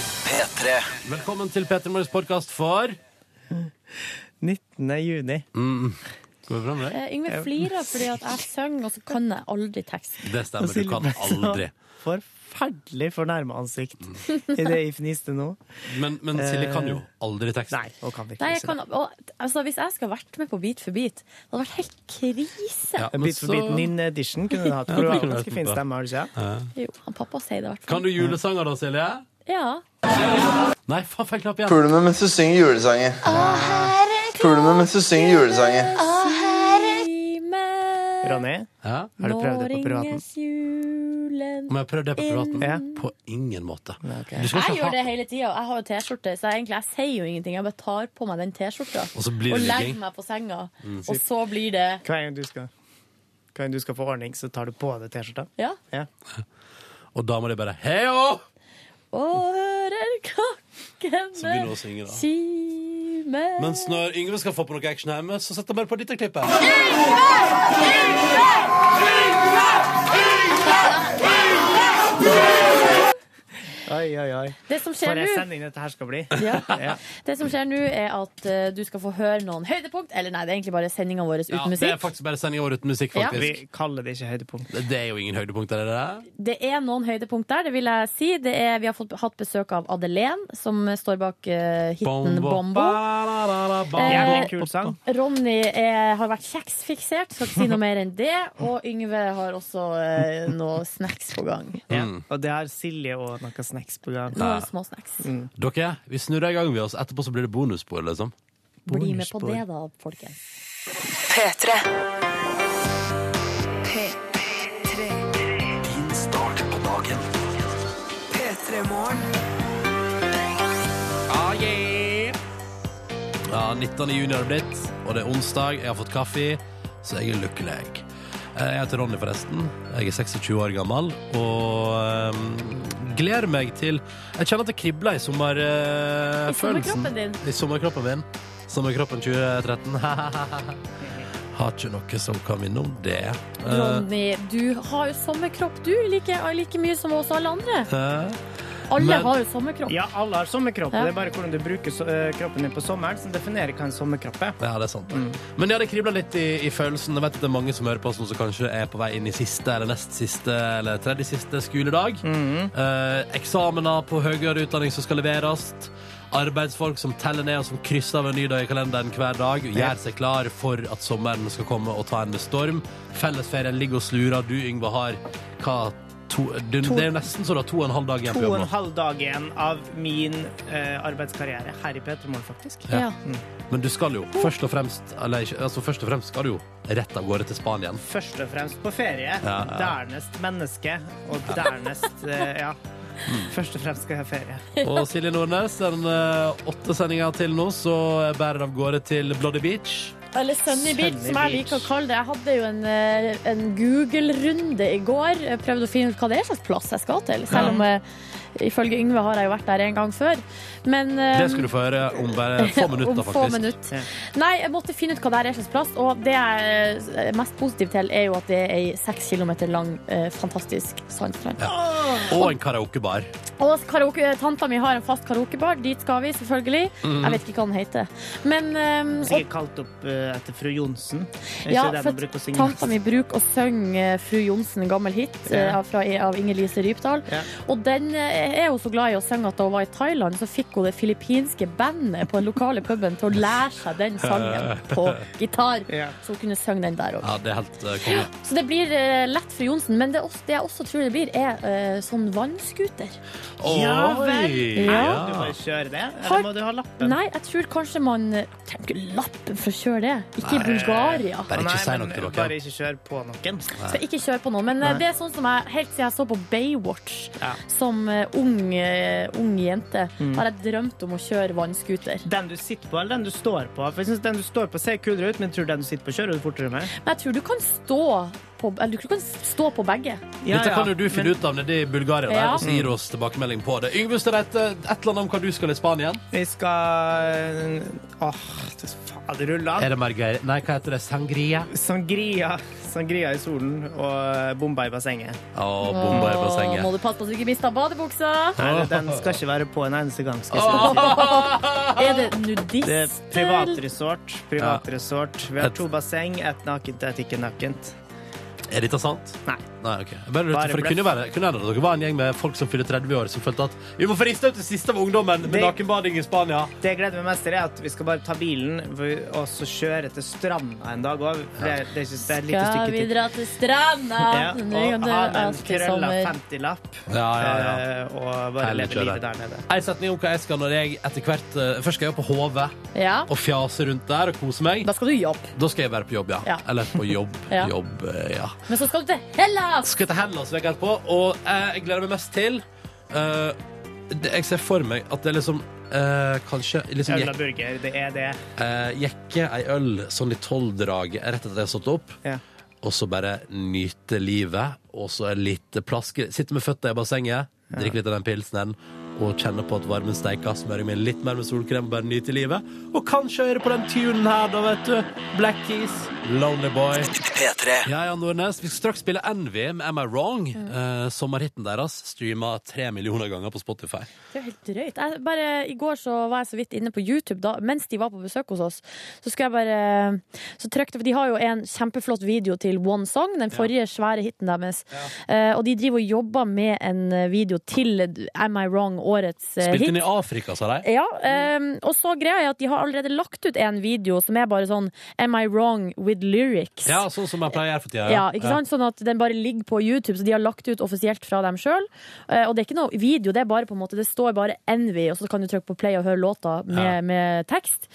P3. Velkommen til Petter Morgens podkast for 19. juni. Går det bra med deg? Eh, Yngve flirer fordi at jeg synger, og så kan jeg aldri teksten. Det Og stemmer, du Silje kan ble så aldri. Forferdelig fornærma ansikt Mm. i det jeg fniste nå. Men, men Silje kan jo aldri tekst. Nei, hun kan virkelig Nei, jeg ikke kan, det. og, altså, hvis jeg skulle vært med på Beat for beat, det hadde vært helt krise. Ja, men Bit for bit, så- Ninn edition kunne du hatt. Ja, For du det har kunne ganske vært fin bra. stemme, har du ikke? Jo, han pappa sier det i hvert Kan fall. du julesanger da, Silje? Ja. Nei, faen, fikk knapp igjen. Pule meg mens du synger julesanger. Pule meg mens du synger julesanger. Si meg, Ronny, Ja. har du nå prøvd det på privaten? ringes julen Om jeg prøvde det på privaten? Ja. På ingen måte. ok. Du skal Jeg ikke gjør ha det hele tida, og jeg har jo T-skjorte, så jeg, egentlig, jeg sier jo ingenting. Jeg bare tar på meg den T-skjorta Og så blir og det legger ligging. Mm, meg på senga, og så blir det Hver gang du skal hver gang du skal få ordning, så tar du på deg T-skjorta. Ja. Ja. Og da må de bare Heo! Og hører Så begynner hun klokkene å synge, da. kime Mens når Yngve skal få på noe action hjemme, så setter han bare på dette klippet. Oi, oi, oi. Det som For skjer ei nå sending dette her skal bli. Ja. Det som skjer nå, er at eh, du skal få høre noen høydepunkt. Eller nei, det er egentlig bare sendinga vår uten Ja, det er musikk. faktisk bare sending i år uten musikk, Ja. Vi faktisk. kaller det ikke høydepunkt. Det er jo ingen høydepunkter, er det det? Det er noen høydepunkt der, det vil jeg si. Det er, vi har fått, hatt besøk av Adelén, som står bak uh, hiten Bombo. Bombo. Ja, det er Eh, en kul sang. Ronny er, har vært kjeksfiksert, skal ikke si noe mer enn det. Og Yngve har også eh, noe snacks på gang. Mm. Ja. Og det har Silje og noe snacks på gang. Noen små snacks. Dere, vi snurrer i gang ved oss. Etterpå så blir det bonusspor, liksom. Bli med på det, da, folkens. P3. Din start på dagen. Ja, 19. juni har det blitt, og det er onsdag. Jeg har fått kaffe, så jeg er lykkelig. Eh, Jeg heter Ronny, forresten. Jeg er 26 år gammel og ehm, gleder meg til Jeg kjenner at det kribler i I sommerfølelsen. sommerkroppen din. I sommerkroppen min. Sommerkroppen 2013. har ikke noe som kan vinne om det. Eh, Ronny, du har jo sommerkropp, du. Like, like mye som oss alle andre. eh, Alle Men- har jo sommerkropp. Ja, alle har sommerkropp. Ja. Det er bare hvordan du bruker so eh, kroppen din på sommeren som definerer hva en sommerkropp er. Ja, det er sant. det. Mm. Men ja, det kribler litt i, i følelsen. Jeg vet at det er mange som hører på oss nå som kanskje er på vei inn i siste eller nest siste eller tredje siste skoledag. Mm. Eh, eksamener på høyere utdanning som skal leveres. Arbeidsfolk som teller ned og som krysser av en ny dag i kalenderen hver dag. Gjør seg klar for at sommeren skal komme og ta en med storm. Fellesferien ligger og slurer. Du, Yngve, har hva to, du, Det er jo nesten så du har to og en halv dag igjen To på og jobb. en nå. halv dag igjen av min eh, arbeidskarriere her i P3 Morgen, faktisk. Ja. Men du skal jo først og fremst eller, ikke- altså, Først og fremst skal du jo rett av gårde til Spania igjen. Først og fremst på ferie, ja. dernest menneske, og dernest eh, Ja. Mm. Først og fremst skal jeg ha ferie. Og Silje Nordnes, den eh, åtte sendinga til nå, så bærer det av gårde til Bloody Beach. Eller Sunny Beach, Sunny som jeg liker å Beach. kalle det. Jeg hadde jo en, eh, en Google-runde i går. Jeg Prøvde å finne ut hva det er slags plass jeg skal til. Selv om eh, ifølge Yngve har jeg jo vært der en gang før. Men eh, Det skal du få høre om bare få minutter, om få faktisk. minutter. Ja. Nei, jeg måtte finne ut hva det er slags plass, og det jeg er mest positiv til, er jo at det er ei seks kilometer lang, eh, fantastisk sandstrand. Og en karaokebar. Og karaoke, eh, tanta mi har en fast karaokebar. Dit skal vi, selvfølgelig. Mm. Jeg vet ikke hva den heter. Men eh, og Sikkert kalt opp eh, etter fru Johnsen. Er Ja, ikke det for man bruker å synge? Tanta mi bruker å synge eh, Fru Johnsen, gammel hit eh, Ja. fra, av Inger Lise Rypdal. Ja. Og den eh, er jo så glad i å synge at da hun var i Thailand, så fikk hun det filippinske bandet på den lokale puben til å lære seg den sangen på gitar. Ja. Så hun kunne synge den der òg. Ja, det er helt eh, konge. Så det blir eh, lett Fru Johnsen. Men det, er også, det jeg også tror det blir, er eh, sånn vannskuter. Ja, Oi! vel. Ja. Du bare kjører det, Har- eller må du ha lappen? Nei, jeg tror kanskje man Trenger ikke lappen for å kjøre det. Ikke i Bulgaria. Bare ikke Nei, si men noe til Bare dere. ikke kjør på noen. Skal ikke kjøre på noe, men eh, det er sånn som jeg helt siden jeg så på Baywatch Ja. Mm. som eh, ung, eh, ung jente, har jeg drømt om å kjøre vannskuter. Den du sitter på, eller den du står på? For jeg synes Den du står på ser kulere ut, men jeg tror den du sitter på, kjører du fortere med. Men jeg tror du kan stå på, eller, du kan stå på begge. Dette kan jo du finne ut av nede i Bulgaria, der, Ja. og så gir du oss tilbakemelding på det. Yngve Ustadreite, et eller annet om hva du skal i Spania igjen? Jeg skal Åh, det fader rulla. Er det margarita Nei, hva heter det? Sangria? Sangria. Sangria i solen og bomba i bassenget. Å, bomba i Åh, Må bassenget. du passe på så du ikke mister badebuksa. Nei, det- Den skal ikke være på en eneste gang. Skal jeg si. Er det Det er nudist? privatresort. Privatresort. Vi har Et- to basseng. Ett nakent, ett ikke nakent. Er dette sant? Nei. Nei, ok. Bare, lurer, Bare for det bløff. kunne jo være kunne hende at dere var en gjeng med folk som fyller 30 år, som følte at vi må få riste ut det siste av ungdommen med Det- nakenbading i Spania. Det jeg gleder meg mest til, er at vi skal bare ta bilen og så kjøre til stranda en dag òg. Det, er- det, er ikke- det er et lite Skal vi stykke til. dra til stranda? Ja, Nå og kan ha du med en alt i krølla sommer. 50-lapp Ja, ja, ja. eh, og bare Herlig leve kjøre. livet der nede. En setning om hva jeg skal når jeg etter hvert eh, Først skal jeg opp på HV Ja. og fjase rundt der og kose meg. Da skal du jobbe. Da skal jeg være på jobb, ja. Ja. Eller på jobb. Ja. jobb eh, ja. Men så skal du til Hellas! Skal til Hellas veka etterpå, og eh, jeg gleder meg mest til eh, det, Jeg ser for meg at det er liksom eh, Kanskje liksom Øl og jek, burger, det er det. eh, jekke ei øl sånn i tolvdrag rett etter at jeg har stått opp. Ja. Og så bare nyte livet, og så en liten plaske. Sitte med føttene i bassenget, drikke litt av den pilsen og kjenne på at varmen steiker. Smøre meg litt mer med solkrem, bare nyte livet. Og kanskje høre på den tunen her, da, vet du. Black Keys, Lonely Boy. P3. Ja, ja, Nordnes. Vi skal straks spille Envy med Am I Wrong. Eh, sommerhitten deres streama tre millioner ganger på Spotify. Det er jo helt drøyt. Jeg bare, I går så var jeg så vidt inne på YouTube da, mens de var på besøk hos oss. Så skulle jeg bare Så trykte For de har jo en kjempeflott video til One Song, den forrige svære hiten deres. Eh, og de driver og jobber med en eh, video til Am I Wrong, årets eh, Spilt hit. inn i Afrika, sa de. Ja, ehm, og så greia er at de har allerede lagt ut en video som er bare sånn Am I wrong with lyrics? Ja, sånn som jeg pleier å gjøre for tida. Ja, ikke sant? Sånn at den bare ligger på YouTube, så de har lagt ut offisielt fra dem sjøl. Og det er ikke noe video, det er bare på en måte Det står bare Envy, og så kan du trykke på play og høre låta med, Ja. med tekst.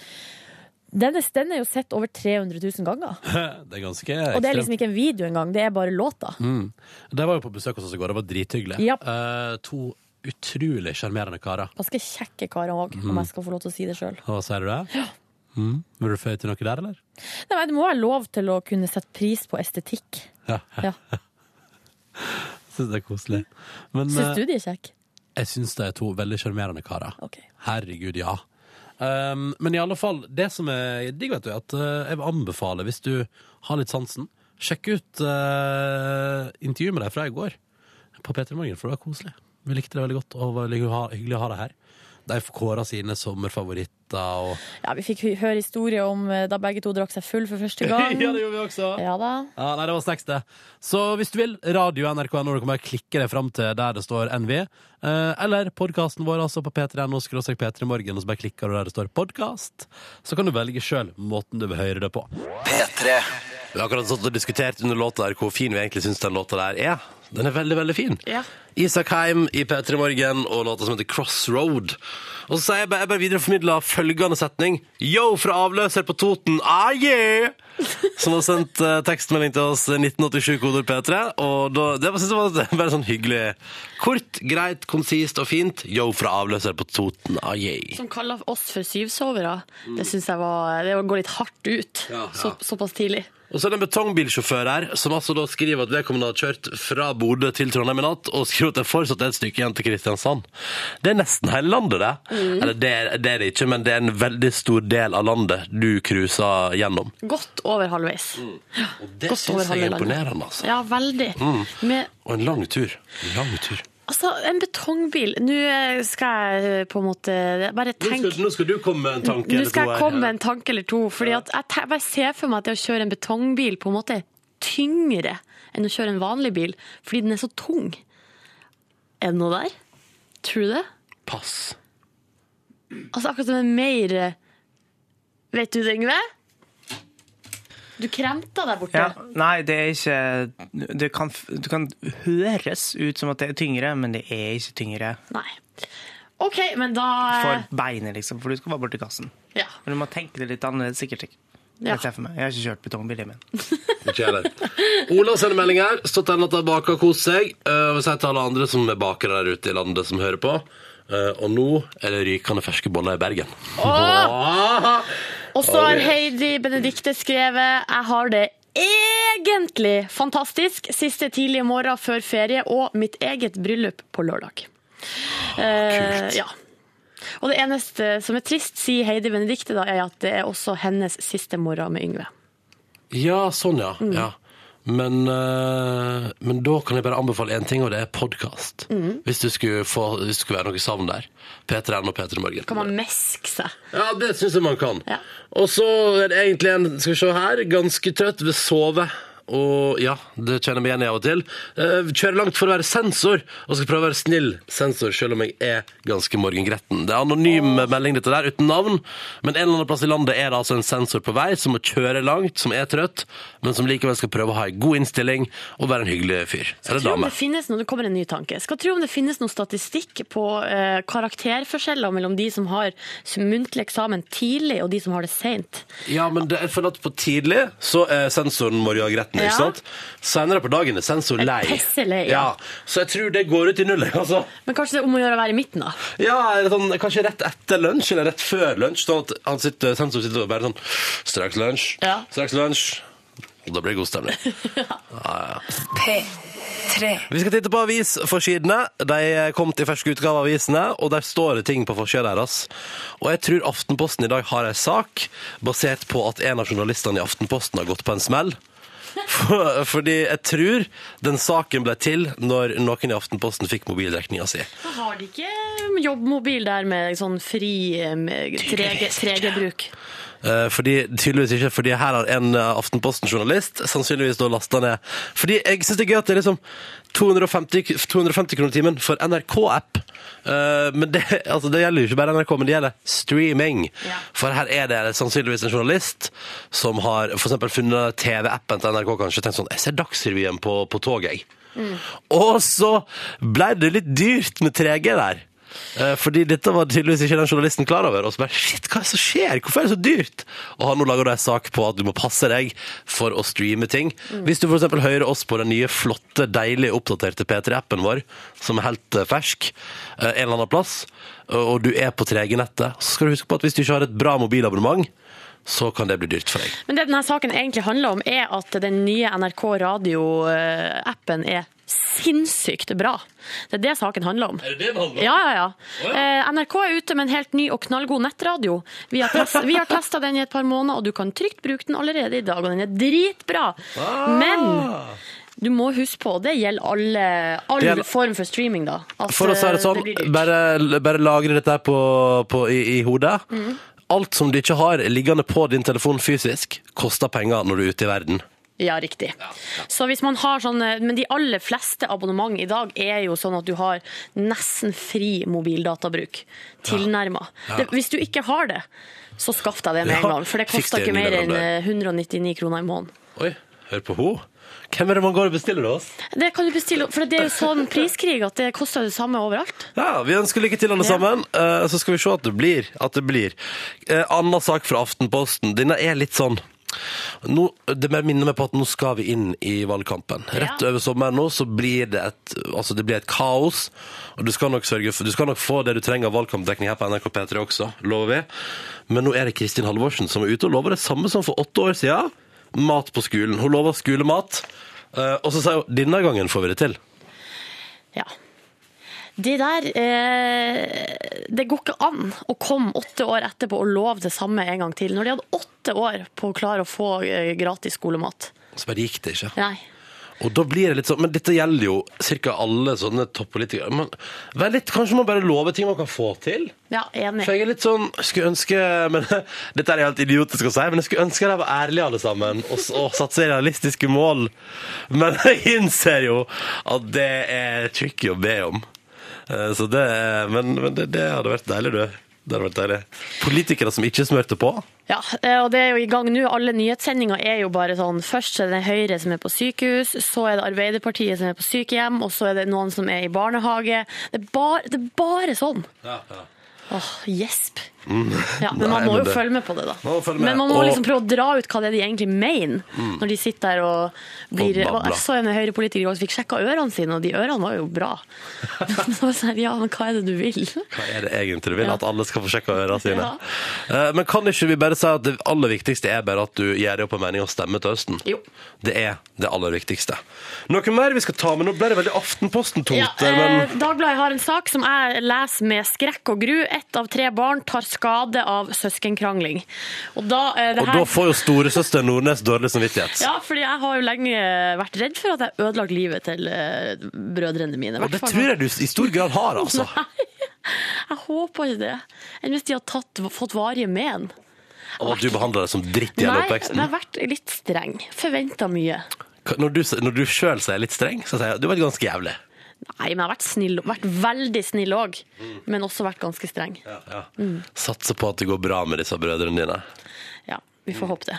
Den er, den er jo sett over 300 000 ganger. Det er ganske Og det er ekstremt. liksom ikke en video engang, det er bare låta. Mm. De var jo på besøk hos oss i går, det var drithyggelig. Ja. Eh, to utrolig sjarmerende karer. Ganske kjekke karer òg, Mm. om jeg skal få lov til å si det sjøl. Hva sier du det? Ja. Mm. Vil du føye til noe der, eller? Det må være lov til å kunne sette pris på estetikk. Ja. Ja. Syns det er koselig. Men Syns eh, du de er kjekke? jeg syns de er to veldig sjarmerende karer. Ok. Herregud, ja. Um, men i alle fall, det som er digg, vet du, er at eh, jeg vil anbefale, hvis du har litt sansen, sjekk ut eh, intervjuet med deg fra i går på P3 Morgen, for det var koselig. Vi likte det veldig godt, og det var hyggelig å ha- hyggelig å ha deg her. De får kåra sine sommerfavoritter og Ja, Vi fikk hø- høre historier om eh, da begge to drakk seg full for første gang. Ja, det gjorde vi også. Ja da. Ja, nei, det var snacks, det. Så hvis du vil, radio NRK når du kommer, klikke deg fram til der det står NV. Eh, eller podkasten vår, altså, på p3.no skråstrek p3morgen, og så bare klikker du der det står podkast. Så kan du velge sjøl måten du vil høre det på. P3. Vi har akkurat satt og diskutert under låta der hvor fin vi egentlig syns den låta der er. Den er veldig, veldig fin. Ja. Isak Heim i P3 Morgen og låta som heter Crossroad. Og så sier jeg bare, jeg bare videreformidla følgende setning. Yo fra avløser på Toten, ah yeah! Som har sendt eh, tekstmelding til oss 1987-koder P3. Og da, det var- synes jeg var et- bare sånn hyggelig. Kort, greit, konsist og fint. Yo fra avløser på Toten, ah yeah. som kaller oss for syvsovere, det syns jeg var Det går litt hardt ut Mm. Ja, ja. Så, såpass tidlig. Og så er det en betongbilsjåfør her, som altså da skriver at vedkommende har kjørt fra Bodø til Trondheim i natt, og skriver at det fortsatt er et stykke igjen til Kristiansand. Det er nesten hele landet, det. Mm. Eller det, er- det er det ikke, men det er en veldig stor del av landet du cruiser gjennom. Godt over halvveis. Mm. Og det Godt over syns jeg er halve landet. imponerende, altså. Ja, veldig. Med Og en lang tur. En lang tur. altså, en betongbil Nå eh, skal jeg på en måte bare tenke du komme med en tanke Nå skal jeg komme med en tanke eller to. Fordi at jeg te- bare ser for meg at det å kjøre en betongbil på en måte er tyngre enn å kjøre en vanlig bil, fordi den er så tung. Er det noe der? Tror du det? Pass. Altså akkurat som en mer eh, Vet du det, Yngve? Du kremta der borte. Ja, nei, det er ikke det kan, det kan høres ut som at det er tyngre, men det er ikke tyngre Nei. OK, men da eh, for beinet, liksom, for du skal bare bort til kassen. ja. Men du må tenke det litt annerledes, sikkert. ikke? Ja. Jeg ser for meg. Jeg har ikke kjørt betongbil, jeg, men Ikke jeg heller. Ola sender melding her. Stått der natta og baka og kost seg. Eh, Og sier til alle andre som er bakere der ute i landet som hører på. eh, og nå er det rykende ferske boller i Bergen. Åh! Og så har Heidi Benedikte skrevet Jeg har det egentlig fantastisk. Siste tidlige morgen før ferie og mitt eget bryllup på lørdag. Eh, ja. Og det eneste som er trist, sier Heidi Benedikte, da, er at det er også hennes siste morgen med Yngve. Ja, sånn, ja. ja. Men, eh, men da kan jeg bare anbefale én ting, og det er podkast. Hvis du skulle, få, hvis det skulle være noe savn der. P3N og P3 Morgen. Kan man meske seg? Ja, det syns jeg man kan. Ja. Og så er det egentlig en skal vi se her, ganske trøtt, vil sove. Og ja, det kjenner jeg meg igjen i av og til. Eh, Kjører langt for å være sensor, og skal prøve å være snill sensor, selv om jeg er ganske morgengretten. Det er anonym melding, dette der, uten navn. Men en eller annen plass i landet er det altså en sensor på vei som må kjøre langt, som er trøtt, men som likevel skal prøve å ha en god innstilling og være en hyggelig fyr. Eller Tror om dame. det finnes noe, det kommer en ny tanke. Skal tro om det finnes noen statistikk på eh, karakterforskjeller mellom de som har muntlig eksamen tidlig, og de som har det seint. Ja, men det, jeg føler at på tidlig så er sensoren Morja gretten, Ja. ikke sant? Senere på dagen er sensor lei. pisselei, ja. ja. Så jeg tror det går ut i null, jeg, altså. Men kanskje det er om å gjøre å være i midten, da. Ja, eller sånn, kanskje rett etter lunsj, eller rett før lunsj, sånn at han sitter, sensor sitter og bare sånn, straks lunsj, Ja. straks lunsj. Og da blir det god stemning. P3. Vi skal titte på avisforsidene. De kom til ferske utgave av avisene, og der står det ting på forsida deres. Og jeg tror Aftenposten i dag har ei sak basert på at en av journalistene i Aftenposten har gått på en smell. For- Fordi jeg tror den saken ble til når noen i Aftenposten fikk mobildekninga si. Da har de ikke eh, jobbmobil der med sånn fri eh, med 3G, 3G-bruk. Eh, Fordi, tydeligvis ikke, fordi her har en eh, Aftenposten-journalist sannsynligvis da lasta ned. Fordi jeg syns det er gøy at det er liksom 250, k- 250 kroner timen for NRK-app. Eh, Men det, altså det gjelder jo ikke bare NRK, men det gjelder streaming. Ja. For her er det sannsynligvis en journalist som har for eksempel funnet TV-appen til NRK kanskje og tenkt sånn Jeg ser Dagsrevyen på, på toget, jeg. Og så ble det litt dyrt med 3G der. Eh, Fordi dette var tydeligvis ikke den journalisten klar over. Og så bare shit, hva er det som skjer? Hvorfor er det så dyrt? Og han nå lager da en sak på at du må passe deg for å streame ting. Hvis du f.eks. hører oss på den nye, flotte, deilig oppdaterte P3-appen vår, som er helt eh, fersk, eh, en eller annen plass, og du er på 3G-nettet, så skal du huske på at hvis du ikke har et bra mobilabonnement, så kan det bli dyrt for deg. Men det denne saken egentlig handler om, er at den nye NRK Radio-appen er sinnssykt bra. Det er det saken handler om. Er det det det handler om? Ja, ja, ja. Eh, NRK er ute med en helt ny og knallgod nettradio. Vi har, test, vi har testa den i et par måneder, og du kan trygt bruke den allerede i dag. Og den er dritbra. Ah. Men du må huske på, det gjelder alle, all Det gjelder- form for streaming, da. at, For å si det eh, sånn, blir dyrt. bare, bare lagre dette her på, på, i, i hodet. Alt som du ikke har liggende på din telefon fysisk, koster penger når du er ute i verden. Ja, riktig. Så hvis man har sånn, Men de aller fleste abonnement i dag er jo sånn at du har nesten fri mobildatabruk. Tilnærma. Det- Hvis du ikke har det, så skaff deg det med Ja, en gang. For det fiks koster deg en ikke ny mer enn leverandør. eh, 199 kroner i måneden. Oi, hør på ho. Hvem er det man går og bestiller hos? Det kan du bestille, for det er jo sånn priskrig at det koster det samme overalt. Ja, Vi ønsker lykke til, alle Ja. sammen. Eh, så skal vi se at det blir. At det blir. Eh, Anna sak fra Aftenposten. Denne er litt sånn nå, Det mer minner meg på at nå skal vi inn i valgkampen. Rett over sommeren nå så blir det et, altså det blir et kaos. Og du skal, nok sørge for, du skal nok få det du trenger av valgkampdekning her på NRK P3 også, lover vi. Men nå er det Kristin Halvorsen som er ute og lover det samme som for åtte år siden. Mat på skolen. Hun lover skolemat. Eh, og så sier hun denne gangen får vi det til. Ja. Det der eh, Det går ikke an å komme åtte år etterpå og love det samme en gang til. Når de hadde åtte år på å klare å få eh, gratis skolemat. Så bare gikk det ikke. Nei. Og da blir det litt sånn, men dette gjelder jo cirka alle sånne toppolitikere. Men vær litt, kanskje man bare lover ting man kan få til? Ja, enig. For jeg er litt sånn, jeg skulle ønske, men dette er helt idiotisk å si, men jeg skulle ønske de var ærlige alle sammen, og, s- og satse realistiske mål. Men jeg innser jo at det er tricky å be om. Eh, Så det, er- men, men det, det hadde vært deilig, du. Det hadde vært deilig. Politikere som ikke smørte på. Ja, eh, og det er jo i gang nå. Alle nyhetssendinger er jo bare sånn Først er det Høyre som er på sykehus, så er det Arbeiderpartiet som er på sykehjem, og så er det noen som er i barnehage. Det er bare, det er bare sånn. Åh, gjesp. Ja, men man Mm. Nei, må men jo det- følge med på det, da. Man må følge med, Men man må og- Mm. liksom prøve å dra ut hva det er de egentlig mener, når de sitter der og blir Og og babler. Jeg så en Høyre-politiker i går som fikk sjekka ørene sine, og de ørene var jo bra. Men det var sånn, ja, men hva er det du vil? Hva er det egentlig du vil? Ja. At alle skal få sjekka ørene sine? Ja. Eh, Men kan ikke vi bare si at det aller viktigste er bare at du gjør deg opp en mening og stemmer til høsten? Jo. Det er det aller viktigste. Noe mer vi skal ta med? Nå ble det veldig Ja, Aftenposten-tungt. eh, men... Dagbladet har en sak som jeg leser med skrekk og gru. Ett av tre barn tar skade av søskenkrangling. Og da, eh, det Og her, da får jo storesøster Nordnes dårlig samvittighet. ja, fordi jeg har jo lenge vært redd for at jeg har ødelagt livet til eh, brødrene mine. Og det tror jeg du i stor grad har, altså. Jeg håper ikke det. Enn hvis de har tatt, fått varige men. Og at du behandler det som dritt i hele Nei, jeg oppveksten. har vært litt streng. Forventa mye. Når du, når du sjøl sier litt streng, så sier jeg du var ganske jævlig. Nei, men jeg har vært snill. Vært veldig snill òg. Mm. Men også vært ganske streng. Satser på at det går bra med disse brødrene dine. Ja, vi får håpe det.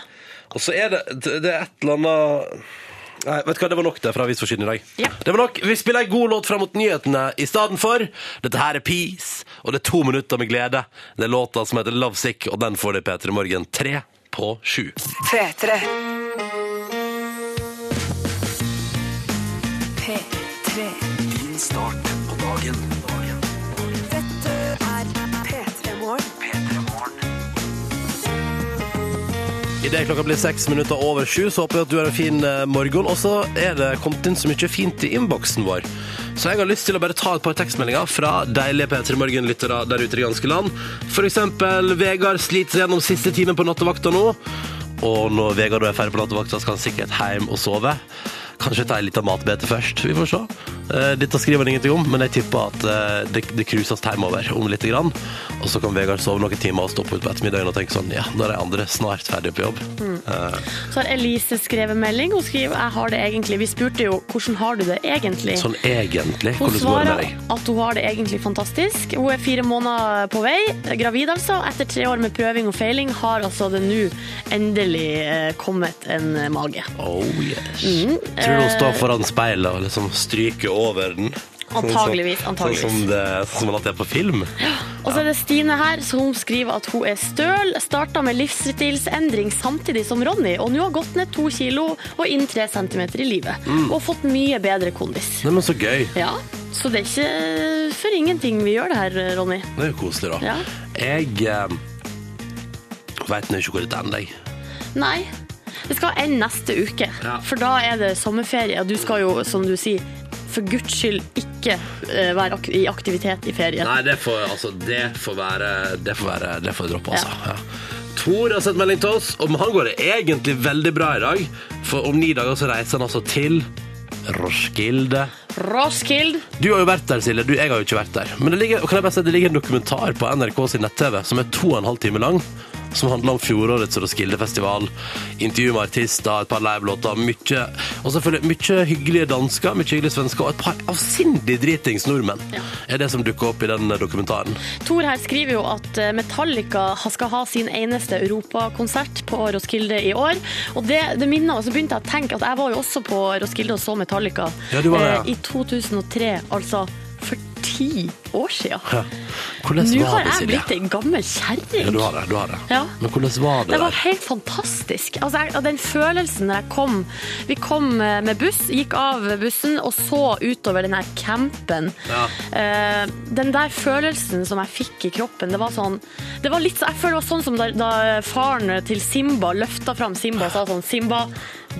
Og så er det, det er et eller annet Nei, vet du hva, det var nok det fra Avisforsiden i dag. Ja. Det var nok. Vi spiller en god låt fram mot nyhetene i stedet for. Dette her er Peace, og det er to minutter med glede. Det er låta som heter Love Sick, og den får du i P3 Morgen tre på sju. P3. P3. Din start på dagen. dagen. Dette er P3 Morgen. P3 Morgen. Idet klokka blir seks minutter over sju, så håper jeg at du har en fin eh, morgen. Og så er det kommet inn så mye fint i innboksen vår. Så jeg har lyst til å bare ta et par tekstmeldinger fra deilige P3 Morgen-lyttere der ute i det ganske land. For eksempel Vegard sliter seg gjennom siste timen på nattevakta nå. Og når Vegard da er ferdig på nattevakta, skal han sikkert hjem og sove. Kanskje ta en liten matbete først. Vi får se. Eh, Dette skriver han ingenting om, men jeg tipper at eh, det, det cruises hjemover om litt. Grann. Og så kan Vegard sove noen timer og stoppe ut på ettermiddagen og tenke sånn Ja, nå er de andre snart ferdig på jobb. Mm. Så har Elise skrevet melding. Hun skriver jeg har det egentlig. Vi spurte jo hvordan har du det egentlig. Sånn egentlig. Hun Hvordan går det med svarer deg? at hun har det egentlig fantastisk. Hun er fire måneder på vei, gravid altså. Etter tre år med prøving og feiling har altså det nå endelig eh, kommet en mage. Oh yes. Mm, Tror du eh, hun står foran speilet og liksom stryker over den? Sånn som- Antageligvis, antageligvis. Sånn som, det, sånn som man alltid er på film? Og så er det Stine her, så hun skriver at hun er støl, starta med livsstilsendring samtidig som Ronny, og nå har gått ned to kilo og inn tre centimeter i livet. Mm. Og fått mye bedre kondis. Nei, men så gøy. Ja, så det er ikke for ingenting vi gjør det her, Ronny. Det er jo koselig, da. Ja. Jeg eh, veit nå ikke hvor dette ender, jeg. Nei. Det skal ende neste uke, Ja. for da er det sommerferie. Og du skal jo, som du sier, for guds skyld ikke eh, være ak i aktivitet i ferien. Nei, det får, altså, det får være Det får, være, det får jeg droppe, altså. Ja. Tor har sendt melding til oss, og med han går det egentlig veldig bra i dag. For om ni dager så reiser han altså til Roskilde. Roskilde! Du har jo vært der, Silje. Du, jeg har jo ikke vært der. Men det ligger, kan jeg bare si, at det ligger en dokumentar på NRK sin nett-TV som er to og en halv time lang. Som handler om fjorårets Roskilde-festival. Intervju med artister, et par livelåter. Mye, og selvfølgelig mye hyggelige dansker, mye hyggelige svensker og et par avsindig dritings nordmenn. Er det som dukker opp i den dokumentaren. Tor her skriver jo at eh, Metallica skal ha sin eneste europakonsert på Roskilde i år. Og det, det minner meg, så begynte jeg å tenke at jeg var jo også på Roskilde og så Metallica Ja, du var det, ja. eh, i 2003, altså for ti år siden. Hvordan Nå var har det, jeg Silje? blitt ei gammel kjerring. Ja, du har det. du har det. Ja. Men hvordan var det, Det var der? helt fantastisk. Altså, jeg, og den følelsen når jeg kom Vi kom eh, med buss, gikk av bussen og så utover den her campen. Ja. Eh, den der følelsen som jeg fikk i kroppen, det var sånn det var litt, så- Jeg føler det var sånn som da, da faren til Simba løfta fram Simba og sa sånn Simba,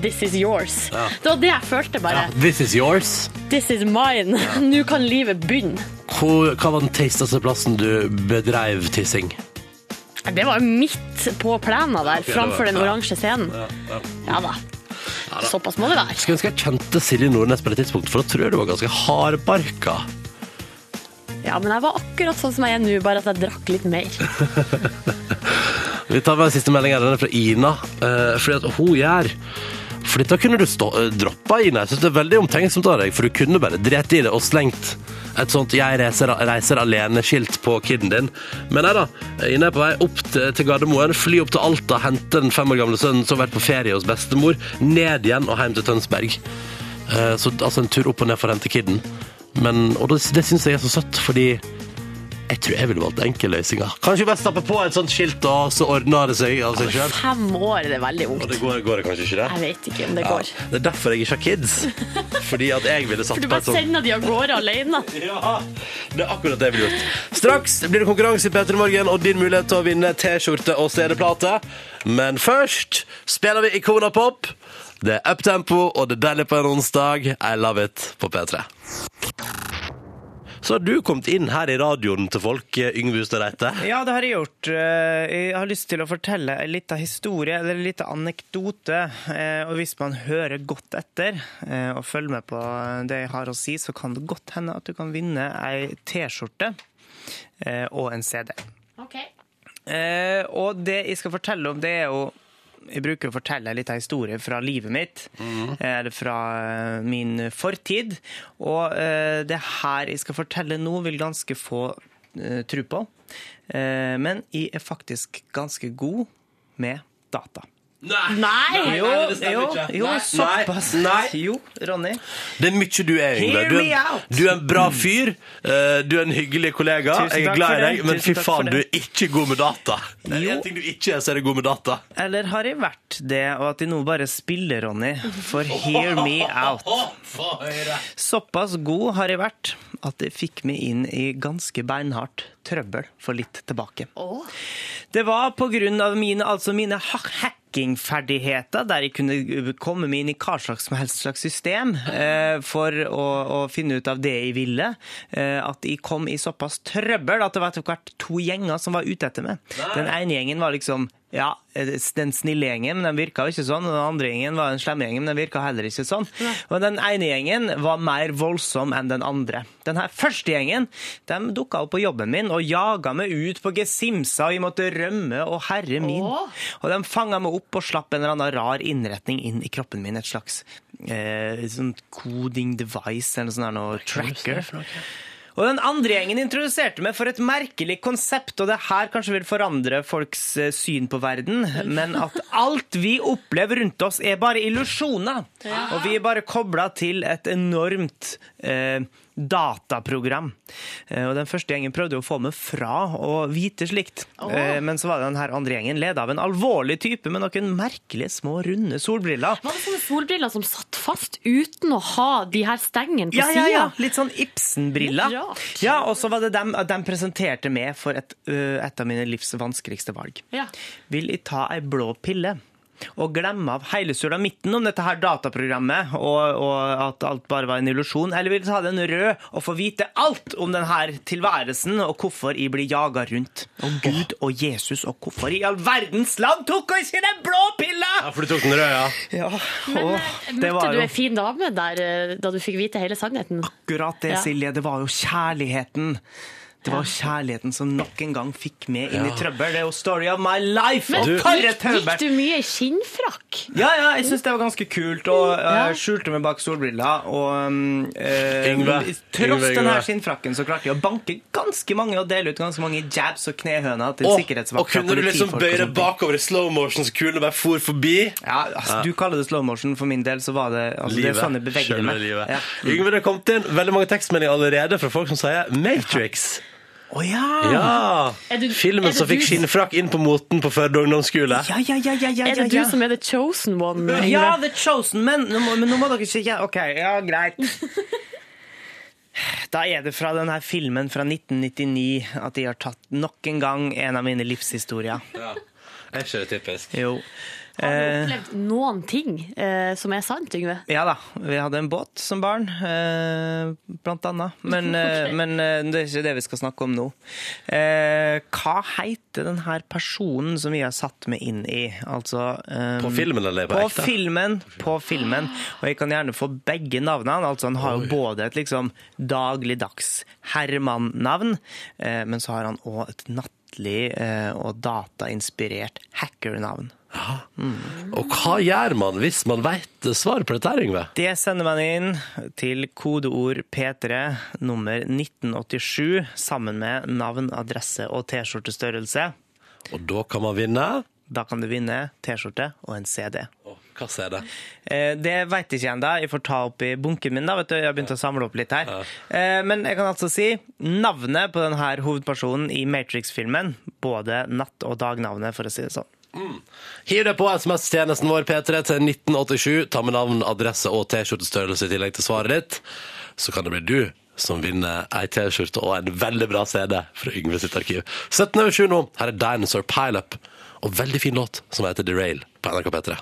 this is yours. Det var det jeg følte bare. Ja, This is yours. This is mine. Nå kan livet begynne. Hvor, hva var den teisteste plassen du bedreiv tissing? Det var jo midt på plena der, ok, det framfor var- den ja. oransje scenen. Ja da. Såpass må det være. Skulle ønske jeg kjente Silje Nordnes på det tidspunktet, for da tror jeg du var ganske hardbarka. Ja, men jeg var akkurat sånn som jeg er nå, bare at jeg drakk litt mer. Vi tar med den siste meldingen, den er fra Ina. eh, fordi at hun gjør For dette kunne du stå, eh, droppa, Ina. Jeg synes det er veldig omtenksomt av deg, for du kunne bare drept i det og slengt et sånt 'jeg reiser, reiser alene'-skilt på kiden din. Men nei da, Ina er på vei opp til, til Gardermoen, fly opp til Alta, hente den fem år gamle sønnen som har vært på ferie hos bestemor, ned igjen og hjem til Tønsberg. Eh, Så altså en tur opp og ned for å hente kiden. Men, og det, det syns jeg er så søtt, fordi Jeg tror jeg ville valgt enkle løsninger. Kanskje vi bare stappe på et sånt skilt, og så ordner det seg av seg sjøl. Fem år er det veldig Og ungt. det går, går det kanskje ikke, det? Jeg vet ikke om det Ja. går. Det er derfor jeg ikke har kids. Fordi at jeg ville satt For du på et bare sånt sender de av gårde alene. Ja, det er akkurat det jeg ville gjort. Straks blir det konkurranse i P3 Morgen og din mulighet til å vinne T-skjorte og CD-plate. Men først spiller vi Ikona Pop. Det er uptempo, og det er deilig på en onsdag. I love it på P3. Så har du kommet inn her i radioen til folk, eh, Yngve Hustad Reite. Ja, det har jeg gjort. Eh, Jeg har lyst til å fortelle en liten historie, eller en liten anekdote. Eh, Og hvis man hører godt etter eh, og følger med på det jeg har å si, så kan det godt hende at du kan vinne ei T-skjorte eh, og en CD. Eh, Og det jeg skal fortelle om, det er jo jeg bruker å fortelle litt av historie fra livet mitt, Mhm. eller fra eh, min fortid. Og eh, det her jeg skal fortelle nå, vil ganske få eh, tro på. Eh, men jeg er faktisk ganske god med data. Nei! Jo, jo, jo såpass. Jo, Ronny. Det er mye du er, Yngve. Hear Du, me er- out. Mm. du er en bra fyr. eh, Du er en hyggelig kollega. Tusen Jeg er takk glad i for deg, det. men fy Tusen takk for faen, du er det. ikke god med data. Det er Jo. en ting du ikke er, så er du god med data. Eller har jeg vært det, og at jeg nå bare spiller, Ronny? For hear me out. Såpass god har jeg vært at det fikk meg inn i ganske beinhardt trøbbel for litt tilbake. Det var på grunn av mine, altså mine ha- hackingferdigheter, der jeg kunne komme meg inn i hva slags som helst slags system eh, for å, å finne ut av det jeg ville, eh, at jeg kom i såpass trøbbel at det var etter hvert to gjenger som var ute etter meg. Den ene gjengen var liksom ja, den snille gjengen, men den virka jo ikke sånn. og Den andre gjengen var den slemme gjengen, men den virka heller ikke sånn. Og den ene gjengen var mer voldsom enn den andre. Den her første gjengen de dukka opp på jobben min og jaga meg ut på gesimsa, og jeg måtte rømme, og herre min. Og de fanga meg opp og slapp en eller annen rar innretning inn i kroppen min, et slags eh, sånn coding device eller sånn her noe tracker. Og den andre gjengen introduserte meg for et merkelig konsept, og det her kanskje vil forandre folks eh, syn på verden, men at alt vi opplever rundt oss er bare illusjoner. Og vi er bare kobla til et enormt eh, dataprogram. Eh, og den første gjengen prøvde å få meg fra å vite slikt. Eh, men så var det den her andre gjengen leda av en alvorlig type med noen merkelige små runde solbriller. Var det sånne solbriller som satt fast uten å ha de her stengene på Ja, ja, siden? ja. Litt sånn Ibsen-briller. Litt rart. Ja, og så var det dem at de presenterte meg for et, ø, et av mine livs vanskeligste valg. Ja. Vil jeg ta ei blå pille? Og glemme av hele sulamitten om dette her dataprogrammet, og, og at alt bare var en illusjon. Eller vil jeg ta den rød og få vite alt om denne tilværelsen, og hvorfor jeg blir jaga rundt. Og Gud og Jesus, og hvorfor i all verdens land tok jeg ikke den blå pilla?! Ja, for du tok den røde, ja. Ja, Men, og eh, det Møtte var du jo ei en fin dame der eh, da du fikk vite hele sannheten? akkurat det, Ja. Silje. Det var jo kjærligheten. Det var kjærligheten som nok en gang fikk meg inn i trøbbel. Det er jo story of my life! Men og for et gikk, gikk trøbbel! du mye i skinnfrakk? Ja, ja, jeg syns det var ganske kult, og jeg skjulte meg bak solbriller. Og um, eh, Yngve. tross Yngve, den her Yngve. skinnfrakken, så klarte jeg å banke ganske mange og dele ut ganske mange jabs og knehøner til Og, og sikkerhetsvakter. kunne du liksom politifolk og bøye deg sånt. bakover i slow motion så kulene bare for forbi? Ja, altså, Du kaller det slow motion, for min del så var det altså, Det er sånn jeg bevegde Selve meg. livet. Ja. Mm. Yngve, det har kommet inn veldig mange tekstmeldinger allerede fra folk som sier Matrix. Å ja! Ja! Er du- er Filmen det som fikk du- skinnfrakk inn på moten på Førde ungdomsskole. Ja, ja, ja, ja, ja, Er det ja, ja. du som er the chosen one? Yngve? Ja, The Chosen, men nå må, men nå må dere ikke ja, OK, ja, greit. Da er det fra denne filmen fra 1999 at de har tatt nok en gang en av mine livshistorier. Er ikke det typisk? Jo. Har du opplevd noen ting eh, som er sant, Yngve? Ja da, vi hadde en båt som barn, eh, blant annet. Men, eh, men eh, det er ikke det vi skal snakke om nå. Eh, hva heter den her personen som vi har satt meg inn i? Altså eh, På filmen eller på på ekte? filmen, på filmen. Og jeg kan gjerne få begge navnene. Altså Han har jo både et liksom dagligdags Herman-navn, eh, men så har han òg et nattlig eh, og datainspirert hacker-navn. Og hva gjør man hvis man veit svaret på dette, her, Yngve? Det sender man inn til kodeord P3 nummer 1987 sammen med navn, adresse og T-skjortestørrelse. Og da kan man vinne Da kan du vinne T-skjorte og en CD. Hva er det? Eh, Det veit jeg ikke ennå. Jeg får ta opp i bunken min. da, vet du. Jeg har begynt å samle opp litt her. Eh, Men jeg kan altså si navnet på denne hovedpersonen i Matrix-filmen. Både natt- og dagnavnet, for å si det sånn. Hiv det på SMS-tjenesten vår P3 til 1987. Ta med navn, adresse og T-skjortestørrelse i tillegg til svaret ditt. Så kan det bli du som vinner ei T-skjorte og en veldig bra CD fra Yngve sitt arkiv. 17 over 7 nå. Her er Dinosaur Pileup og veldig fin låt som heter Derail på NRK P3.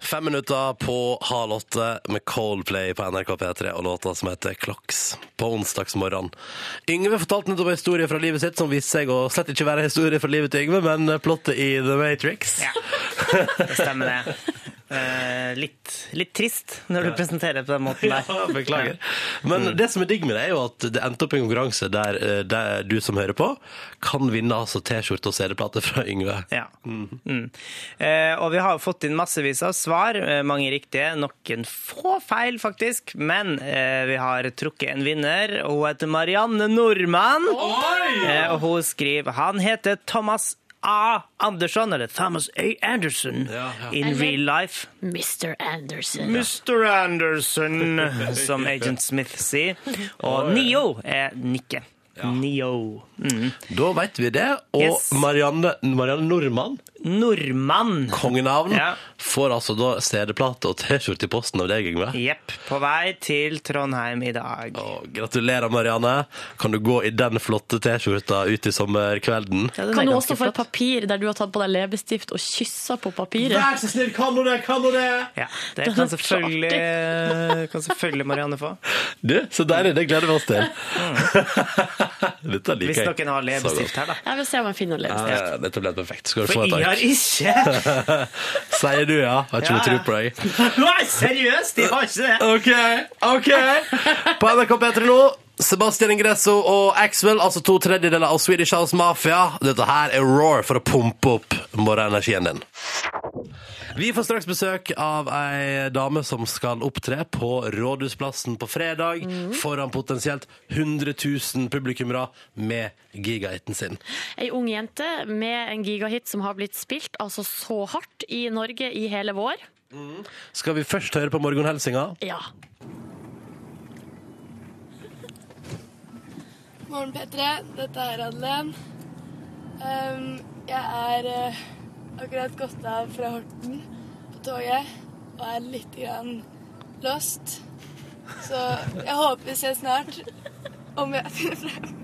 Fem minutter på halv åtte med Coldplay på NRK P3 og låta som heter Clocks på onsdagsmorgen. Yngve fortalte nettopp en historie fra livet sitt som viste seg å slett ikke være historie fra livet til Yngve, men plottet i The Matrix. Ja, det stemmer det. Eh, Litt, litt trist når du presenterer det på den måten der. Ja, Beklager. Men det som er digg med det, er jo at det endte opp i en konkurranse der, eh, der du som hører på, kan vinne altså T-skjorte og CD-plate fra Yngve. Ja. Mhm. Mm. Eh, og vi har fått inn massevis av svar, eh, mange riktige, noen få feil faktisk. Men eh, vi har trukket en vinner, og hun heter Marianne Nordmann. Eh, og hun skriver Han heter Thomas A. Andersson, eller Thomas A. Anderson ja. in real life. Mr. Anderson. Mr. Anderson, som Agent Smith sier. Og Neo er nikket. Neo. Mm. Da vet vi det. Og Yes. Marianne, Marianne Nordmann, Nordmann. kongenavn, Ja. får altså da CD-plate og T-skjorte i posten av deg, Yngve. Jepp. På vei til Trondheim i dag. Og gratulerer, Marianne. Kan du gå i den flotte T-skjorta ut i sommerkvelden? Kan du også få et papir der du har tatt på deg leppestift og kyssa på papiret? Vær så snill, kan du det? Kan du det? Ja, det Den kan er så selvfølgelig, kan selvfølgelig Marianne få. Du, så deilig. Det gleder vi oss til. Dette liker jeg. Mm. Hvis noen har så godt. leppestift her, da. Jeg vil se om jeg finner noe Ja, leppestift. ja, ja, Dette ble helt perfekt. Skal du få For et jeg har ark? ikke! Sier du ja? Har ikke Ja, noe tro på deg. Nei, seriøst, jeg har ikke det! OK, OK! På NRK P3 nå, Sebastian Ingresso og Axwell, altså to tredjedeler av Swedish House Mafia. Dette her er roar for å pumpe opp morgenenergien din. Vi får straks besøk av ei dame som skal opptre på Rådhusplassen på fredag foran potensielt 100 000 publikummere med gigahiten sin. Ei ung jente med en gigahit som har blitt spilt altså så hardt i Norge i hele vår. Skal vi først høre på morgenhelsinga? Ja. Morgen, P3. Dette er Madeleine. Um, jeg er eh, akkurat gått av fra Horten på toget og er litt grann lost. Så jeg håper vi ses snart, om jeg finner frem.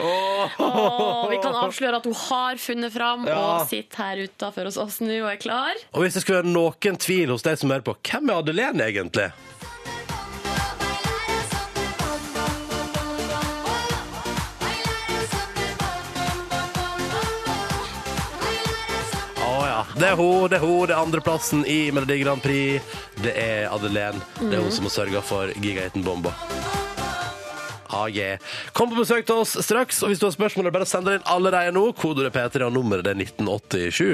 Og vi kan avsløre at hun har funnet fram og sitter her utafor hos oss nå og er klar. Og hvis det skulle være noen tvil hos deg som hører på, hvem er Adelene egentlig? Å ja. Det er hun, det er hun, det er andreplassen i Melodi Grand Prix. Det er Adelene. Det er hun som har sørga for gigahiten Bomba. Ah, yeah. Kom på besøk til oss straks, og hvis du har spørsmål, er det bare å sende det inn allerede nå. Kodeordet P3 og nummeret det er 1987.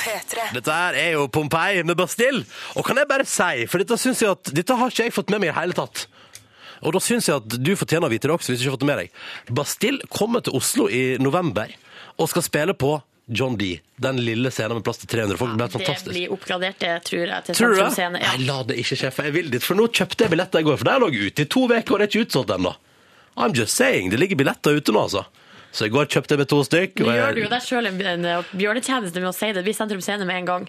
P3. Dette her er jo Pompeii med Bastille. Og kan jeg bare si, for dette, synes jeg at, dette har ikke jeg fått med meg i hele tatt. Og da syns jeg at du fortjener å vite det også, hvis du ikke har fått det med deg. Bastille kommer til Oslo i november og skal spille på John D. Den lille scenen med plass til 300 folk. Det blir Det fantastisk. blir oppgradert, det tror jeg, til Tror du det? sentrumsscene. Nei, Ja. la det ikke skje, for jeg vil dit. For nå kjøpte jeg billetter i går, for der lå jeg ute i to uker, og det er ikke utsolgt ennå. I'm just saying. Det ligger billetter ute nå, altså. Så i går kjøpte jeg med to stykk. Nå og jeg- gjør du jo deg sjøl en en bjørnetjeneste med å si det. Det blir Sentrum Scene med en gang.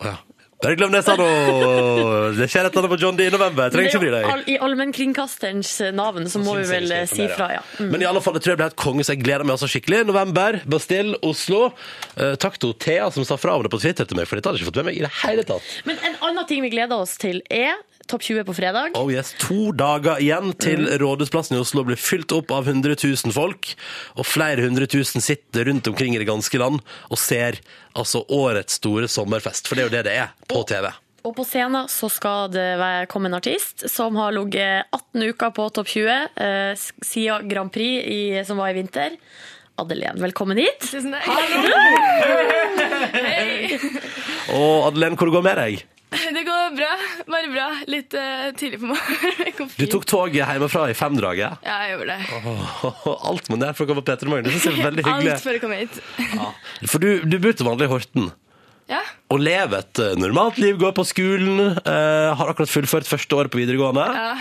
Å ja. Bare glem det, sa nå. Det skjer et eller annet på John D i november. Jeg Men trenger det ikke er bry jo deg. all- I allmennkringkasterens navn så må vi Synes jeg vel vi eh, skal si informere. fra, ja. Mm. Men i alle fall, jeg tror jeg ble helt konge, så jeg gleder meg også skikkelig. November, Bastille, Oslo. Eh, takk til Thea som sa fra om det på Twitter til meg, for dette hadde jeg ikke fått med meg i det hele tatt. Men en annen ting vi gleder oss til, er Topp 20 på fredag. Oh yes, To dager igjen til Mm. Rådhusplassen i Oslo blir fylt opp av 100 000 folk. Og flere hundre tusen sitter rundt omkring i det ganske land og ser altså årets store sommerfest. For det er jo det det er på TV. Og på scenen så skal det være- komme en artist som har ligget 18 uker på topp 20 eh, s- siden Grand Prix i, som var i vinter. Adelén, velkommen hit. Tusen takk. Og Adelén, hvor det går med deg? Det går bra. Bare bra. Litt eh, tidlig på morgenen. Det går Du fint. tok toget hjemmefra i femdraget. Ja, jeg gjorde det. Alt må ned for å komme på P3 Morgen. Det synes jeg er veldig hyggelig. Alt for å komme hit. For du, du bor til vanlig i Horten. Ja. Og lever et eh, normalt liv, går på skolen, eh, har akkurat fullført første året på videregående. Ja.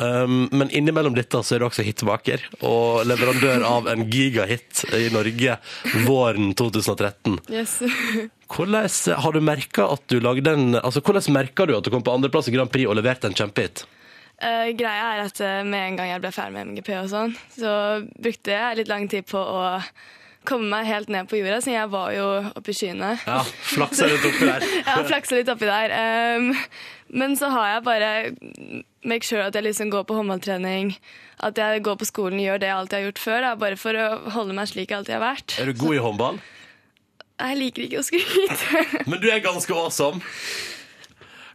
Um, men innimellom dette så er du også hitmaker og leverandør av en gigahit i Norge våren 2013. Yes. Hvordan har du merket at du lagde en Altså, hvordan merket du at du kom på andreplass i Grand Prix og leverte en kjempehit? Eh, greia er at eh, med en gang jeg ble ferdig med MGP og sånn, så brukte jeg litt lang tid på å komme meg helt ned på jorda, siden jeg var jo oppe i skyene. Ja, flaks er litt oppi der. Jeg har flaksa litt oppi der. ehm, men så har jeg bare make sure at jeg liksom går på håndballtrening, at jeg går på skolen, gjør det jeg alltid har gjort før, da, bare for å holde meg slik jeg alltid har vært. Er du god i håndball? Jeg liker ikke å skryte. Men du er ganske awesome.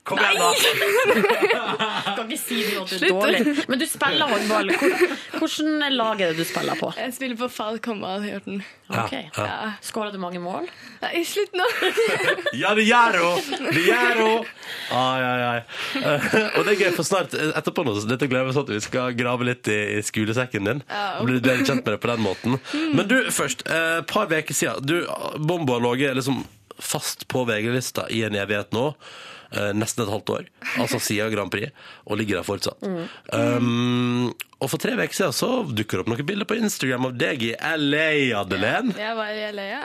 Kom igjen, da. Kan ikke si noe at du er Slutt. dårlig. Men du spiller håndball. Hvor- Hvordan lag er det du spiller på? Jeg spiller på Falk håndball, Hjorten. Ok. Skårer du mange mål? Nei, slutt nå! Ja, det gjør hun! Det gjør hun! Ai, ai, ai. Eh, Og det er gøy, for snart eh, etterpå nå, så dette gleder jeg meg sånn at vi skal grave litt i, i skolesekken din. Ja. Og bli bedre kjent med det på den måten. Men du, først. eh, Et par uker siden. Du, Bombo har ligget liksom fast på VG-lista i en evighet nå. eh, nesten et halvt år, altså siden Grand Prix, og ligger der fortsatt. Um, og for tre uker siden så dukker det opp noen bilder på Instagram av deg i LA, Adelén. Jeg var i LA, ja.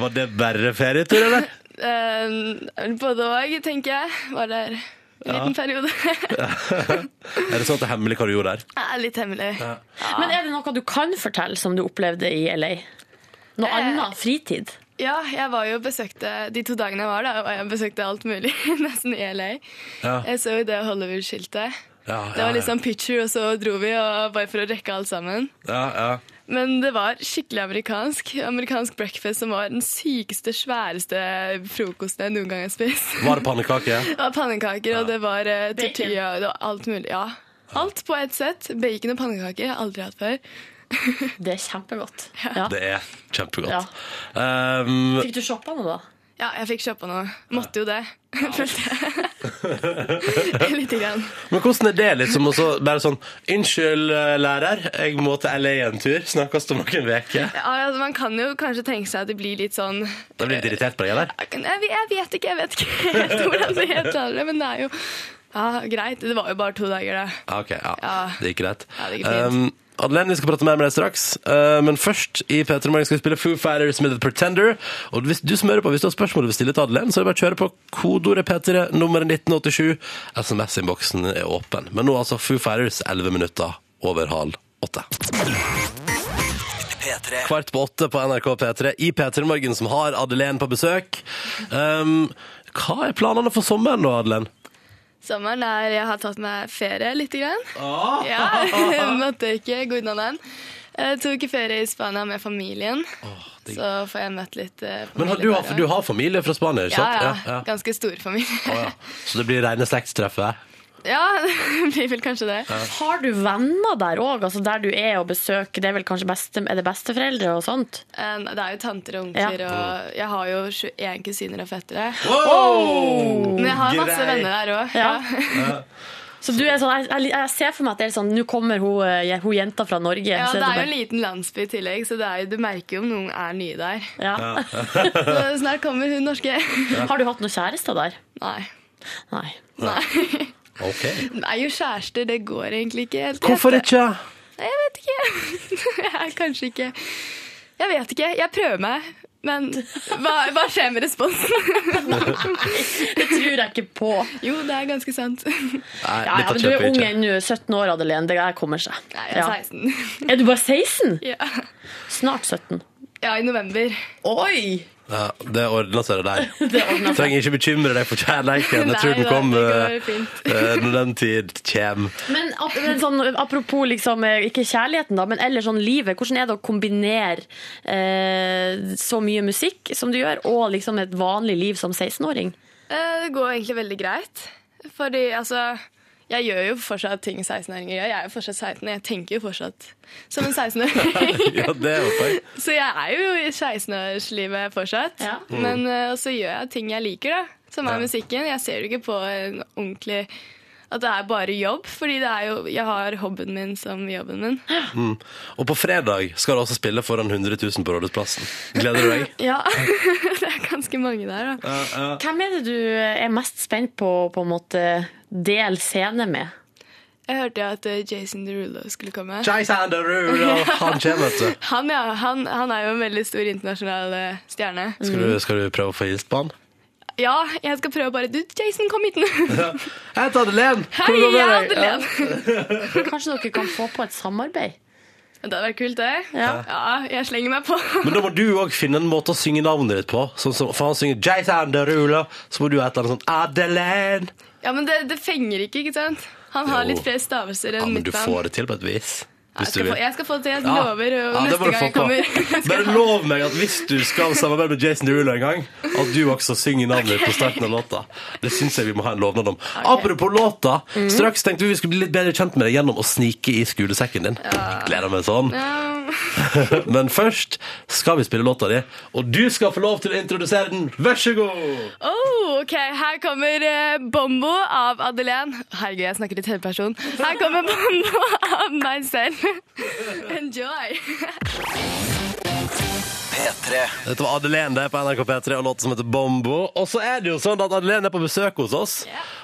Var det bare ferietur, eller? Ehm, både òg, tenker jeg. Var der en liten periode. Er det sånn at det er hemmelig hva du gjorde der? Ja, Litt hemmelig. Men er det noe du kan fortelle som du opplevde i LA? Noe annet? Fritid? Ja, jeg var jo og besøkte De to dagene jeg var der, var jeg og besøkte alt mulig, nesten i LA. Ja. Jeg så jo det Hollywood-skiltet. Ja, Det ja, var liksom picture, og så dro vi, og bare for å rekke alt sammen. Ja, ja. Men det var skikkelig amerikansk. Amerikansk breakfast som var den sykeste, sværeste frokosten jeg noen gang har spist. Var det pannekake? Det var pannekaker, og det var eh, tortilla, og det var alt mulig. Ja. Alt på ett sett. Bacon og pannekaker. Jeg har aldri hatt før. Det er kjempegodt. Ja. Det er kjempegodt. Um, Fikk du shoppa noe, da? Ja, jeg fikk kjøpa noe. Måtte jo det, følte jeg. Lite grann. men hvordan er det liksom å så- bare sånn Unnskyld, eh, lærer, jeg må til LA en tur. Snakkes om noen uker. Ja, altså, man kan jo kanskje tenke seg at det blir litt sånn jeg, Da blir du litt irritert på deg, eller? vet- jeg vet ikke jeg vet ikke helt hvordan det helt klarer det, men det er jo ja, greit. Det var jo bare to dager, da. Ja, Ah, ok, ja. Ja. Det gikk greit. Ja, det gikk fint. Um, Adeline, vi skal prate mer med deg straks. Uh, men først i P3 Morgen skal vi spille Foo Fighters med The Pretender. Og hvis du som hører på, hvis du har spørsmål du vil stille til Adeline, så er det bare å kjøre på kodeordet P3, nummeret 1987. SMS-innboksen er åpen. Men nå altså Foo Fighters, 11 minutter over halv åtte. P3 Kvart på åtte på NRK P3 i P3 Morgen, som har Adeline på besøk. Um, hva er planene for sommeren da, Adeline? Sommeren er Jeg har tatt meg ferie lite grann. Ah. Ja, Måtte ikke gå unna den. Jeg tok ferie i Spania med familien, digg. så får jeg møtt litt eh, Men har, du, familie har, der du også. har familie fra Spania, ikke ja, sant? ja, Ganske stor familie. Å, ja. Så det blir rene slektstreffet? Ja, det blir vel kanskje det. Har du venner der òg, altså der du er og besøker? Det er vel kanskje beste, er det besteforeldre og sånt? Eh, Det er jo tanter og onkler, og jeg har jo 21 kusiner og fettere. Men jeg har masse Grei. venner der òg. Ja. Ja. Så du er sånn, jeg, jeg, jeg ser for meg at det er sånn Nå kommer hun, eh, hun jenta fra Norge. Ja, så det er jo bare- en liten landsby i tillegg, så det er jo, du merker jo om noen er nye der. ja. Så snart kommer hun norske. Har du hatt noen kjærester der? Nei. Nei. Ok. Nei, jo kjærester, det går egentlig ikke helt. Hvorfor ikke? Nei, jeg vet ikke. Jeg er kanskje ikke Jeg vet ikke. Jeg prøver meg. Men hva, hva skjer med responsen? Det tror jeg ikke på. Jo, det er ganske sant. Nei, Nei, Ja, ja, dette men du er kjøper vi ung ikke. ennå. 17 år, Adelén. Det her kommer seg. jeg er 16. Ja. Er du bare 16? Ja, Snart 17. ja i november. Oi! Ja, det ordner seg, det der. Det ordner seg. Trenger ikke bekymre deg for kjærleiken. Jeg tror Nei den da, kommer det går fint. eh, når den tid kommer. Men ap- men sånn, apropos liksom, eh, ikke kjærligheten, da, men ellers sånn livet. Hvordan er det å kombinere eh, så mye musikk som du gjør, og liksom et vanlig liv som 16-åring? Eh, Det går egentlig veldig greit. Fordi altså jeg gjør jo fortsatt ting 16-åringer gjør. Jeg er jo fortsatt 16, og jeg tenker jo fortsatt som en 16-åring. Ja, det er jo feil. Så jeg er jo i 16-årslivet fortsatt. Ja. Men eh, og så gjør jeg ting jeg liker, da. som er musikken. Jeg ser jo ikke på en ordentlig at det er bare jobb, fordi det er jo, jeg har hobbyen min som jobben min. Og på fredag skal du altså spille foran 100 000 på Rådhusplassen. Gleder du deg? Ja, det er ganske mange der, da. Hvem er det du eh, er mest spent på på en måte del scene med? Jeg hørte at eh, Jason Derulo skulle komme. Jai Sanderud! Han kommer, vet du. Han, ja, han, han er jo en veldig stor internasjonal eh, stjerne. Skal du, skal du prøve å få hilst på han? Ja, jeg skal prøve bare Du, Jason, kom hit nå! Jeg heter Adelén! Hei, jeg er Adelén! Kanskje dere kan få på et samarbeid? Det hadde vært kult, det. Ja. jeg slenger meg på. Men da må du òg finne en måte å synge navnet ditt på. Sånn som, for han synger Jai Sanderula, så må du ha et eller annet sånn sånt Adelén! Ja, Men det, det fenger ikke, ikke sant? Han har Jo. litt flere stavelser Ja, enn men du mitt navn. får det til på et vis. Jeg Hvis du skal, få, vil. jeg skal få det til, jeg Ja. lover. Og Ja, det må neste du gang få jeg på. kommer jeg skal Bare ha- lov meg at hvis du skal samarbeide med Jason Derulo en gang, at du også synger navnet ditt på starten av låta. Det syns jeg vi må ha en lovnad om. Apropos låta. Mhm. Straks tenkte vi vi skulle bli litt bedre kjent med deg gjennom å snike i skolesekken din. Gleder meg sånn. Men først skal vi spille låta di, og du skal få lov til å introdusere den. Vær så god! Oh, ok, Her kommer eh, Bombo av Adelén. Herregud, jeg snakker i tredjeperson. Her kommer Bombo av meg selv. Enjoy. P3 Dette var Adelén der på NRK P3 og låten som heter Bombo. Og så er det jo sånn at Adelén er på besøk hos oss,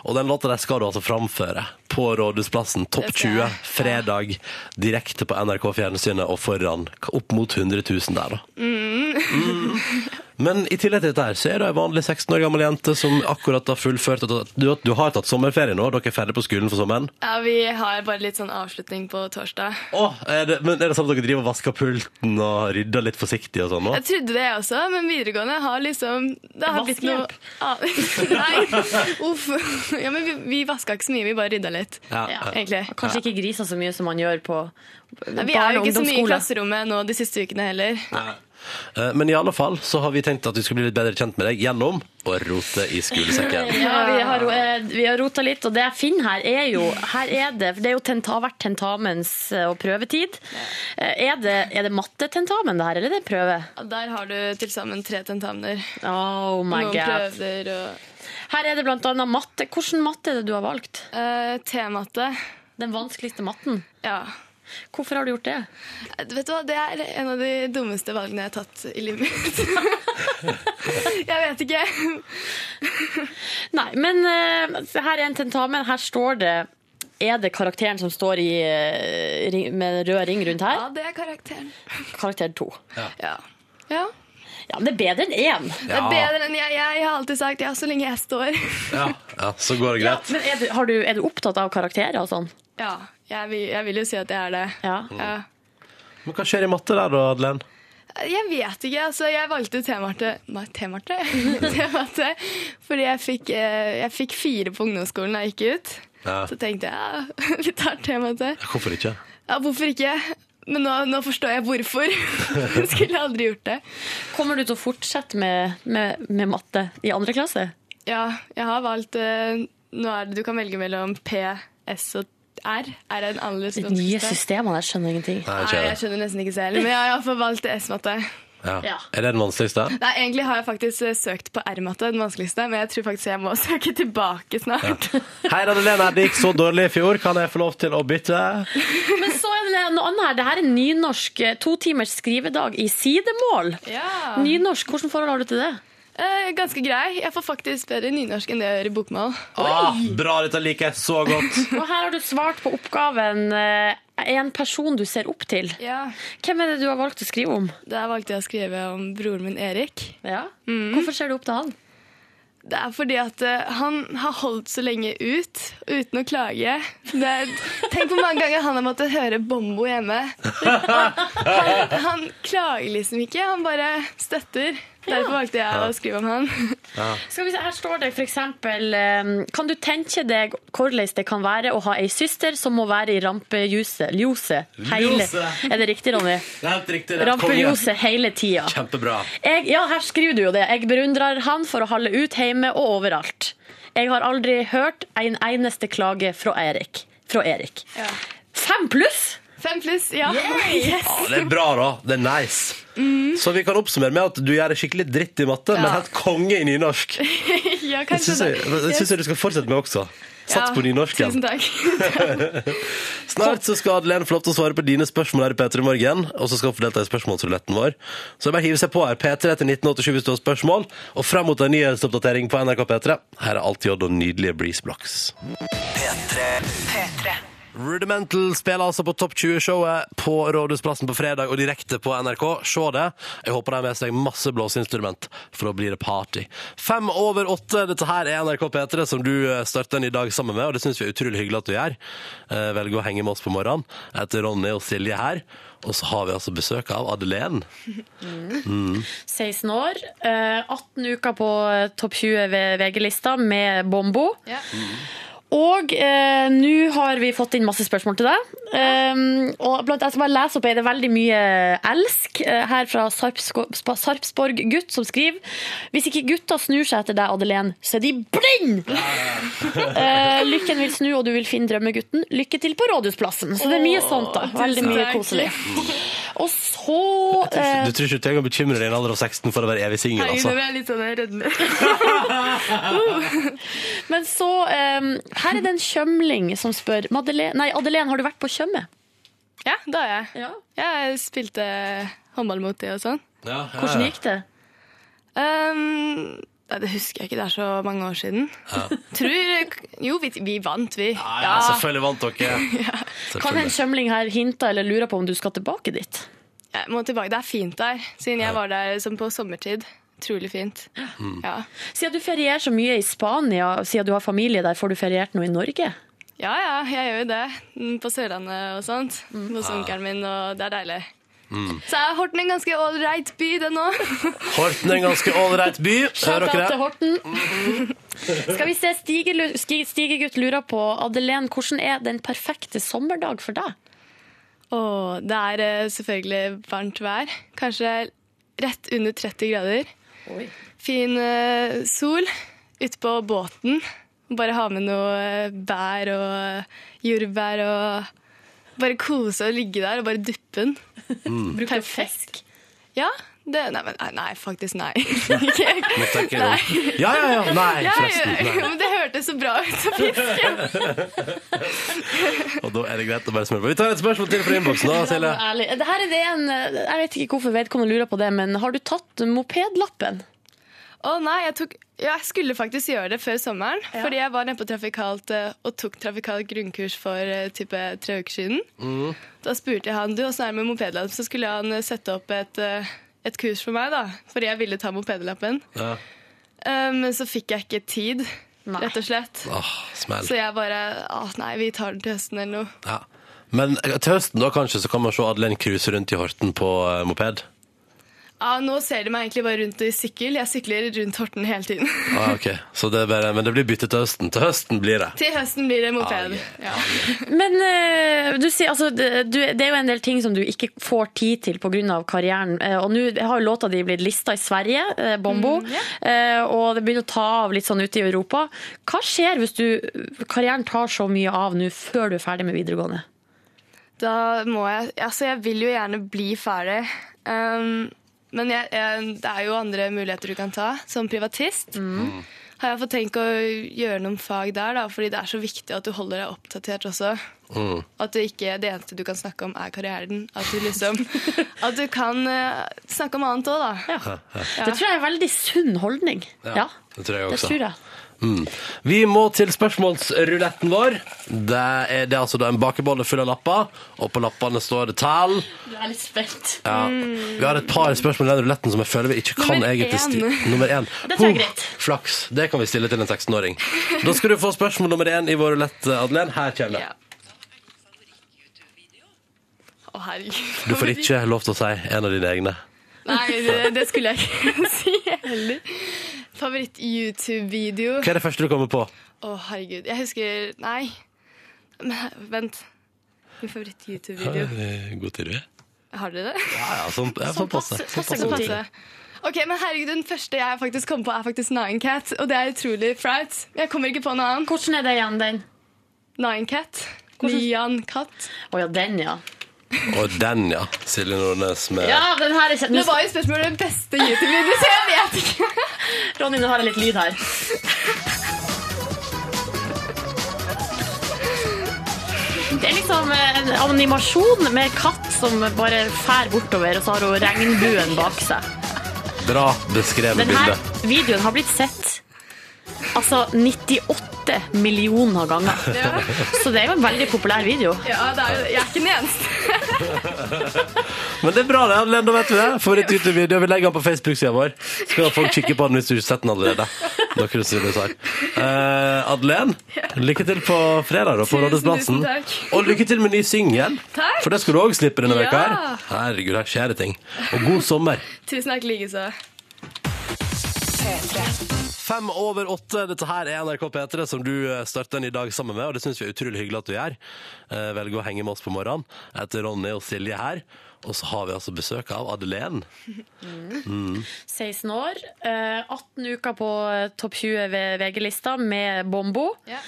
og den låta der skal du altså framføre på Rådhusplassen. Topp Det skal 20 jeg. fredag direkte på NRK Fjernsynet og foran k- opp mot 100 000 der, da. Mm. Men i tillegg til dette her, så er du ei vanlig 16 år gammel jente som akkurat har fullført at du, du har tatt sommerferie nå. Dere er ferdig på skolen for sommeren. Ja, Vi har bare litt sånn avslutning på torsdag. Åh, er det, men er det sånn at dere driver og vasker pulten og rydder litt forsiktig og sånn nå? Jeg trodde det også, men videregående har liksom Det har blitt noe Vaskehjelp. annet. Nei, uff. Ja, men vi, vi vaska ikke så mye, vi bare rydda litt. Ja. Egentlig. Kanskje ikke griser så mye som man gjør på Ja, Vi er barne- jo og ikke så mye i ungdomsskoler. klasserommet nå de siste ukene heller. Eh, Men i alle fall så har vi tenkt at vi skal bli litt bedre kjent med deg gjennom å rote i skolesekken. Ja, vi har, eh, vi har rota litt, og det jeg finner her, er jo her er det, for det er jo tenta, har vært tentamens eh, og prøvetid. Eh, Er det, er det mattetentamen det her, eller er det prøve? Ja, Der har du til sammen tre tentamener. Oh my Noen god. prøver og Her er det blant annet matte. Hvilken matte er det du har valgt? uh, T-matte. Den vanskeligste matten. Ja. Hvorfor har du gjort det? Eh, Vet du hva, Det er en av de dummeste valgene jeg har tatt i livet mitt. jeg vet ikke. Nei, men eh, se, her er en tentamen. Her står det Er det karakteren som står i, eh, ring, med rød ring rundt her? Ja, det er karakteren. Karakter to. Ja. ja. Ja, men det er bedre enn én. Det er bedre enn jeg, jeg har alltid sagt ja, så lenge jeg står. Ja. ja, Så går det greit. Men er du, har du, er du opptatt av karakterer og sånn? Ja, jeg vil, jeg vil jo si at jeg er det. Ja. Ja. Men hva skjer i matte der, da, Adelen? Jeg vet ikke. altså Jeg valgte T-Marte Nei, T-Marte? T-Marte fordi jeg fikk, eh, jeg fikk fire på ungdomsskolen da jeg gikk ut. Ja. Så tenkte jeg ja, vi tar T-Marte. Hvorfor ikke? Ja, hvorfor ikke? Men nå, nå forstår jeg hvorfor. Skulle aldri gjort det. Kommer du til å fortsette med, med, med matte i andre klasse? Ja, jeg har valgt eh, Nå er det du kan velge mellom P, S og R. R er en annerledes De nye vanskeligste. systemene, jeg skjønner ingenting. Nei, Nei, ikke jeg det. skjønner nesten ikke selv. Men jeg har iallfall valgt S-matte. Ja. Ja. Er det den vanskeligste? Nei, Egentlig har jeg faktisk eh, søkt på R-matte, den vanskeligste, men jeg tror faktisk jeg må søke tilbake snart. Hei, Adelén, her, det gikk så dårlig i fjor. Kan jeg få lov til å bytte? Men så er det noe annet her. Dette er nynorsk eh, to timers skrivedag i sidemål. Ja. Nynorsk, hvordan forhold har du til det? Eh, ganske grei. Jeg får faktisk bedre nynorsk enn det jeg gjør i bokmål. Ah, bra, dette liker jeg så godt. Og her har du svart på oppgaven eh, en person du ser opp til. Ja. Hvem er det du har valgt å skrive om? Der valgte jeg å skrive om broren min Erik. Hvorfor ser du opp til han? Det er fordi at eh, han har holdt så lenge ut uten å klage. Det er, tenk hvor mange ganger han har måttet høre Bombo hjemme. Han, han klager liksom ikke, han bare støtter. Derfor valgte jeg å skrive om han. Skal vi se, her står det f.eks.: Kan du tenke deg hvordan det kan være å ha ei søster som må være i rampejuset ljose, hele Ljose. Er det riktig, Ronny? Det er helt riktig. det er konge. Rampeljose hele tida. Kjempebra. Jeg, ja, her skriver du jo det. Jeg beundrer han for å holde ut hjemme og overalt. Jeg har aldri hørt en eneste klage fra Erik. Fra Erik. Ja. Fem pluss! Fem pluss, ja. Ja, det er bra, da. Det er nice. Så vi kan oppsummere med at du gjør det skikkelig dritt i matte, men Mm. Ja. helt konge i nynorsk. Ja, Det syns jeg, det syns jeg du skal fortsette med også. Sats på nynorsken. Tusen takk. Snart så skal Adelene få lov til å svare på dine spørsmål her i P3 Morgen. Og så skal hun få delta i spørsmålsruletten vår. Så det er bare å hive seg på her. P3 til 1987 hvis du har spørsmål. Og frem mot en nyhetsoppdatering på NRK P3. Her er alt i orden og nydelige Breeze Blocks. Rudimental spiller altså på Topp 20-showet på Rådhusplassen på fredag og direkte på NRK. Se det. Jeg håper de har med seg masse blåseinstrument, for da blir det party. Fem over åtte. Dette her er NRK P3, som du eh, starter en i dag sammen med, og det syns vi er utrolig hyggelig at du gjør. Eh, Velger å henge med oss på morgenen. Jeg heter Ronny og Silje her. Og så har vi altså besøk av Adelén. 16 år. eh, 18 uker på eh, topp 20 ved VG-lista med Bombo. Og eh, nå har vi fått inn masse spørsmål til deg. Um, og blant, jeg skal bare lese opp, er det veldig mye elsk eh, her fra Sarpsko- Spa- Sarpsborg gutt som skriver Hvis ikke gutta snur seg etter deg, Adelén, så er de blind! Eh, lykken vil snu, og du vil finne drømmegutten. Lykke til på Rådhusplassen. Så det er mye sånt, da. Veldig mye takk. koselig. Og så eh, Du tror ikke du trenger å bekymre deg i en alder av 16 for å være evig singel, Herregud, altså? nå ble jeg litt sånn redd. Men så eh, Her er det en kjømling som spør Madele- Nei, Adelén, har du vært på Tjøme? Ja, det har jeg. Jeg spilte håndball mot de og sånn. Ja, ja, Hvordan ja. gikk det? Ehm, nei, det husker jeg ikke, det er så mange år siden. Tror Jo, vi, vi vant, vi. Ja, altså, ja, selvfølgelig vant dere. Kan en kjømling her hinte eller lure på om du skal tilbake dit? Jeg må tilbake. Det er fint der, siden jeg var der som på sommertid. Utrolig fint. Mm. Ja. Siden du ferierer så mye i Spania, siden du har familie der, får du feriert noe i Norge? ja ja, jeg gjør jo det. Mm, På Sørlandet og sånt. Mm. Hos onkelen min, og det er deilig. Mm. Så er Horten en ganske ålreit by, den òg. Horten er en ganske ålreit by. Hører Shout out dere til det? Horten. Skal vi se, Stigelu- Ski- Stigegutt lurer på, Adelén, hvordan er den perfekte sommerdag for deg? Og det er eh, selvfølgelig varmt vær. Kanskje rett under 30 grader. Fin eh, sol ute på båten. Bare ha med noe eh, bær og eh, jordbær og Bare kose og ligge der og bare duppe den. Bruker du fisk? Ja. Det, nei, men, nei, nei, faktisk nei. Ikke- Nå tenker jeg om- Ja, ja, ja. Nei, Ja, forresten. jo, Nei. men det hørtes så bra ut. så fint. Og da er det greit å bare smøre på. Vi tar et spørsmål til fra innboksen, da, Silje. Ærlig. Det her er det en, jeg vet ikke hvorfor vedkommende lurer på det, men har du tatt mopedlappen? Å nei, jeg, tok, ja, jeg skulle faktisk gjøre det før sommeren. Fordi jeg var nede på trafikalt eh, og tok trafikalt grunnkurs for eh, type tre uker siden. Mm. Da spurte jeg han du, åssen er det med mopedlapp. Så skulle han eh, sette opp et, eh, et kurs for meg, da. Fordi jeg ville ta mopedlappen. Ja. Eh, Men så fikk jeg ikke tid, rett og slett. Åh, smell. Så jeg bare Å nei, vi tar den til høsten eller noe. Ja. Men eh, til høsten da kanskje så kan man se Adelén cruise rundt i Horten på eh, moped? Ja, nå ser de meg egentlig bare rundt i sykkel. Jeg sykler rundt Horten hele tiden. Ah, ok. Så det er bare, men det blir bytte til høsten. Til høsten blir det. til høsten blir det moped. Ah, yeah. Ja. Men eh, du sier, altså, det, du, det er jo en del ting som du ikke får tid til pga. karrieren. Eh, og nå har jo låta di blitt lista i Sverige, eh, Bombo, eh, og det begynner å ta av litt sånn ute i Europa. Hva skjer hvis du, karrieren tar så mye av nå før du er ferdig med videregående? Da må jeg Altså, jeg vil jo gjerne bli ferdig. Um, men jeg, jeg, det er jo andre muligheter du kan ta, som privatist. Mm. Har jeg fått tenkt å gjøre noen fag der, da, fordi det er så viktig at du holder deg oppdatert også. Mm. At du ikke, det eneste du kan snakke om, er karrieren. At du liksom At du kan eh, snakke om annet òg, da. Det tror jeg er en veldig sunn holdning. Ja, Det tror jeg det også. tror jeg. Mm. Vi må til spørsmålsruletten vår. Det er, det er altså da en bakebolle full av lapper, og på lappene står det tall. Jeg er litt spent. Ja. Vi har et par spørsmål i den ruletten som jeg føler vi ikke kan Nummer egentlig én. stille. Nummer én. Det tror jeg er greit. Flaks. Det kan vi stille til en 16-åring. Da skal du få spørsmål nummer én i vår rulett, Adelén. Her kommer det. Ja. Å, herregud. Du får ikke lov til å si en av dine egne. Nei, det, det skulle jeg ikke si heller. Favoritt-YouTube-video. Hva er det første du kommer på? Å, herregud. Jeg husker Nei. Men, vent. Min favoritt-YouTube-video. God tid, du. Har dere det? Ja, ja, sånn, ja, sånn passe. passe- Sånn passe passe god god tid. tid. Ok, men herregud, Den første jeg faktisk kom på, er faktisk Nine Cat. Og det er utrolig flaut. Jeg kommer ikke på noe annet. Hvordan er det igjen, den? Nine Cat. Nyan Katt. Å ja, den, ja. Og den, ja. Silje Nordnes med Ja, den her er kjent. Det var jo spørsmålet den beste YouTube-videoen, så jeg vet ikke. Ronny, nå har jeg litt lyd her. Det er liksom en animasjon med katt som bare fær bortover, og så har hun regnbuen bak seg. bra beskrevet Denne bilde. videoen har blitt sett altså 98 millioner ganger. Så det er jo en veldig populær video. Ja, det er, jo- jeg er ikke den eneste. Men det er bra, det. Adeline, da vet du det. Får et YouTube-video. Vi legger den på Facebook-sida vår. Skal folk kikke på den hvis du ikke har sett den allerede. Da kan du si det du sa. Eh, Adeline, lykke til på fredag da, på Tusen, Rådhusplassen. tusen takk. Og lykke til med ny singel. Takk. For det skal du òg slippe denne Ja. veka her. Herregud, her skjer det ting. Og god sommer. Tusen takk likeså. Fem over åtte. Dette her er NRK P3, som du eh, starter en i dag sammen med. Og det syns vi er utrolig hyggelig at du gjør. Eh, Velger å henge med oss på morgenen. Jeg heter Ronny og Silje her. Og så har vi altså besøk av Adelén. 16 år, eh, 18 uker på eh, topp 20 ved VG-lista med Bombo. Ja.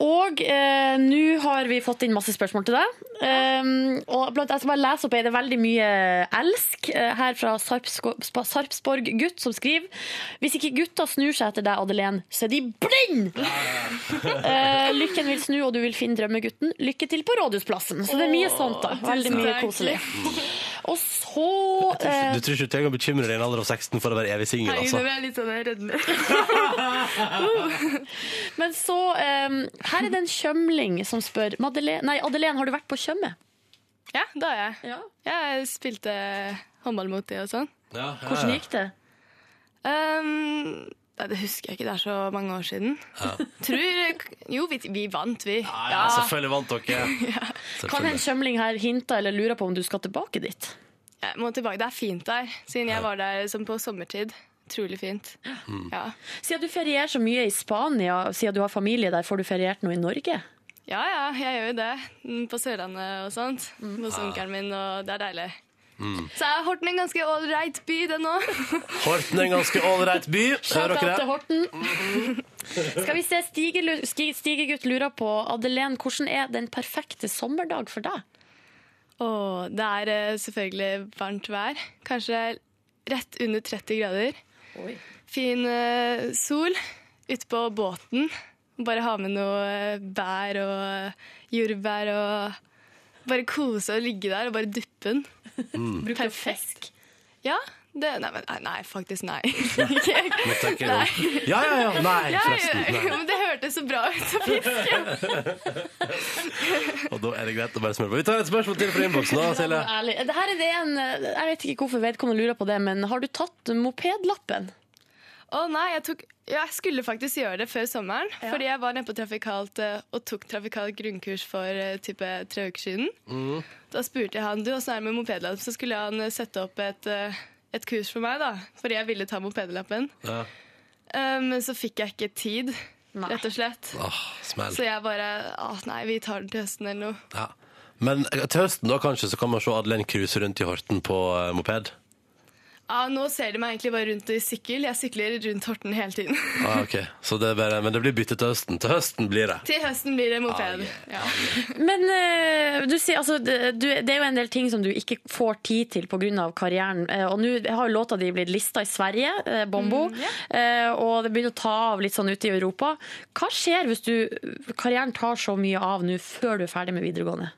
Og eh, nå har vi fått inn masse spørsmål til deg. Um, og blant, jeg skal bare lese opp, er det veldig mye elsk eh, her fra Sarpsko- Spa- Sarpsborg-gutt som skriver Hvis ikke gutta snur seg etter deg, Adelén, så er de blind! Eh, lykken vil snu, og du vil finne drømmegutten. Lykke til på Rådhusplassen. Så det er mye sånt, da. Veldig mye takk. koselig. Og så eh, Du tror ikke du trenger å bekymre deg i en alder av 16 for å være evig singel, Herregud, nå altså? ble jeg litt sånn redd. Men så, em, her er det en kjømling som spør Madeleine, Nei, Adelén, har du vært på Tjøme? Ja, det har jeg. Ja. Jeg spilte håndball mot de og sånn. Ja, ja, Hvordan ja. gikk det? Ehm, nei, det husker jeg ikke, det er så mange år siden. Tror Jo, vi, vi vant, vi. Ja, ja, selvfølgelig vant dere. Kan en Selvfølgelig. kjømling her hinte eller lure på om du skal tilbake dit? Jeg må tilbake. Det er fint der, siden jeg var der som på sommertid. Utrolig fint. Mm. Ja. Siden du ferierer så mye i Spania, siden du har familie der, får du feriert noe i Norge? ja ja, jeg gjør jo det. Mm, På Sørlandet og sånt. Hos onkelen min, og det er deilig. Mm. Så er Horten en ganske ålreit by, den òg. Horten er en ganske ålreit by. Hører Shout out til dere det? Horten. Skal vi se, Stigegutt Stige Stigegutt lurer på Adelén, hvordan er den perfekte sommerdag for deg? Og det er eh, selvfølgelig varmt vær. Kanskje rett under 30 grader. Fin eh, sol ute på båten. Bare ha med noe eh, bær og eh, jordbær og Bare kose og ligge der og bare duppe den. Bruker du fisk? Ja. Det, nei, men, nei, nei, faktisk nei. Ikke- Nå tenker jeg nå. Ja, ja, ja. Nei, Ja, forresten. jo, Nei. men det hørtes så bra ut. så fint. Og da er det greit å bare smøre på. Vi tar et spørsmål til fra innboksen, da, Silje. Ærlig. Det her er det en, eh, jeg vet ikke hvorfor vedkommende lurer på det, men har du tatt mopedlappen? Å nei, jeg, tok, ja, jeg skulle faktisk gjøre det før sommeren. Fordi jeg var nede på trafikalt eh, og tok trafikalt grunnkurs for eh, type tre uker siden. Da spurte jeg han du, åssen er det med mopedlapp. Så skulle han eh, sette opp et, eh, et kurs for meg, da. Fordi jeg ville ta mopedlappen. Ja. Eh, Men så fikk jeg ikke tid, rett og slett. Åh, smell. Så jeg bare Å nei, vi tar den til høsten eller noe. Ja. Men eh, til høsten da kanskje så kan man se Adelén cruise rundt i Horten på eh, moped? Ja, nå ser de meg egentlig bare rundt i sykkel. Jeg sykler rundt Horten hele tiden. Ah, ok. så det er bare, men det blir bytte til høsten. Til høsten blir det. til høsten blir det moped. ja. Men eh, du sier, altså, det, du, det er jo en del ting som du ikke får tid til pga. karrieren. Eh, og nå har jo låta di blitt lista i Sverige, eh, Bombo, eh, og det begynner å ta av litt sånn ute i Europa. Hva skjer hvis du, karrieren tar så mye av nå før du er ferdig med videregående?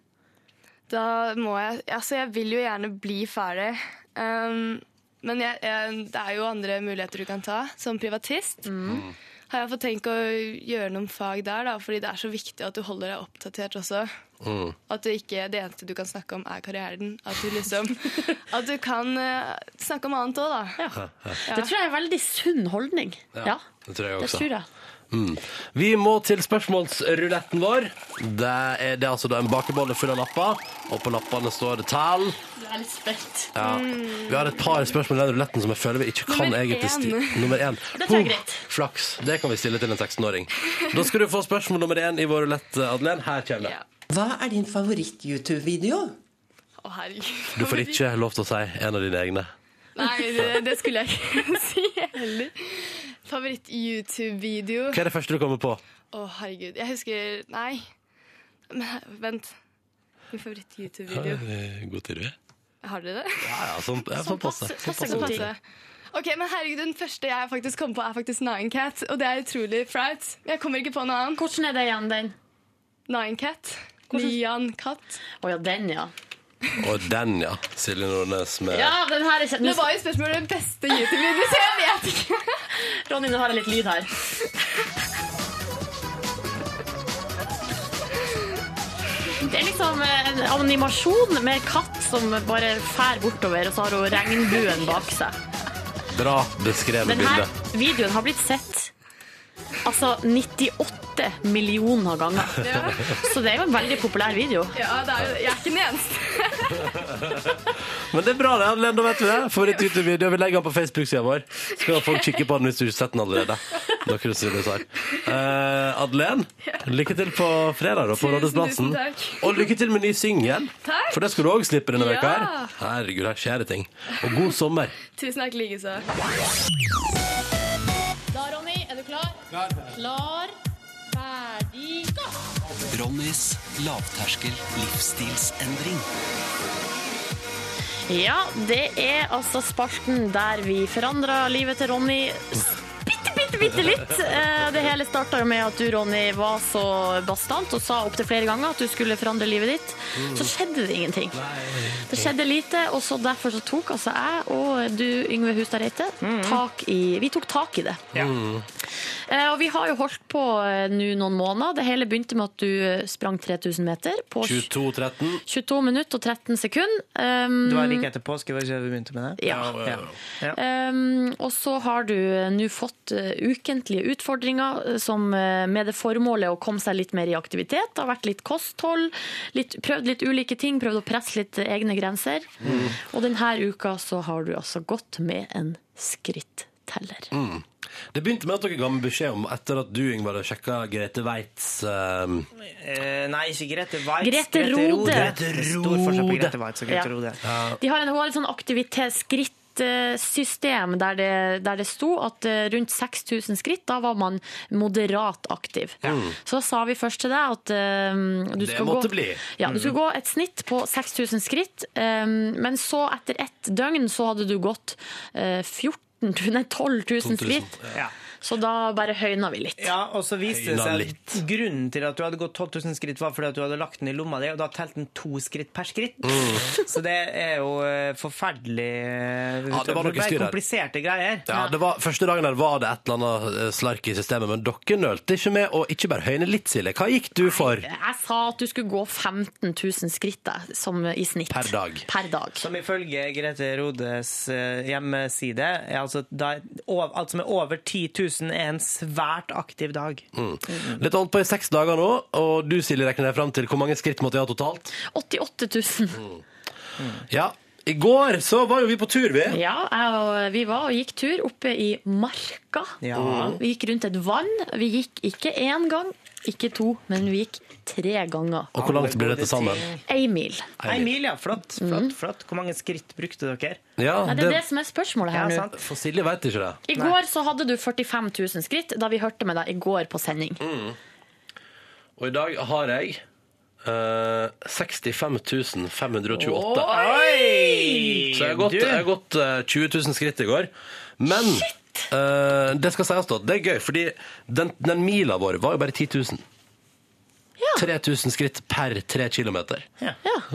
Da må jeg Altså, jeg vil jo gjerne bli ferdig. Ehm, men jeg, jeg, det er jo andre muligheter du kan ta. Som privatist Mm. har jeg fått tenkt å gjøre noen fag der, da, fordi det er så viktig at du holder deg oppdatert også. Mm. At du ikke, det eneste du kan snakke om, er karrieren. At du liksom At du kan eh, snakke om annet òg, da. Det tror jeg er en veldig sunn holdning. Ja, Det tror jeg det også. tror jeg. Mm. Vi må til spørsmålsruletten vår. Det er, det er altså da en bakebolle full av lapper, og på lappene står det tall. Jeg er litt spent. Ja. Vi har et par spørsmål i den ruletten som jeg føler vi ikke kan Nummer egentlig stille. Nummer én. Det tror jeg er greit. Oh, Flaks. Det kan vi stille til en 16-åring. Da skal du få spørsmål nummer én i vår rulett, Adelén. Her kommer det. Ja. Hva er din favoritt-YouTube-video? Å, herregud. Du får ikke lov til å si en av dine egne. Nei, det, det skulle jeg ikke si heller. Favoritt-YouTube-video. Hva er det første du kommer på? Å, herregud. Jeg husker Nei. Men, vent. Min favoritt-YouTube-video. Eh, God til du er. Har dere det? Ja, ja, sånn, ja, sånn passe. Sånn passe god tid. Ok, men herregud, Den første jeg faktisk kom på, er faktisk Nine Cat. Og det er utrolig flaut. Jeg kommer ikke på noe annet. Hvordan er det igjen, den? Nine Cat. Nian Katt. Å ja, den, ja. Og den, ja. Silje Nordnes med Ja, den her er kjent. Det var jo spørsmålet om den beste YouTube-videoen, så jeg vet ikke. Ronny, nå har jeg litt lyd her. Det er liksom en animasjon med katt som bare fær bortover, og så har hun regnbuen bak seg. Bra beskrevet Denne bilde. videoen har blitt sett altså 98 millioner ganger. Ja. Så det er jo en veldig populær video. Ja, det er, jo- jeg er ikke den eneste. Men det er bra, det. Len, da vet du det. For et YouTube-video. Vi legger den på Facebook-sida vår. Så kan folk kikke på den hvis du ikke har sett den allerede. Da kan du si det sånn. Eh, Madeleine, lykke til på fredag da, på Tusen, Rådhusplassen. tusen takk. Og lykke til med ny singel. Takk. For det skal du òg slippe denne Ja. veka her. Herregud, her skjer det ting. Og god sommer. Tusen takk likeså. Da, Ronny, er du klar? Klar, ferdig, gå! Ronnys lavterskel livsstilsendring. Ja, det er altså spalten der vi forandra livet til Ronny s- bitte, bitte, bitte litt. Eh, Det hele starta jo med at du, Ronny, var så bastant og sa opptil flere ganger at du skulle forandre livet ditt. Så skjedde det ingenting. Det skjedde lite, og så derfor så tok altså jeg og du, Yngve Hustad Reite, Mm. tak i Vi tok tak i det. Mm. Eh, Og vi har jo holdt på eh, nå noen måneder. Det hele begynte med at du eh, sprang 3000 meter på 22.13. 22 minutter og 13 sekunder. Um, Det var like etter påske, var det ikke det vi begynte med det? Ja. ja. ja. Um, og så har du eh, nå fått eh, ukentlige utfordringer eh, som eh, med det formålet å komme seg litt mer i aktivitet. Det har vært litt kosthold, litt, prøvd litt ulike ting, prøvd å presse litt eh, egne grenser. Og denne uka så har du altså gått med en skritteller. Mm. Det begynte med at dere ga meg beskjed om etter at du, Yngvar, sjekka Grete Weitz eh, Eh, nei, ikke Grete Weitz. Grete Rode. Grete Rode. Stor forskjell på Grete Weitz og Grete Ja. Rode. De har en, hun har et sånn aktivitetsskrittsystem der, det- der det sto at eh, rundt 6000 skritt, da var man moderat aktiv. Så sa vi først til deg at eh, du Mm. Det skal måtte gå, bli. Mm. Ja, du skulle gå et snitt på 6000 skritt, eh, men så etter ett døgn så hadde du gått eh, 14 000, nei, 12 000 skritt. Ja. Så da bare høyna vi litt. Ja, og så viste det Høyna seg at grunnen til at du hadde gått 12 000 skritt, var fordi at du hadde lagt den i lomma di, og da telte den to skritt per skritt. Mm. Så det er jo eh, forferdelig eh, Ja, det var noe styr her. kompliserte greier. Ja, det var, Første dagen her var det et eller annet eh, slark i systemet, men dere nølte ikke med å ikke bare høyne litt, Silje. Hva gikk du for Jeg sa at du skulle gå 15 000 skritt da, som i snitt. per dag? Per dag. Som ifølge Grete Rodes eh, hjemmeside er altså da, ov- alt som er over 10 000, er en svært aktiv dag. Mm. Litt holdt på i seks dager nå, og du Silje regner deg fram til hvor mange skritt måtte jeg ha totalt? 88 000. Ja, i går så var jo vi på tur, vi. Ja, jeg og, vi var og gikk tur oppe i marka. Ja. Vi gikk rundt et vann. Vi gikk ikke én gang, ikke to, men vi gikk tre ganger. Og hvor langt blir dette sammen? Ei mil. Ei mil, ja. Flott, flott, flott. Hvor mange skritt brukte dere? Ja, altså, Nei, det er det som er spørsmålet her Ja, nå. sant. For Silje veit ikke det. I går så hadde du 45 000 skritt da vi hørte med deg i går på sending. Mm. Og i dag har jeg eh, 65 528. Oi! Så jeg har gått, jeg har gått eh, 20 000 skritt i går. Men eh, det skal sies da, at det er gøy, fordi den, den mila vår var jo bare 10 000. 3000 skritt per 3 km. Ja.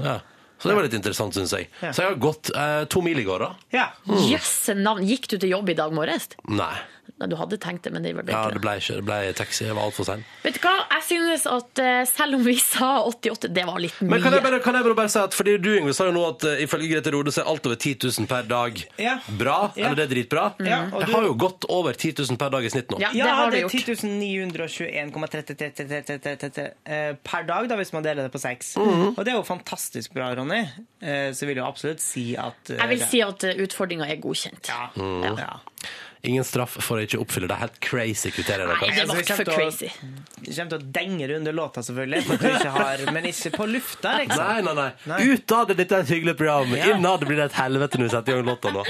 Ja. Så det var litt interessant, syns jeg. Ja. Så jeg har gått eh, to mil i går, da. Ja. Jøsse navn! Gikk du til jobb i dag morges? Nei. Nei, Du hadde tenkt det, men det ble Ja, ikke det. det ble ikke det ble taxi. Jeg var altfor sein. Vet du hva, jeg synes at eh, selv om vi sa 88, det var litt mye. Men kan jeg, bare, kan jeg bare, bare si at Fordi du Yngve, sa jo nå at eh, ifølge Grete Rode så er alt over 10 000 per dag Ja. bra. Ja. Eller det er dritbra. Ja, og Jeg du- har jo gått over 10 000 per dag i snitt nå. Ja, det Ja, har det er du gjort. 10.921,33 per dag, da, hvis man deler det på seks. Og det er jo fantastisk bra, Ronny. Eh, Så vil jeg absolutt si at eh, Jeg vil det- si at eh, utfordringen er godkjent. ja. Ja. Ingen straff for å ikke oppfylle de helt crazy kriteriene. Nei, deres. det var for crazy. Vi kommer til å denge under låta, selvfølgelig. For at vi ikke har, men ikke på lufta, liksom. Nei, nei, nei. Utad er dette et hyggelig program. Ja. Innad blir det et helvete når vi setter i gang låta nå.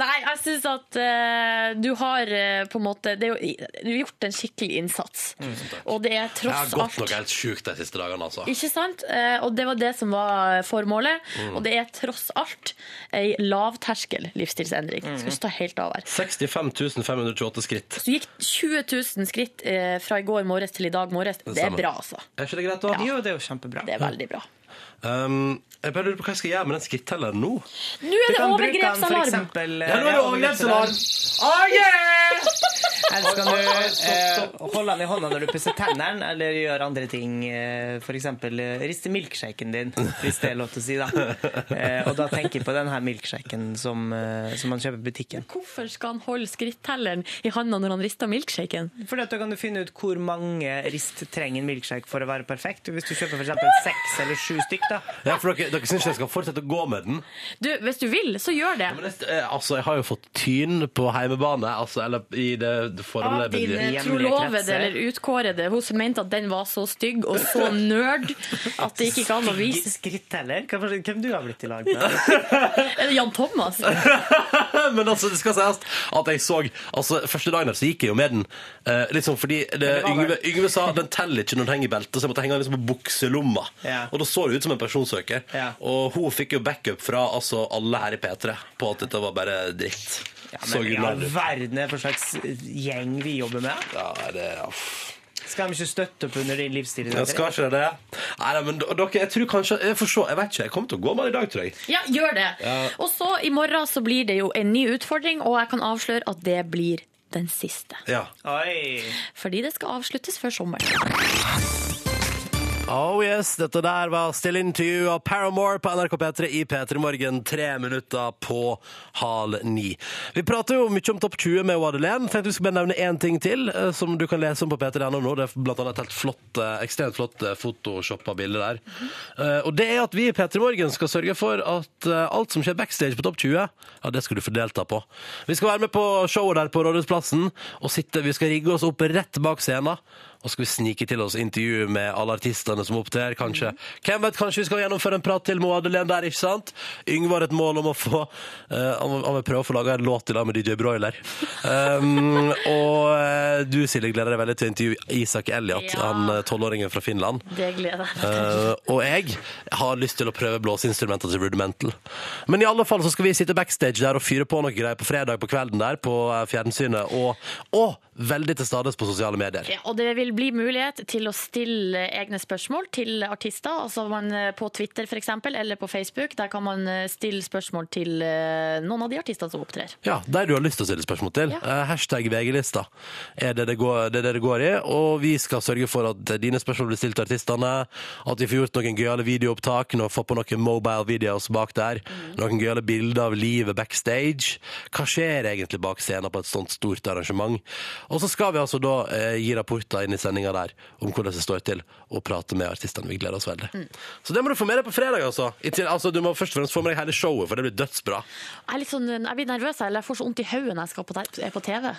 Nei, jeg syns at eh, du har eh, på en måte det er jo, Du har gjort en skikkelig innsats. Mm, Og det er Jeg har tross gått alt noe helt sjukt de siste dagene, altså. Ikke sant? Eh, Og det var det som var formålet. Mm. Og det er tross alt ei lavterskel livsstilsendring. Mm. Skal ikke ta helt av her. 65 528 skritt. Så du gikk 20 000 skritt eh, fra i går morges til i dag morges. Det Det er stemmer. bra, altså. Er ikke det greit, da? Jo, det er jo kjempebra. Det er veldig bra. Um, jeg bare lurer på hva jeg skal gjøre med den skrittelleren nå. Nå er Du det kan bruke den for overgrepsalarm! eksempel, eh, Ja, nå er det overgrepsalarm. Oh, Eller skal du eh, holde den i hånda når du pusser tennene, eller gjøre andre ting. Eh, F.eks. riste milkshaken din, hvis det er lov til å si. da. Eh, og da tenker jeg på den her milkshaken som, eh, som man kjøper i butikken. Hvorfor skal han holde skrittelleren i handa når han rister milkshaken? Fordi at Da kan du finne ut hvor mange rist trenger en milkshake for å være perfekt. Hvis du kjøper f.eks. seks eller sju stykk, da. Ja, for dere, dere syns jeg skal fortsette å gå med den? Du, hvis du vil, så gjør det. Eh, altså, jeg har jo fått tyn på heimebane, altså, eller i det, det Av formelle dine trolovede eller utkårede. Hun mente at den var så stygg og så nerd at det gikk ikke an å vise Skritteller? Hvem hvem du har blitt i lag med? Er det Jan Thomas? Men altså, det skal sies at jeg så altså, Første dagen her så gikk jeg jo med den. Eh, liksom fordi det, det var Yngve, Yngve sa den teller ikke når den henger i beltet, så jeg måtte henge den liksom på bukselomma. Ja. Og da så det ut som en personsøker. Og hun fikk jo backup fra altså, alle her i P3 på at dette var bare dritt. så Men i all gulnad ut. verden er det for slags eh, gjeng vi jobber med. Skal de ikke støtte opp under din livsstil? Jeg skal ikke det. Nei, nei, men d- dere, jeg tror kanskje Jeg får se. Jeg vet ikke. Jeg kommer til å gå med den i dag, tror jeg. Ja, gjør det. Ja. Og så i morgen så blir det jo en ny utfordring, og jeg kan avsløre at det blir den siste. Ja. Fordi det skal avsluttes før sommeren. Oh yes, dette der var Still Into You av Paramore på NRK P3 i P3 Morgen. Tre minutter på halv ni. Vi prater jo mye om Topp 20 med Madeleine. Tenkte vi skulle bare nevne én ting til eh, som du kan lese om på p3.no nå. Det er blant annet et helt flott, eh, ekstremt flott eh, photoshoppa bilde der. Eh, Og det er at vi i P3 Morgen skal sørge for at eh, alt som skjer backstage på Topp 20, ja, det skal du få delta på. Vi skal være med på showet der på Rådhusplassen, og sitte, vi skal rigge oss opp rett bak scenen. Og skal vi snike til oss intervju med alle artistene som opptrer, kanskje. Hvem vet, kanskje vi skal gjennomføre en prat til med Madeleine der, ikke sant? Yngve har et mål om å få eh, Han vil- han vil prøve å få laga en låt i lag med DJ Broiler. Um, og eh, du, Silje, gleder deg veldig til å intervjue Isak Elliot, Ja. han eh, tolvåringen fra Finland. Det gleder jeg meg til. Eh, og jeg har lyst til å prøve blåseinstrumenter til Rudimental. Men i alle fall så skal vi sitte backstage der og fyre på noe greier på fredag på kvelden der på eh, fjernsynet, og, og veldig til stades på sosiale medier. Ja, og det vil bli mulighet til å stille egne spørsmål til artister. Altså man eh, På Twitter for eksempel, eller på Facebook. Der kan man eh, stille spørsmål til eh, noen av de artistene som opptrer. Ja, der du har lyst til å stille spørsmål til. Eh, Hashtag VG-lista er det det, går, det er det det går i. Og vi skal sørge for at dine spørsmål blir stilt til artistene. At vi får gjort noen gøyale videoopptak, nå få på noen mobile videos bak der. Noen gøyale bilder av livet backstage. Hva skjer egentlig bak scenen på et sånt stort arrangement? Og så skal vi altså da eh, gi rapporter inn i sendinga der om hvordan det står til, og prate med artistene. Vi gleder oss veldig. Så det må du få med deg på fredag, altså. I til- altså. Du må først og fremst få med deg hele showet, for det blir dødsbra. Jeg, er litt sånn, jeg blir nervøs, eller jeg får så vondt i hodet når jeg skal på, der- er på TV.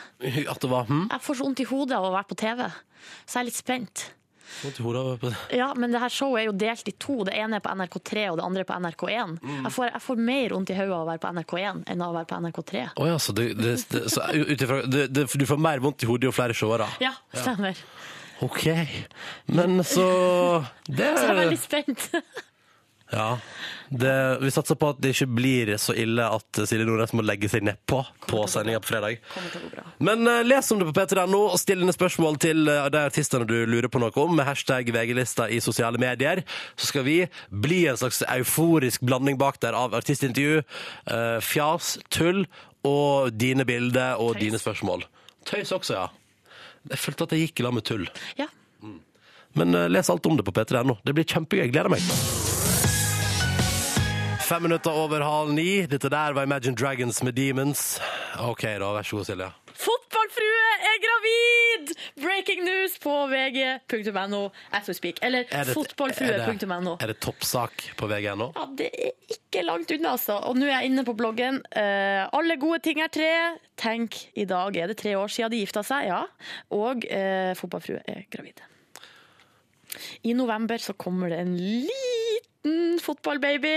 At det var hm? Jeg får så vondt i hodet av å være på TV, så jeg er litt spent. Vondt i hodet av på det. Ja, Men det her showet er jo delt i to. Det ene er på NRK3, og det andre er på NRK1. Mm. Jeg, får, jeg får mer vondt i hodet av å være på NRK1 enn av å være på NRK3. Å ja, så, det, det, det, så utifra, det, det, du får mer vondt i hodet jo flere seere? Ja, stemmer. OK. Men så Det Så jeg er veldig spent. Ja. Det, vi satser på at det ikke blir så ille at Silje Nordnes må legge seg nedpå på sendinga på fredag. Men eh, les om det på p3.no, og still dine spørsmål til eh, de artistene du lurer på noe om, med hashtag VG-lista i sosiale medier. Så skal vi bli en slags euforisk blanding bak der av artistintervju, eh, fjas, tull og dine bilder og dine spørsmål. Tøys også, ja. Jeg følte at jeg gikk i lag med tull. Ja. Mm. Men eh, les alt om det på p3.no. Det blir kjempegøy. Jeg gleder meg. Fem minutter over halv ni. Dette der var Imagine Dragons med Demons. OK, da. Vær så god, Silje. Fotballfrue er gravid! Breaking news på vg.no as we speak. Eller Er det- fotballfrue.no. er det- Er det toppsak på vg.no? Ja, det er ikke langt unna, altså. Og nå er jeg inne på bloggen. Eh, alle gode ting er tre. Tenk, i dag er det tre år siden de gifta seg, ja. Og eh, fotballfrue er gravid. I november så kommer det en liten fotballbaby.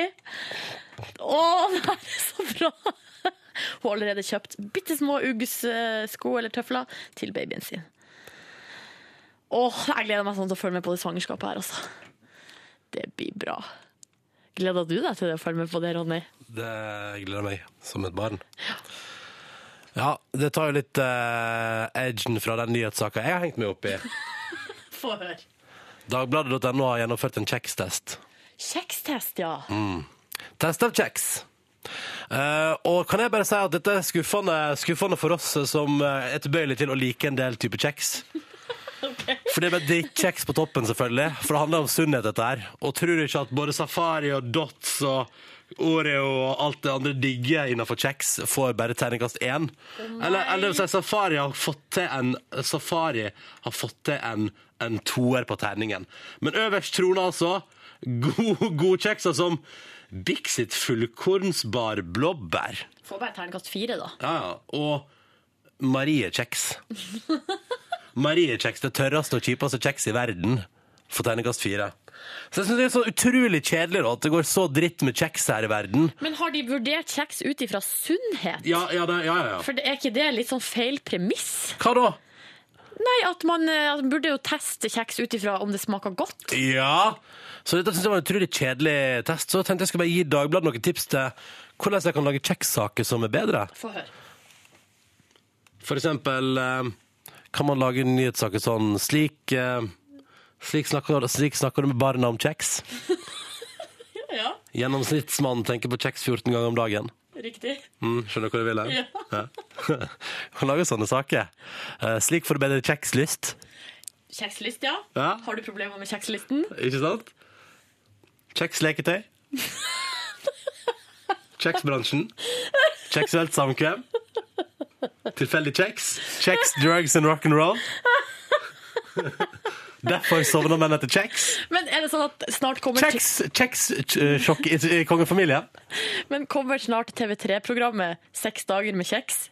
Å, det her er så bra! Hun har allerede kjøpt bitte små Uggs-sko eller tøfler til babyen sin. Åh, jeg gleder meg sånn til å følge med på det svangerskapet her, altså. Det blir bra. Gleder du deg til å følge med på det, Ronny? Det gleder meg, som et barn. Ja, det tar jo litt eh, edgen fra den nyhetssaka jeg har hengt meg opp i. Få høre. Dagbladet.no har gjennomført en kjekstest. Kjekstest, ja. Mm. Test av kjeks. Eh, og kan jeg bare si at dette er skuffende, skuffende for oss som eh, er tilbøyelige til å like en del type kjeks. For det er bare drittkjeks på toppen, selvfølgelig. For det handler om sunnhet, dette her. Og tror du ikke at både Safari og Dots og Oreo og alt det andre digge innenfor kjeks får bare terningkast én? eller, eller det vil si, Safari har fått til en Safari har fått til en, en toer på terningen. Men øverst troner altså god, god kjeks, altså som Bixit fullkornsbar blåbær. Få bare terningkast fire, da. Ja, ja. Og Marie-kjeks. Marie-kjeks, det tørreste og kjipeste kjeks i verden. For terningkast fire. Så jeg synes det er så utrolig kjedelig da, at det går så dritt med kjeks her i verden. Men har de vurdert kjeks ut ifra sunnhet? Ja, ja, det, ja, ja, ja. For det- er ikke det litt sånn feil premiss? Hva da? Nei, at man, eh, at man burde jo teste kjeks ut ifra om det smaker godt. Ja. Så dette synes jeg var en utrolig kjedelig test. Så tenkte jeg skulle bare gi Dagbladet noen tips til hvordan jeg kan lage kjekssaker som er bedre. Få høre. For eksempel eh, kan man lage nyhetssaker sånn slik, eh, slik, snakker, slik snakker du med barna om kjeks. Ja, Gjennomsnittsmannen tenker på kjeks 14 ganger om dagen. riktig. Mm, skjønner du hva jeg vil? her? Ja. Ja. Man lager sånne saker. Eh, slik får du bedre kjekslyst. Kjekslist, ja. Ja. Har du problemer med kjekslisten? Ikke sant? Kjeksleketøy. Kjeksbransjen. Kjeksuelt samkvem. Tilfeldig kjeks. Kjeks, drugs and rock'n'roll. Derfor sovner menn etter kjeks. Men er det sånn at snart kommer Kjeks, kjeks, eh, sjokk i, i kongefamilien. Men kommer snart TV3-programmet Seks dager med kjeks?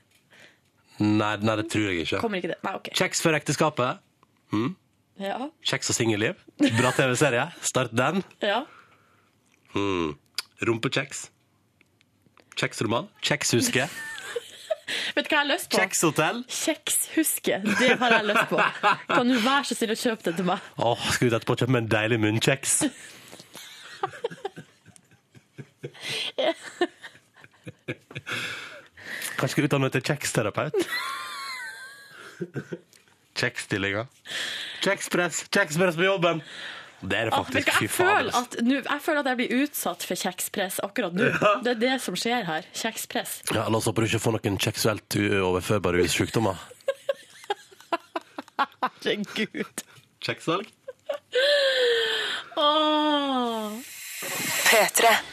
Nei, nei, det tror jeg ikke. Kommer ikke det? Nei, ok. Kjeks før ekteskapet. Mm. Ja. Kjeks og singelliv. Bra TV-serie. Start den. ja. Mm. Rumpekjeks. Kjeksroman. Kjekshuske. Vet du hva jeg har lyst på? Kjekshotell. Kjekshuske. Det har jeg lyst på. Kan du være så snill å kjøpe det til meg? Åh, skal ut etterpå og kjøpe meg en deilig munnkjeks. Kanskje skal utdanne meg til kjeksterapeut? Kjeksstillinger. Kjekspress. Kjekspress på jobben! Det er det Ah, faktisk. vet du hva, Fy jeg, faen. altså. føler ass. at, nå- jeg føler at jeg blir utsatt for kjekspress akkurat nå. Ja. Det er det som skjer her. Kjekspress. Ja, La oss håpe du ikke får noen seksuelt overførbare sykdommer. Herregud. Kjekssalg. Åh.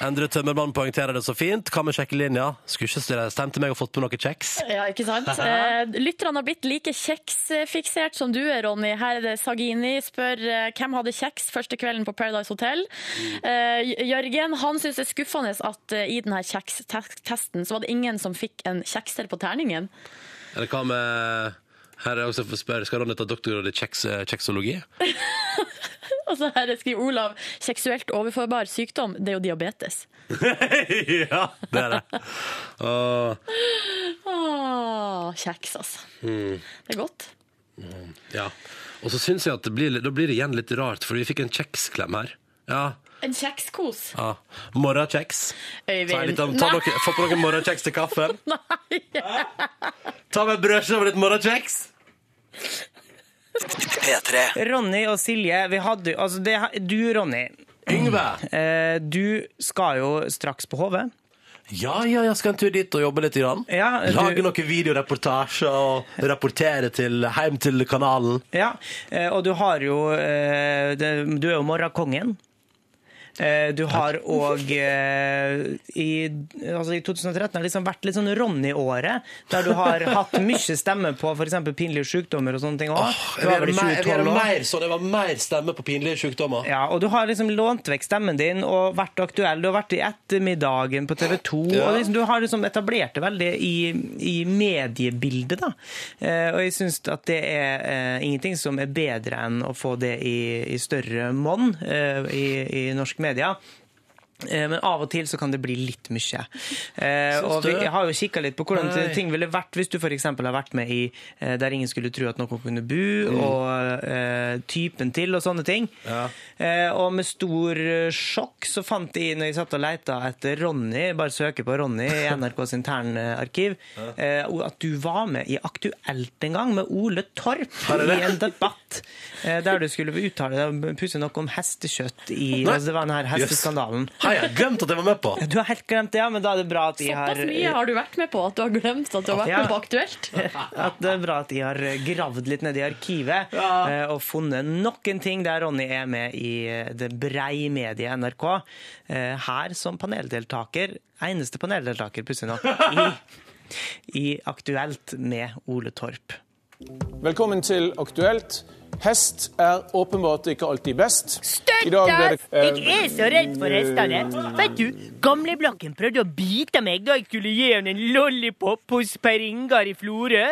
Endre Tømmermann poengterer det så fint. Hva med sjekkelinja? Skulle ikke stemt til meg og fått på noe kjeks. Ja, ikke sant? Eh, Lytterne har blitt like kjeksfiksert som du er, Ronny. Her er det Sagini spør eh, hvem hadde kjeks første kvelden på Paradise Hotel. Mm. Eh, Jørgen han syns det er skuffende at eh, i denne kjekstesten så var det ingen som fikk en kjekser på terningen. Eller hva med Her er jeg også for å spørre, Skal Ronny ta doktorgrad i kjeks, eh, kjeksologi? Og så her skriver Olav seksuelt overførbar sykdom, det er jo diabetes. ja, det er det. Og, Åh, kjeks, altså. mm, Det er godt. ja. Og så syns jeg at det blir, litt- da blir det igjen litt rart, for vi fikk en kjeksklem her. Ja. En kjekskos. ja. Morrakjeks. Øyvind. Ta, litt av- ta Nei. noe, få på noen morrakjeks til kaffen. Ta med en brødskive og litt morrakjeks. P3. Ronny og Silje, vi hadde altså det, Du, Ronny. Yngve. Eh, Du skal jo straks på HV. Ja, ja, jeg skal en tur dit og jobbe litt. Grann. Ja, Lage du, noen videoreportasjer og rapportere til, hjem til kanalen. ja. eh, Og du har jo eh, det- Du er jo morgenkongen. Eh, Du har òg eh, i, altså I 2013 har det liksom vært litt sånn Ronny-året, der du har hatt mye stemme på f.eks. pinlige sykdommer og sånne ting òg. Jeg vil gjøre mer- jeg vil gjøre mer så det var mer stemme på pinlige sykdommer. Ja, og du har liksom lånt vekk stemmen din og vært aktuell. Du har vært i Ettermiddagen på TV 2. Ja. og liksom, Du har liksom etablert det veldig i, i mediebildet, da. Eh, og jeg syns at det er eh, ingenting som er bedre enn å få det i, i større monn eh, i, i norsk media. Eh, Men av og til så kan det bli litt mye. Eh, Syns og vi, du? jeg har jo kikka litt på hvordan Nei. ting ville vært hvis du f.eks. har vært med i eh, Der ingen skulle tro at noen kunne bo, Mm. og eh, typen til, og sånne ting. Eh, og med stor eh, sjokk så fant jeg, når jeg satt og leita etter Ronny, bare søker på Ronny i NRKs internarkiv, eh, at du var med i Aktuelt en gang, med Ole Torp Her er i det. en debatt eh, der du skulle uttale deg pusse noe om hestekjøtt i Nei. altså, Det var den her Jøss. hesteskandalen. Hei, jeg har glemt at jeg var med på. Ja, Du har helt glemt det, ja, men da er det bra at jeg har Såpass mye har du vært med på at du har glemt at du har vært Ja. med på Aktuelt. at det er bra at jeg har eh, gravd litt ned i arkivet Ja. eh, og funnet nok en ting der Ronny er med i eh, det brei mediet NRK. eh, Her som paneldeltaker, eneste paneldeltaker, pussig nok, i, i Aktuelt med Ole Torp. Velkommen til Aktuelt. Hest er åpenbart ikke alltid best. Støtt Jeg er så redd for hestene. Vet du, gamle Blanken prøvde å bite meg da jeg skulle gi henne en lollipop hos Per Ingar i Florø.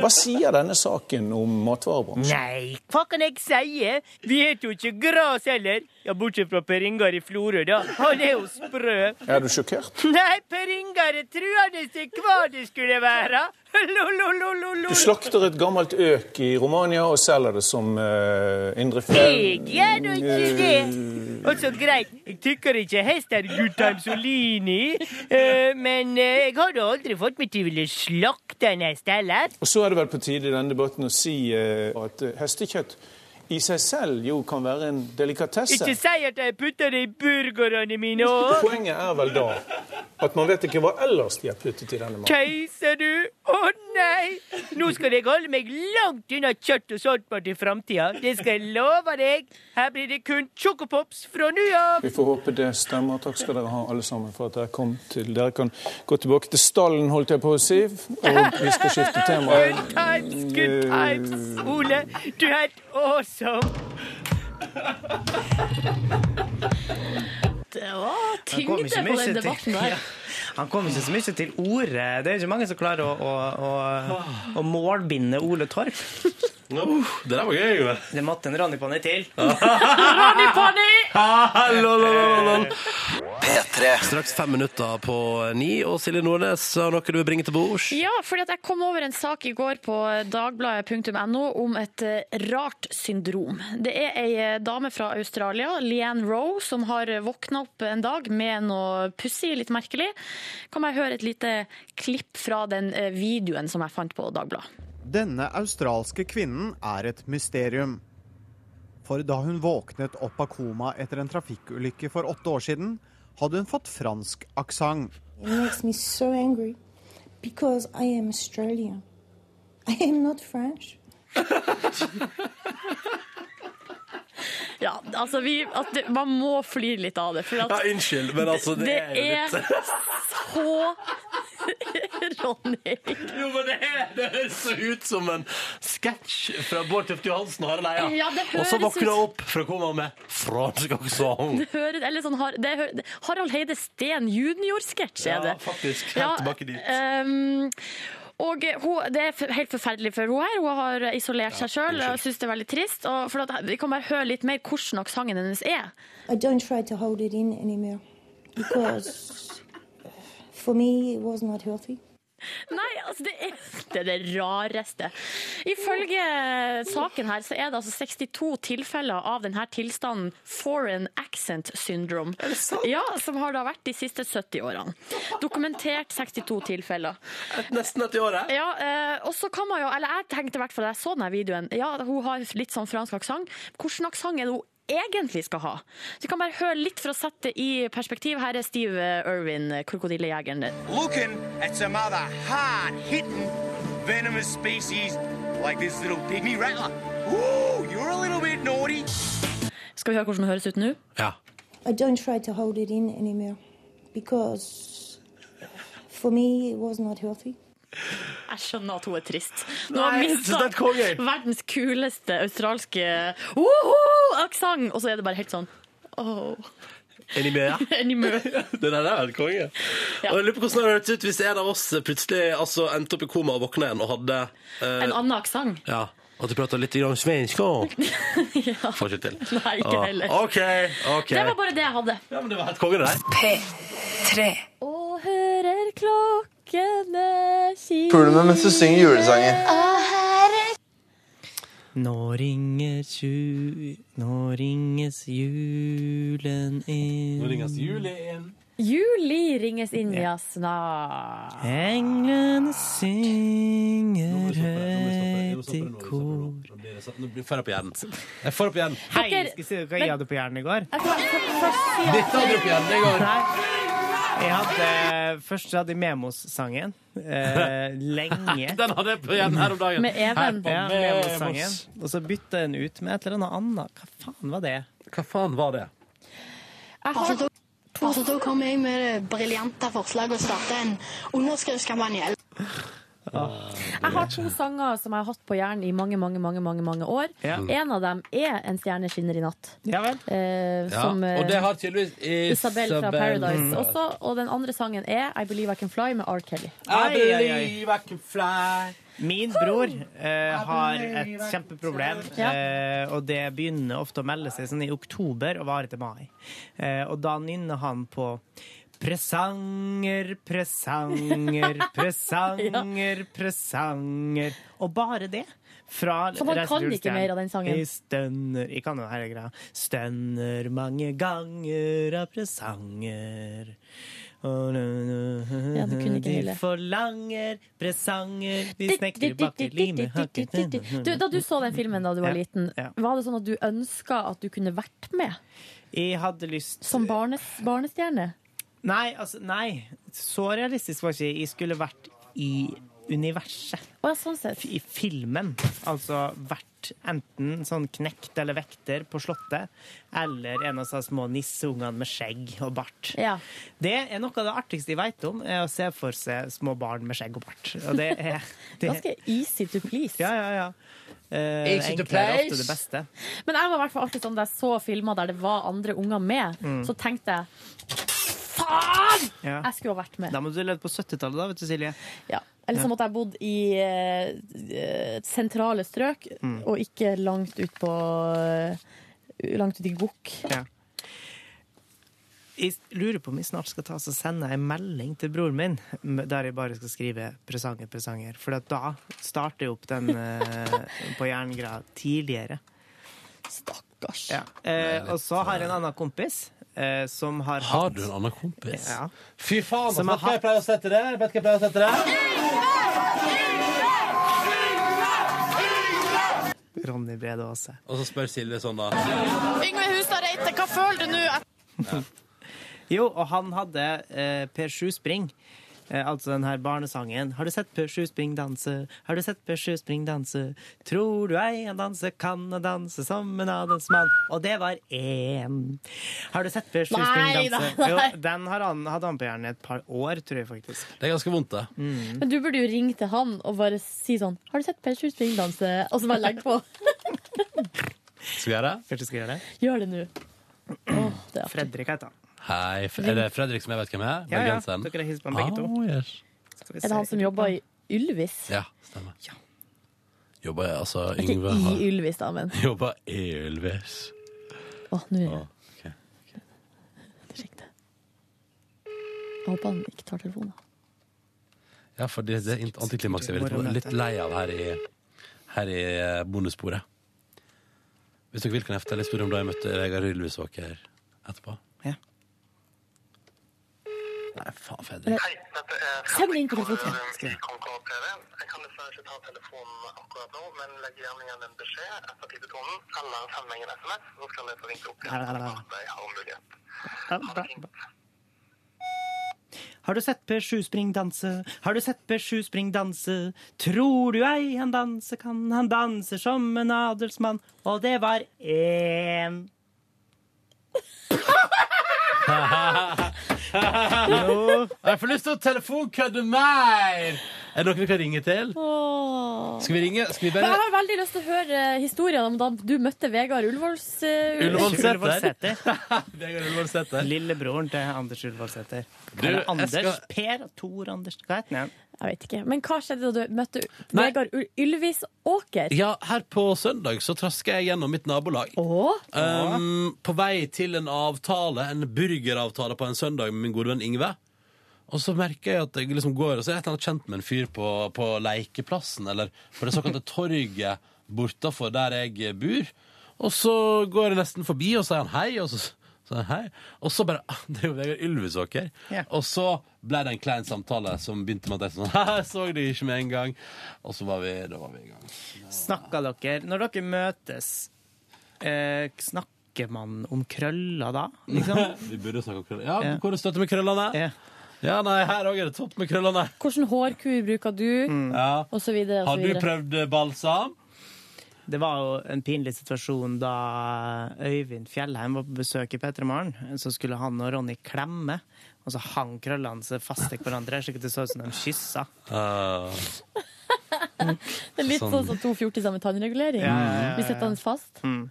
Hva sier denne saken om matvarebransjen? Nei, hva kan jeg si? Vi heter jo ikke Gras heller. Ja, bortsett fra Per Ingar i Florø, da. Han er jo sprø. Er du sjokkert? Nei, Per Ingar er truende til hva det skulle være. Du slakter et gammelt øk i Romania og selger det som uh, indre Jeg gjør nå ikke det. Og så greit, jeg tykker ikke hest er Guttorm Solini, eh, men eh, jeg har da aldri fått meg til å ville slakte en hest heller. Og så er det vel på tide i denne debatten å si eh, at eh, hestekjøtt i seg selv jo kan være en delikatesse. Ikke si at jeg putter det i burgerne mine òg. Poenget er vel da at man vet ikke hva ellers de har puttet i denne maten. Keiser, du! Å nei! Nå skal jeg holde meg langt unna kjøtt og sånt bare til framtida. Det skal jeg love deg. Her blir det kun chocopops fra nå av. Vi får håpe det stemmer. Takk skal dere ha, alle sammen, for at dere kom til Dere kan gå tilbake til stallen, holdt jeg på å si, og vi skal skifte tema. Good times, good times. Ole, du er helt awesome. Det var Han kom tyngde ikke på den mye til- debatten der. Ja. Han kom ikke så mye til ordet. Det er ikke mange som klarer å, å, å, å målbinde Ole Torp. det der var gøy. Det måtte en Ronny-panni til. P3. Straks fem minutter på ni, og Silje Nordnes har noe du vil bringe til bords. Ja, fordi at jeg kom over en sak i går på dagbladet.no om et eh, rart syndrom. Det er ei eh, dame fra Australia, Leanne Roe, som har eh, våkna opp en dag med noe pussig, litt merkelig. Kan jeg høre et lite klipp fra den eh, videoen som jeg fant på Dagbladet? Denne australske kvinnen er et mysterium. For da hun våknet opp av koma etter en trafikkulykke for åtte år siden, hadde hun fått fransk aksent. It makes me so angry because I am Australian. I am not French. Ja, altså vi, at det, Man må flire litt av det. For at Ja, unnskyld, men altså, det er jo er litt- så Ronny. Jo, men det, er- det høres så ut som en sketsj fra Bård Tufte Johansen og Harald Eia. Ja, det og så høres våkner hun ut- opp fra koma med fransk aksent. Det hører, eller sånn, har- det hører, Harald Heide Steen junior-sketsj er det. Ja, faktisk. Helt tilbake dit. ehm, og hun, Det er f- helt forferdelig for hun her. Hun har isolert seg sjøl og syns det er veldig trist. Og for at, vi kan bare høre litt mer hvordan aksenten hennes er. I don't try to hold it in anymore because for me it was not healthy. Nei, altså det er det, er det rareste. Ifølge saken her så er det altså 62 tilfeller av denne tilstanden foreign accent syndrome. Ja, som har da vært de siste 70 årene. Dokumentert 62 tilfeller. Nesten etter året. Ja, eh, og så kan man jo, eller jeg tenkte i hvert fall da jeg så denne videoen, ja, hun har litt sånn fransk aksent. Hvilken aksent er det hun egentlig skal ha? Så vi kan bare høre litt for å sette det i perspektiv. Her er Steve eh, Irwin, krokodillejegeren. looking at some other hard-hitting, venomous species like this little pygmy rattler. Ooh, you're a little bit naughty. Skal vi høre hvordan det høres ut nå? Ja. I don't try to hold it in anymore because for me it was not healthy. Jeg skjønner at hun er trist. Nå har Nei, jeg synes det er et konge. mistet verdens kuleste australske woho-aksent, og så er det bare helt sånn åh. Anime, ja. Anime. Det der er en konge. Og jeg lurer på hvordan det hadde hørtes ut hvis en av oss plutselig altså, endte opp i koma og våkna igjen og hadde eh, En annen aksent. Ja, at du prater litt grann svensk òg. Får ikke til. Nei, ikke Ah, heller. OK, OK. Det var bare det jeg hadde. Ja, men det var helt konge, det der. P3. Og hører klokkene kile Puler meg mens du synger julesanger. Nå ringes, ju, nå ringes julen inn. Nå ringes juli inn. Juli ringes inn, ja, snart. Englene synger høyt i kor. Nå blir- får jeg opp hjernen. Jeg får opp hjernen. Hei, skal jeg si dere hva jeg hadde på hjernen i går? Jeg kan først si at- Dette hadde du på hjernen i går. Jeg hadde, eh, først hadde jeg Memos-sangen. Eh, lenge. Den hadde jeg på hjernen her om dagen. Med Even. Her på Ja, Memos. Memos-sangen. Og så bytta jeg den ut med et eller annet annet. Hva faen var det? Hva faen var det? Altså, da, altså, da kommer jeg med briljante forslag og starter en underskriftskampanje. Jeg har to sanger som jeg har hatt på hjernen i mange mange, mange, mange, mange år. Ja. En av dem er 'En stjerne skinner i natt'. Eh, Ja, som eh, og det har tydeligvis Isabel fra Paradise Mm. også. Og den andre sangen er 'I Believe I Can Fly' med R. Kelly. Ai, ai, ai. Fly. Min bror eh, har et kjempeproblem, Ja. eh, og det begynner ofte å melde seg sånn i oktober og varer til mai. Eh, og da nynner han på Presanger, presanger, presanger, presanger. Og bare det. Fra Så man Reisen kan til ikke mer av den sangen? Jeg stønner Jeg kan jo hele greia. Stønner mange ganger av presanger. Og nå, nå, Ja, du kunne ikke de hele. forlanger presanger. Vi snekrer baker limet hakket Du, da du så den filmen da du var Ja, liten, var det sånn at du ønska at du kunne vært med? Jeg hadde lyst Som barnes, barnestjerne? Nei, altså, nei. Så realistisk var ikke jeg. Jeg skulle vært i universet. sånn F- I filmen. Altså vært enten sånn knekt eller vekter på Slottet, eller en av de små nisseungene med skjegg og bart. Det er noe av det artigste jeg veit om, er å se for seg små barn med skjegg og bart. Og det er Ganske easy to please. Ja, ja, ja. Eh, Easy to enklere er ofte please. det beste. Men jeg var i hvert fall alltid sånn da jeg så filmer der det var andre unger med, Mm. så tenkte jeg Faen! Ja. Jeg skulle ha vært med. Da må du leve på 70-tallet, da, vet du, Silje. Eller Ja. så måtte jeg bodd i eh, eh, sentrale strøk, Mm. og ikke langt ut på eh, Langt ut i gokk. Ja. Jeg lurer på om jeg snart skal ta og sende en melding til broren min der jeg bare skal skrive 'presanger, presanger'. For at da starter jeg opp den eh, på jerngreia tidligere. Stakkars. Ja. Eh, og så har jeg en annen kompis eh, som har Har hatt- du en annen kompis? Ja. Fy faen, Som altså, har vet du hva jeg pleier å sette det? Vet du hva jeg pleier å sette det? Ronny Brede Aase. Og så spør Silje sånn, da. Yngve Hustad Reite, hva føler du nå? Jo, og han hadde eh, Per Sju Spring. Eh, altså den her barnesangen. Har du sett Per Sju Spring danse? Har du sett Per Sju Spring danse? Tror du ei han danse kan han danse som en adelens mann? Og det var én. Har du sett Per Sju Nei, Spring danse? nei, nei. Jo, den har han, hadde han på hjernen i et par år, tror jeg faktisk. Det er ganske vondt, det. Men du burde jo ringe til han og bare si sånn Har du sett Per Sju Spring danse? Og så bare legge på. Skal vi gjøre det? Kanskje skal gjøre det? Gjør det nå. Fredrik heter han. Hei, f- er det Fredrik som jeg vet hvem er? Ja, ja. Bergenseren? Dere hilser på han begge to. Ah, yes. Skal vi Er det se. han som jobber i Ylvis? Ja, stemmer. Jobber jeg, altså Ikke Yngve i har Ylvis, da, men Jobber i Ylvis. Åh, nå er det Jeg håper han ikke tar telefonen. Ja, for det, det ant- antiklimakset er vi litt, litt lei av her i, her i eh, bonussporet. Hvis dere vil, kan jeg fortelle historien om da jeg møtte Vegard Ylvisåker etterpå. Ja. Nei, faen, Fredrik. Send det inn på telefonen. Har du sett Per Sjuspring danse? Har du sett Per Sjuspring danse? Tror du ei han danse kan? Han danser som en adelsmann. Og det var én. Jo. Jeg får lyst til å telefonkødde mer! Er det noen vi kan ringe til? Skal vi ringe? Skal vi Men bare jeg har veldig lyst til å høre historien om da du møtte Vegard eh, Ullevålsæter. Ullevålsæter. Vegard Ullevålsæter. Lillebroren til Anders Ullevålsæter. Du, Eller jeg Anders skal- Per Tor Anders Hva heter han? Jeg vet ikke. Men hva skjedde da du møtte Vegard Ull- Ylvisåker? Ja, her på søndag så trasker jeg gjennom mitt nabolag. Um, på vei til en avtale, en burgeravtale på en søndag med min gode venn Ingve. Og så merker jeg at jeg liksom går, og så er jeg et eller annet kjent med en fyr på, på lekeplassen, eller på det såkalte torget bortafor der jeg bor. Og så går jeg nesten forbi, og så sier han hei, og så så sier han hei. Og så bare ah, Det er jo Vegard Ylvisåker. Ja. Og så ble det en klein samtale som begynte med at jeg sånn «Haha, Jeg så det ikke med en gang. Og så var vi, da var vi i gang. Snakker dere Når dere møtes, eh, snakker man om krøller da? Liksom? Vi burde snakke om krøller. Ja, Ja. hvor er støtet med krøllene? Ja. nei, her òg er det topp med krøllene. Hvilken hårkur bruker du? Ja. Og så videre. Mm. Har Og så du videre. prøvd eh, balsam? Det var jo en pinlig situasjon da Øyvind Fjellheim var på besøk i P3 Morgen. Så skulle han og Ronny klemme, og så hang krøllene seg fast i hverandre. Slik at det så ut som de kyssa. Det er litt sånn, Sånn. som to fjortiser med tannregulering. Ja, ja, ja, Vi setter den fast. Mm.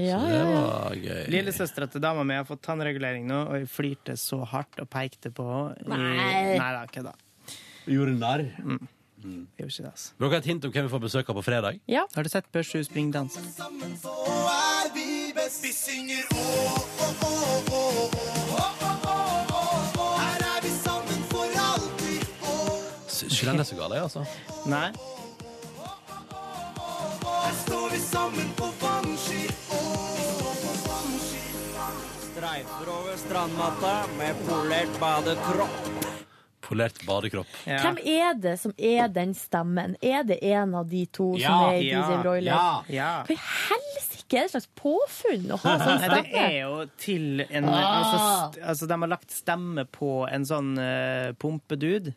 Ja, ja, ja. gøy. Lillesøstera til dama mi har fått tannregulering nå, og jeg flirte så hardt og pekte på henne. Nei. Nei da, kødda. Gjorde narr? Gjorde ikke det, altså. Vil dere ha et hint om hvem vi får besøk av på fredag? Har du sett Børshu springdans? Vi synger å, å, å, å, å, å, å, å. Her er vi sammen for alltid. Å, Syns ikke den er så gal, jeg, altså. Nei. her står vi sammen på vannski. Å, på vannski. Streifer over strandmatta med polert badekropp. Polert badekropp. Hvem er det som er den stemmen? Er det en av de to Ja, som er i ja, DJ Broiler? ja, ja. For i helsike, er det et slags påfunn å ha sånn Nei, det stemme? er jo til en Ah. altså, st altså, de har lagt stemme på en sånn eh, pumpedude.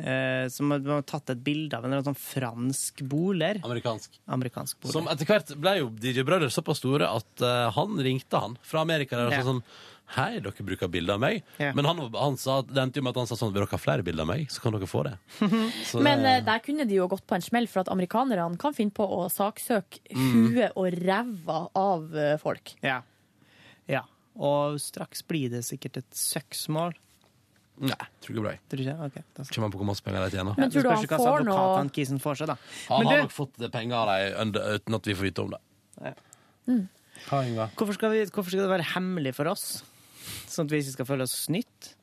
eh, som har, de har tatt et bilde av en eller annen sånn fransk boler. Amerikansk. boler. Som etter hvert ble jo DJ Brødre såpass store at eh, han ringte han fra Amerika der og sa Ja. sånn Hei, dere bruker bilder av meg. Ja. Men han, han sa, det endte jo med at han sa sånn Vil dere ha flere bilder av meg, så kan dere få det. Så det- Men eh, der kunne de jo gått på en smell, for at amerikanerne kan finne på å saksøke Mm. huet og ræva av eh, folk. Ja. ja. Og straks blir det sikkert et søksmål. Nei, tror ikke det blir. Tror du ikke? Ok, da så. Kommer an på hvor masse penger de tjener. Ja, det spørs jo hva slags advokat han kisen får seg, da. Han Men har du- nok fått eh, penger av deg under- uten at vi får vite om det. Hva, Ingvar? Hvorfor skal, vi, hvorfor skal det være hemmelig for oss? Sånn at vi ikke skal føle oss snytt?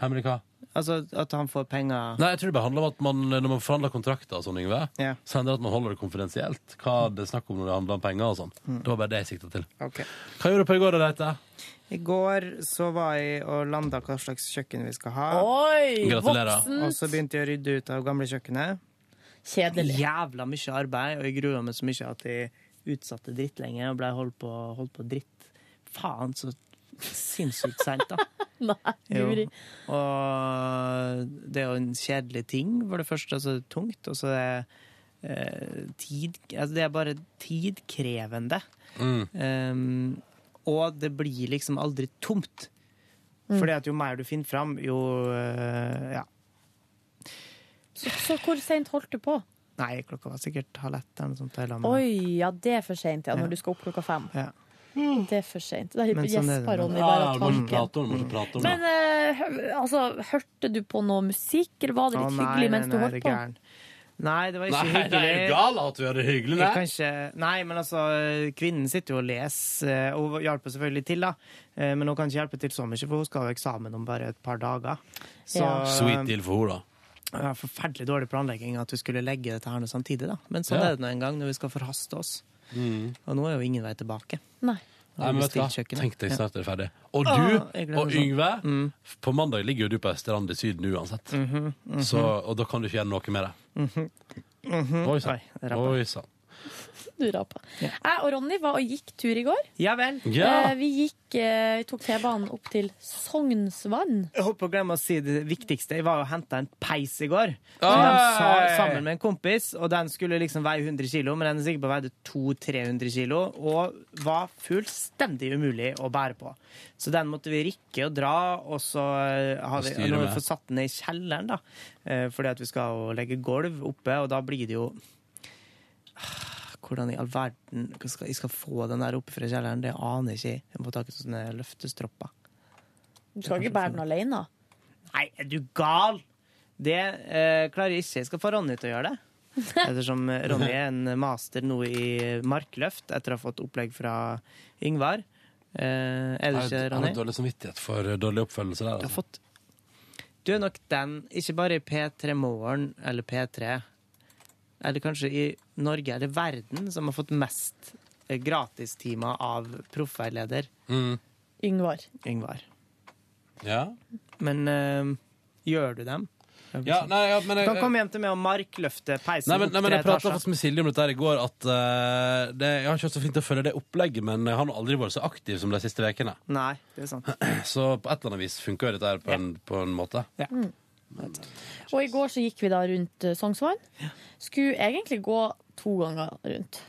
Hemmelig hva? Altså at han får penger Nei, jeg tror det bare handler om at man, når man forhandler kontrakter og sånn, Yngve, Ja. så hender det at man holder det konfidensielt. Hva det er snakk om når det handler om penger og sånn. Mm. Det var bare det jeg sikta til. Hva gjorde du på i går, da, Reite? I går så var jeg og landa hva slags kjøkken vi skal ha. Oi, Gratulerer. voksent. Og så begynte jeg å rydde ut av gamle kjøkkenet. Kjedelig. Jævla mye arbeid, og jeg grua meg så mye at jeg utsatte dritt lenge og blei holdt på, holdt på dritt. Faen, så sinnssykt seint, da. Nei, Jo. guri. Og det er jo en kjedelig ting, for det første. Altså tungt, og så er det eh, tid Altså det er bare tidkrevende. Mm. Um, og det blir liksom aldri tomt. Mm. Fordi at jo mer du finner fram, jo eh, Ja. Så, så hvor seint holdt du på? Nei, klokka var sikkert halv ett eller noe sånt. eller annet. Oi, ja, det er for seint, ja, Ja. når du skal opp klokka fem. Ja. Det er for seint. Da Men sånn er det. gjesper Ronny Ja, bare ja, av du må ikke tanken. prate om det, du må ikke prate om det. Men eh, hø- altså, hørte du på noe musikk, eller var det litt Å, nei, hyggelig mens nei, du nei, holdt det er på? gæren. Nei, det var ikke Nei, hyggelig. det er jo gal at du gjør det hyggelig, Jeg nei. kan ikke, nei, men altså, kvinnen sitter jo og leser, eh, og hun hjelper selvfølgelig til, da. Eh, Men hun kan ikke hjelpe til så mye, for hun skal ha eksamen om bare et par dager. Så, Ja. Sweet deal for henne, da. Ja, forferdelig dårlig planlegging at vi skulle legge dette her nå samtidig, da. Men sånn Ja. er det nå en gang når vi skal forhaste oss. Og nå er jo ingen vei tilbake. Nei. Nei, men vet du hva? Tenk deg snart er det ferdig. Og du, Åh, jeg gleder meg og sånn. Yngve, på mandag ligger jo du på ei strand i Syden uansett. Mhm, mhm. Så, og da kan du ikke gjøre noe med det. Mhm, mhm. Oi sann. Oi, det rappet. Oi sann. Du rapa. Jeg og Ronny var og gikk tur i går. Ja vel. Eh, Vi gikk, eh, tok T-banen opp til Sognsvann. Jeg holdt på å glemme å si det viktigste. Jeg var og henta en peis i går. Som Oi! de sa, sammen med en kompis, og den skulle liksom veie 100 kilo, men den er sikkert på veide 200-300 kilo, og var fullstendig umulig å bære på. Så den måtte vi rikke og dra, og så eh, har Og vi, styre nå har med. vi fått satt den ned i kjelleren, da, eh, fordi at vi skal jo legge gulv oppe, og da blir det jo ah, hvordan i all verden hva skal, jeg skal få den der oppe fra kjelleren, det aner jeg ikke. Jeg må ta tak i sånne løftestropper. Du skal ikke bære den alene. Nei, er du gal? Det eh, klarer jeg ikke. Jeg skal få Ronny til å gjøre det. Ettersom eh, Ronny er en master nå i markløft etter å ha fått opplegg fra Yngvar. Eh, er du Jeg ikke, har- jeg Ronny? har dårlig samvittighet for eh, dårlig oppfølgelse der. altså. Du har fått Du er nok den, ikke bare i P3 Morgen eller P3, eller kanskje i Norge eller verden, som har fått mest eh, gratistimer av proffveileder. Yngvar. Yngvar. Ja. Men eh, gjør du dem? Ja, nei, ja, men du jeg- kan komme hjem til meg og markløfte peisen Nei, men, nei, men jeg opp tre prata etasjer. faktisk med Silje om dette her i går. At eh, det, Jeg har ikke vært så flink til å følge det opplegget, men jeg har nå aldri vært så aktiv som de siste ukene. Nei, det er sant. Så på et eller annet vis funker jo dette her på, en, på en måte. Mm. Og i går så gikk vi da rundt eh, Sognsvann. Skulle egentlig gå to ganger rundt.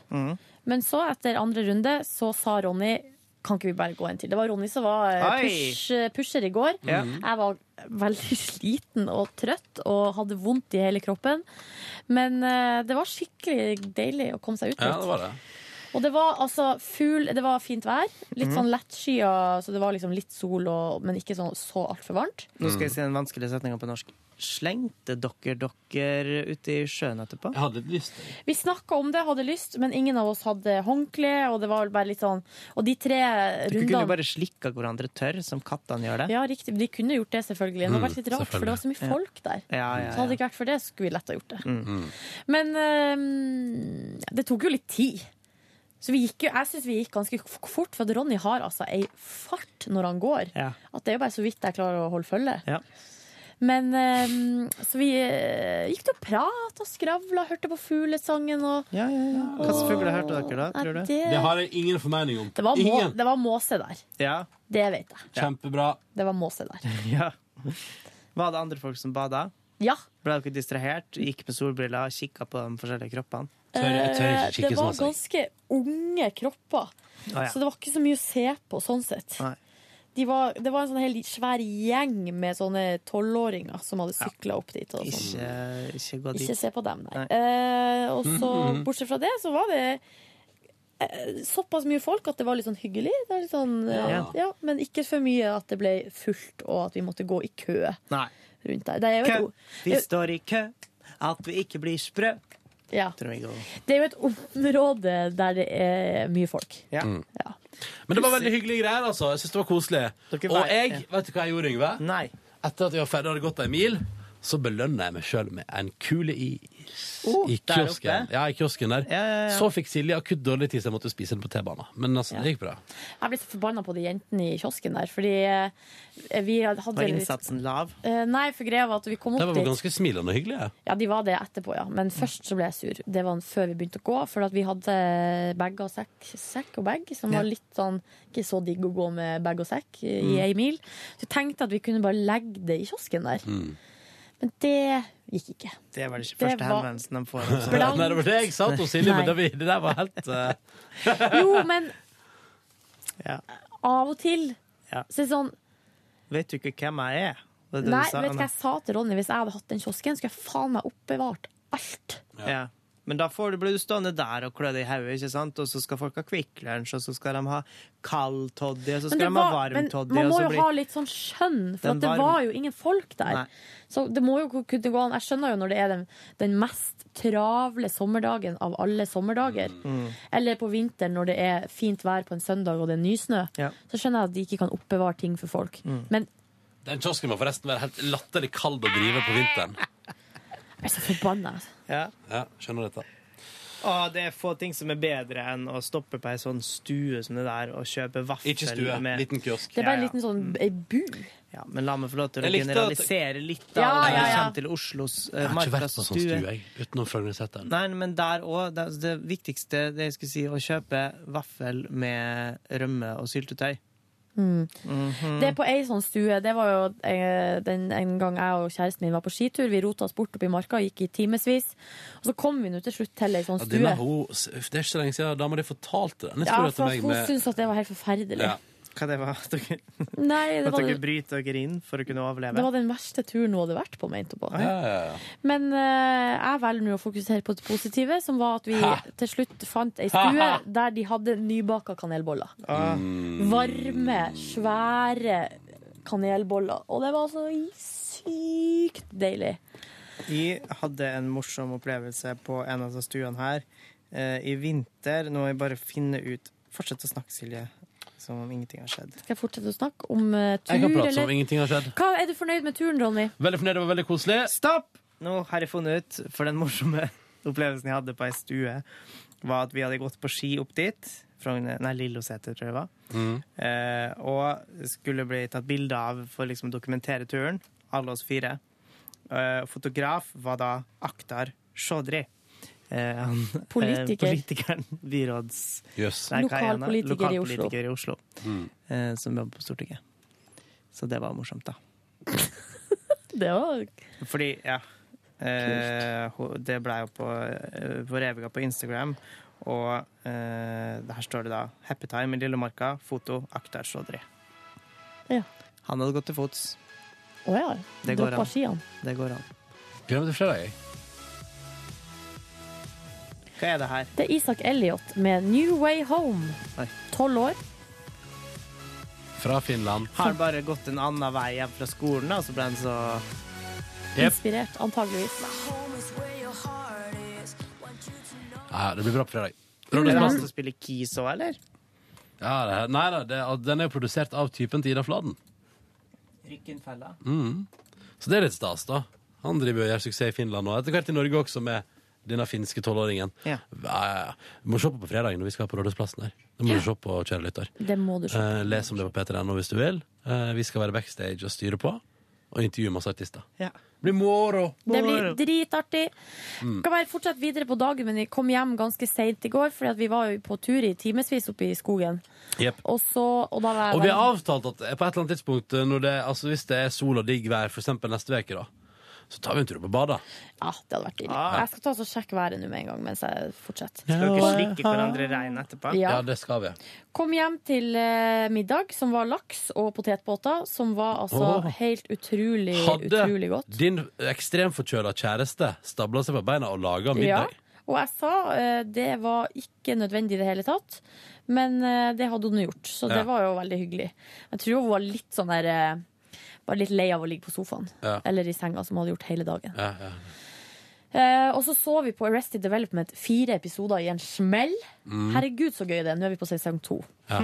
Men så, etter andre runde, så sa Ronny kan ikke vi bare gå en til? Det var Ronny som var eh, Oi. push, pusher i går. Ja. Jeg var veldig sliten og trøtt og hadde vondt i hele kroppen. Men eh, det var skikkelig deilig å komme seg ut Ja, det var det. Og det var altså fugl Det var fint vær. Litt Mhm. sånn lettskya, så det var liksom litt sol, og, men ikke sånn så altfor varmt. Nå skal jeg si den vanskelige setninga på norsk. Slengte dere dere ute i sjøen etterpå? Jeg hadde lyst til Vi snakka om det, hadde lyst, men ingen av oss hadde håndkle. Og det var vel bare litt sånn Og de tre Dere kunne jo rundene bare slikka hverandre tørr, som kattene gjør det. Ja, riktig. De kunne gjort det, selvfølgelig. Men det var Mm, litt rart, for det var så mye selvfølgelig. folk der. Ja, ja, ja. Så hadde det ikke vært for det, skulle vi lett ha gjort det. Mm. Men øhm, det tok jo litt tid. Så vi gikk jo, jeg syns vi gikk ganske f- fort, for at Ronny har altså ei fart når han går. At det er jo bare så vidt jeg klarer å holde følge. Men øhm, Så vi øh, gikk til å prate og skravla, hørte på fuglesangen og ja, ja, ja. Hva slags fugler hørte dere da, tror du? Det, det, har jeg ingen formening om. var må, ingen. det var måse der. Ja. Det vet jeg. Kjempebra. Det var måse der. ja. Var det andre folk som bada? Ja. Ble dere distrahert? Gikk med solbriller, kikka på de forskjellige kroppene? Eh, det sånn var ganske unge kropper, Ah, ja. så det var ikke så mye å se på sånn sett. Nei. De var, det var en sånn hel svær gjeng med sånne tolvåringer som hadde sykla opp dit. Og sånn. Ikke, ikke gå dit. Ikke se på dem, nei. Nei. Eh, og så, Mhm. bortsett fra det, så var det eh, såpass mye folk at det var litt sånn hyggelig. Det var litt sånn, eh, ja. Ja. men ikke for mye at det ble fullt, og at vi måtte gå i kø Nei. rundt der. Det er jo et, Kø. o- Vi står i kø. At vi ikke blir sprø. ja. Tror jeg også. det er jo et område der det er mye folk. Ja. Mm. Men det var veldig hyggelige greier, altså. Jeg synes det var koselig. var- Og jeg, vet du hva jeg gjorde, Yngve? Etter at jeg var ferdig og hadde gått en mil, så belønna jeg meg sjøl med en kule i, Oh, i der kiosken. oppe? Ja, i kiosken der. ja, ja. Så fikk Silje akutt dårlig tid, så jeg måtte spise den på T-banen. Men altså, det gikk bra. Jeg ble så forbanna på de jentene i kiosken der, fordi eh, vi hadde Var innsatsen lav? Eh, Nei, for greia var at vi kom De opp var dit. ganske smilende og hyggelige. Ja, de var det etterpå, ja. Men først så ble jeg sur. Det var før vi begynte å gå, for at vi hadde bag og sekk, sekk og bag, som Ja. var litt sånn ikke så digg å gå med bag og sekk i Mm. ei mil. Så jeg tenkte at vi kunne bare legge det i kiosken der. Men det gikk ikke. Det var ikke Det første var- henvendelsen de får. Blankt. Nei, det var det jeg sa til Silje, men det, vi- det der var helt eh, Jo, men Ja. av og til Ja. så er det sånn Vet du ikke hvem jeg er? Det er det du Nei, sa, vet du hva Anna. jeg sa til Ronny? Hvis jeg hadde hatt den kiosken, skulle jeg faen meg oppbevart Ja. Men da får du, blir du stående der og klø deg i hodet, ikke sant? og så skal folk ha Kvikk Lunsj, og så skal de ha kald toddy, og så Men skal det de ha var- varm men toddy. Man og må så jo blir- ha litt sånn skjønn, for Den at det varm- var jo ingen folk der. Nei. Så det må jo kunne gå an. Jeg skjønner jo når det er den, den mest travle sommerdagen av alle sommerdager. Mm. Eller på vinteren når det er fint vær på en søndag og det er nysnø. Ja. Mm. Så skjønner jeg at de ikke kan oppbevare ting for folk. Men Den kiosken må forresten være helt latterlig kald å drive på vinteren. jeg er så forbanna. Ja. Ja, skjønner dette. Å, Og det er få ting som er bedre enn å stoppe på ei sånn stue som det der og kjøpe vaffel Ikke stue, med liten kiosk. Det er bare en liten sånn ei Mm. bu. Ja, men la meg få lov til å Jeg likte at- generalisere litt, da. Ja, når ja, vi ja. kommer til Oslos eh, Jeg har ikke vært på sånn stue, markadsstue. jeg. Utenom Frognerseteren. Nei, men der òg. Det, altså, det viktigste det jeg skulle si, å kjøpe vaffel med rømme og syltetøy. Mm. Mhm. Det er på ei sånn stue. Det var jo eh, den en gang jeg og kjæresten min var på skitur. Vi rota oss bort oppi marka og gikk i timevis. Og så kom vi nå til slutt til ei sånn Ja, den stue. er hun, det er ikke så lenge siden dama di fortalte den Ja, historien til for meg. hun Med, syntes at det var helt forferdelig. Ja. Hva det var dere, Nei, det At var, dere det bryter dere inn for å kunne overleve? var den verste turen hun hadde vært på, mente hun på. ja, Men eh, jeg velger nå å fokusere på det positive, som var at vi Hæ? til slutt fant ei stue der de hadde nybaka kanelboller. Varme, svære kanelboller. Og det var så sykt deilig. Jeg hadde en morsom opplevelse på en av de stuene her eh, i vinter. Nå må jeg bare finne ut Fortsett å snakke, Silje, som om ingenting har skjedd. Skal jeg fortsette å snakke om eh, tur, Jeg kan prate som eller? om ingenting har skjedd. Hva, er du fornøyd med turen, Ronny? Veldig fornøyd, det var veldig koselig. Stopp! Nå har jeg funnet ut, for den morsomme opplevelsen jeg hadde på ei stue, var at vi hadde gått på ski opp dit. Fra nei, Lilloseter, tror jeg det var. Eh, og skulle bli tatt bilde av for liksom å dokumentere turen. Alle oss fire. Eh, fotograf var da Aktar Shodri. Eh, han- Politiker. Eh, politikeren. Byråds... Jøss. Nei, hva er han da? Lokalpolitiker i Oslo. Lokalpolitiker i Oslo. eh, som jobber på Stortinget. Så det var morsomt, da. Det var Fordi, ja eh, ho- Det ble jo på, eh, på Revega på Instagram. Og eh, her står det da 'Happy time i Lillemarka'. Foto Akhtar Shodri. Ja. Han hadde gått til fots. Å ja. Det går Droppa an. skiene. Det går an. Gleder meg til fredag, jeg. Hva er det her? Det er Isak Elliot med 'New Way Home'. Oi. Tolv år. Fra Finland. Har han bare gått en annen vei hjem fra skolen, og så ble han så Mm. Inspirert, antageligvis. Ja, det blir bra på fredag. Er Ronny det han Spensen. som spiller keys òg, eller? Ja, det, her- nei da, det, den er jo produsert av typen til Ida Fladen. Rykkenfella. Mm. Så det er litt stas, da. Han driver og gjør suksess i Finland og etter hvert i Norge også, med denne finske tolvåringen. Ja. Ja, ja, ja. Du må se på på fredag når vi skal på Rådhusplassen her. Det må Ja. du se på, kjære lytter. Det må du se på. Eh, les om det på p3.no hvis du vil. Eh, vi skal være backstage og styre på, og intervjue masse artister. Ja. Det blir moro! Det blir dritartig. Mm. Kan bare fortsette videre på dagen, men vi kom hjem ganske seint i går, fordi at vi var jo på tur i timevis oppe i skogen. Jepp. Og så Og da var jeg Og vi har veldig- avtalt at eh, på et eller annet tidspunkt, når det, altså hvis det er sol og digg vær, for eksempel neste uke, da, så tar vi en tur på badet. Ja, det hadde vært deilig. Ah. Jeg skal ta og sjekke været nå med en gang mens jeg fortsetter. Skal dere slikke hverandre i regnet etterpå? Ja. Ja, det skal vi. Kom hjem til eh, middag, som var laks og potetbåter, som var altså Åh. helt utrolig, Hadde utrolig godt. din ekstremforkjøla kjæreste stabla seg på beina og laga Ja. middag? Og jeg sa eh, det var ikke nødvendig i det hele tatt, men eh, det hadde hun gjort. Så det Ja. var jo veldig hyggelig. Jeg tror hun var litt sånn der eh, Var litt lei av å ligge på sofaen Ja. eller i senga, som hun hadde gjort hele dagen. Ja, ja. Eh, og så så vi på Arrested Development fire episoder i en smell. Mm. Herregud, så gøy det er. Nå er vi på sesong to. Ja.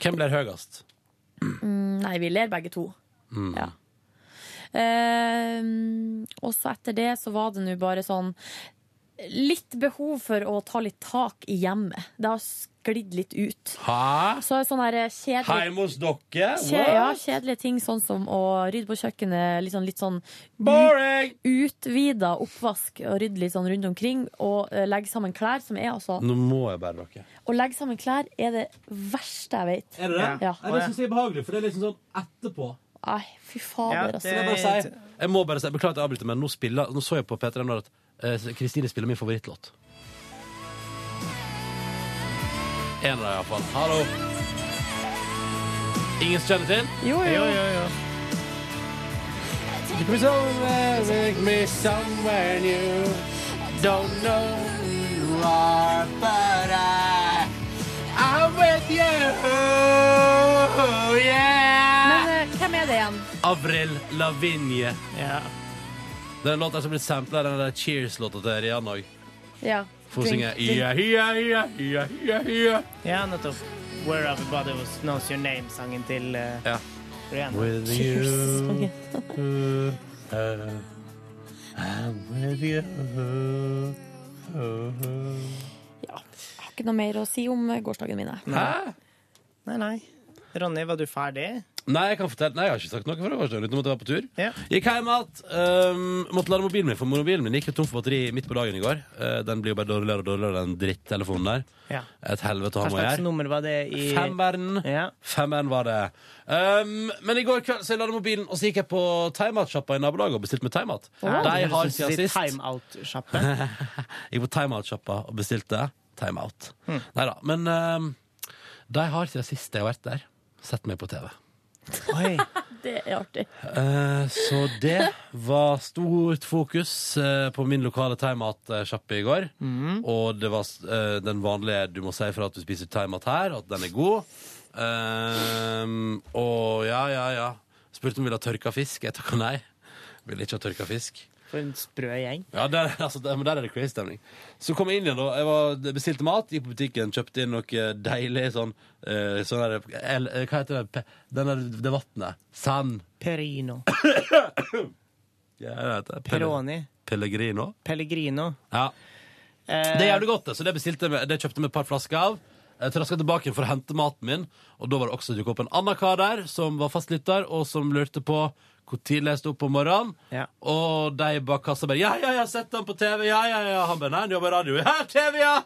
Hvem blir høyest? Mm, nei, vi ler begge to. Mm. Ja. Eh, og så etter det så var det nå bare sånn Litt behov for å ta litt tak i hjemmet. Det har sklidd litt ut. Hæ? Så er det sånn der kjedelig Heime hos dere? Kje, What? ja, kjedelige ting sånn som å rydde på kjøkkenet, litt sånn, litt sånn Boring! utvida oppvask og rydde litt sånn rundt omkring, og eh, legge sammen klær, som er altså Nå må jeg bare dere. Å legge sammen klær er det verste jeg vet. Er det det? Ja. Nei, det syns jeg er behagelig, for det er liksom sånn etterpå. Nei, fy fader, altså. Så jeg, bare sier- jeg må bare si, Beklager at jeg avbryter, men nå, spiller, nå så jeg på P3 nå at eh, Kristine spiller min favorittlåt. En av dem, iallfall. Hallo! Ingen som kjenner til? Jo, jo. Take me somewhere, take me somewhere new. Don't know who you are, but I, I'm with you. Men eh, hvem er det igjen? Avril Lavigne. Den låta som blir sampla i den der Cheers-låta til Rihanna òg. Ja. For å Drink, synge drink. yeah, yeah, yeah, yeah, yeah, yeah. Ja, nettopp. Where Everybody Was Knows Your Name-sangen til eh, Ja. Rihanna. With you. uh, I'm with you. Jeg har ikke noe mer å si om gårsdagen mine. Hæ? Nei, nei. Ronny, var du ferdig? Nei, jeg kan fortelle Nei, jeg har ikke sagt noe for det var sånn, uten at jeg var på tur. Ja. Gikk hjem igjen. ehm, måtte lade mobilen min, for mobilen min gikk jo tom for batteri midt på dagen i går. Eh, den blir jo bare dårligere og dårligere, den drittelefonen der. Ja. Et helvete å Hva ha med å slags gjøre. nummer var det i Femmeren. Femmeren var det. Ehm, men i går kveld så jeg ladet mobilen, og så gikk jeg på thaimatsjappa i nabolaget og bestilte meg thaimat. De har siden sist Timeout-sjappe. Jeg gikk på timeout-sjappa og bestilte timeout. Nei da. Men ehm, de har siden sist jeg har vært der, sett meg på TV. Det er artig. Eh, så det var stort fokus eh, på min lokale thaimatsjappe i går. Og det var eh, den vanlige 'du må si fra at du spiser thaimat her', og at den er god. Ehm, og ja, ja, ja. Spurte om vi ville ha tørka fisk. Jeg takka nei. Ville ikke ha tørka fisk. For en sprø gjeng. Ja, der, altså, der, men der er det crazy stemning. Så kom jeg inn igjen, da. Jeg var, bestilte mat, gikk på butikken, kjøpte inn noe deilig sånn, eh, sånn der, el, eh, Hva heter det? Pe, den der, det vannet? Sand? Perino. Ja, det heter det. Pelle- Peroni. Pellegrino? Pellegrino. Ja. Det er jævlig godt, altså. det. Så det, bestilte jeg, meg- det kjøpte jeg meg et par flasker av. Eh, Jeg traska tilbake for å hente maten min, og da var det også dukket opp en annen kar der som var fastlytter, og som lurte på hvor tidlig jeg sto opp om morgenen. Og de bak kassa bare 'Ja, ja, jeg har sett han på TV.' Ja, ja, ja. Han bare 'Nei, han jobber i radio.' Ja, TV, ja!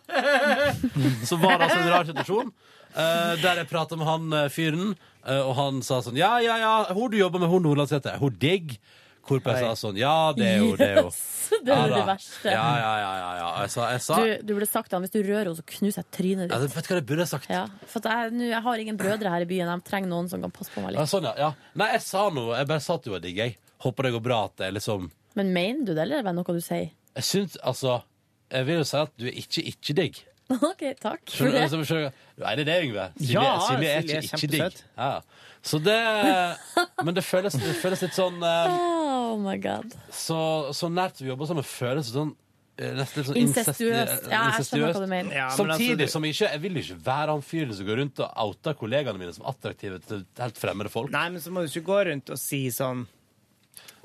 Så var det altså en rar situasjon eh, Der jeg pratet med han eh, fyren eh, Og han sa sånn Ja, ja, ja, hun du jobber med, hun Nordlandsjette Hun digg Hvorpå jeg sa sånn Ja, det er jo, det er jo Yes, det er jo Ja det da. verste. Ja, ja, ja, ja, ja. Jeg sa, jeg sa Du, du burde sagt til han hvis du rører henne, så knuser jeg trynet Ja, ditt. det- Vet du hva jeg burde sagt? Ja, for at jeg, nå- jeg har ingen brødre her i byen. De trenger noen som kan passe på meg Ja, litt. sånn, ja, ja. Nei, jeg sa noe Jeg bare sa at du var digg, jeg Håper det går bra at det er liksom Men mener du det, eller er det bare noe du sier? Jeg synes, altså Jeg vil jo si at du er ikke, ikke digg OK, takk for Skjønner, det. altså, skjønner, nei, det er det, Yngve. Silje, Ja, Silje er Silje ikke, er ikke kjempesøt. digg. Ja. Så det Men det føles, det føles litt sånn eh, Oh my god. så, så nært vi jobber sammen, føles det sånn eh, Nesten litt sånn Incestuøst. incest- eh, Ja, jeg skjønner hva du mener. Ja, men altså, Samtidig du- som jeg ikke Jeg vil jo ikke være han fyren som går rundt og outer kollegaene mine som attraktive til helt fremmede folk. Nei, men så må du ikke gå rundt og si sånn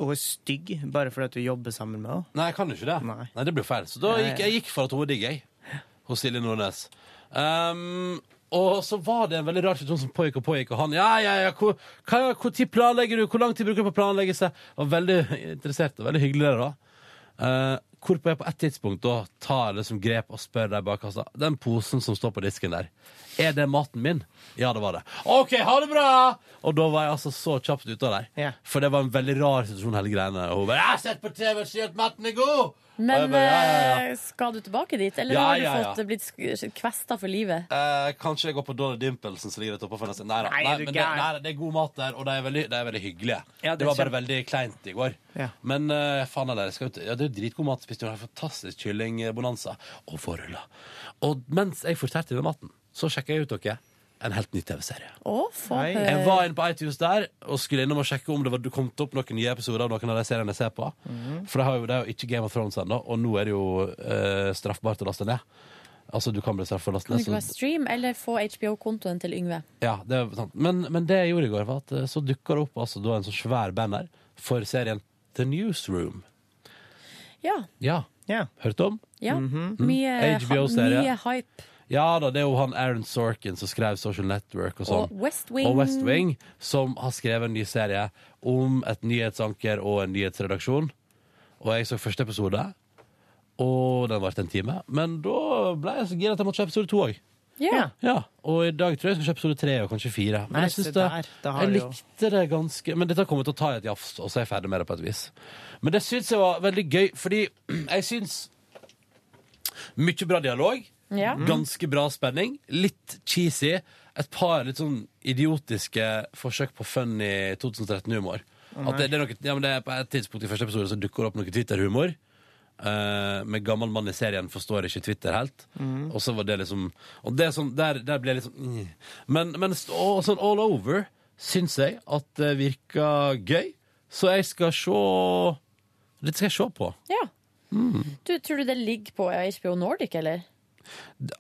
Hun er stygg bare fordi at du jobber sammen med henne. Nei, jeg kan jo ikke det. Nei. det blir jo feil. Så da Nei. gikk jeg gikk for at hun var digg, jeg. Hos Silje Nordnes. Ehm, og så var det en veldig rar situasjon som pågikk og pågikk, og han Ja, ja, ja, hvor, hva, hvor tid planlegger du? Hvor lang tid bruker du på å planlegge seg? Og veldig interessert og veldig hyggelig, det, da. Eh, hvorpå jeg på et tidspunkt da tar liksom grep og spør de bak kassa Den posen som står på disken der, er det maten min? Ja, det var det. OK, ha det bra! Og da var jeg altså så kjapt ute av der. For det var en veldig rar situasjon, hele greiene. Og hun bare, «Jeg har sett på TV og sier at maten er god! Og Men jeg bare, «Ja, ja, ja.» eh, skal du tilbake dit, eller Ja, har du ja, ja. fått blitt sk- kvesta for livet? Eh, kanskje jeg går på Dolly Dimpelsen som ligger rett oppå for nesten. Nei da. Nei, Nei, du men det, gæren. nei, det er god mat der, og de er veldig, de er veldig hyggelige. Ja, det det, var er bare veldig kleint i går. Ja. Men eh, faen heller, jeg skal ut. Ja, det er jo dritgod mat. Spiste jo en fantastisk kyllingbonanza og vårruller. Og mens jeg fortærte med maten, så sjekka jeg ut dere en helt ny TV-serie. Å, faen. Jeg var inne på iTunes der og skulle innom og sjekke om det var det kom opp noen nye episoder av noen av de seriene jeg ser på. For det, har jo, det er jo ikke Game of Thrones ennå, og nå er det jo eh, straffbart å laste ned. Altså, du kan bli straffet for å laste Kan du ned. ikke bare så- stream, eller få HBO-kontoen til Yngve? ja, det er sant. Men, men det jeg gjorde i går, var at eh, så dukka det opp altså, da en sånn svær banner for serien The Newsroom. Ja. Ja. Hørt om? ja. Mhm. Mye, HBO-serie. mye hype. Ja da, det er jo han Aaron Sorkin som skrev Social Network og sånn. Og West Wing. Og West Wing, som har skrevet en ny serie om et nyhetsanker og en nyhetsredaksjon. Og jeg så første episode, og den varte en time. Men da ble jeg så gira at jeg måtte se episode to òg. Ja. Ja, og i dag tror jeg jeg skal kjøpe episode tre og kanskje fire. Men Nei, jeg, synes se det, der, da har jeg du jo- likte det ganske Men dette kommer jeg til å ta i et jafs, og så er jeg ferdig med det på et vis. Men det syns jeg var veldig gøy, fordi jeg syns mye bra dialog. Ja. Ganske bra spenning. Litt cheesy. Et par litt sånn idiotiske forsøk på funny 2013-humor. Å, At det, det er noe, ja, men det er På et tidspunkt i første episode så dukker det opp noe Twitter-humor. eh, med gammel mann i serien forstår ikke Twitter helt. Mhm. Og så var det liksom Og det er sånn, der, der ble jeg liksom mm. Men, men st- og sånn all over syns jeg at det virka gøy. Så jeg skal se Dette skal jeg se på. Ja. Mm. Du, tror du det ligger på HBO Nordic, eller?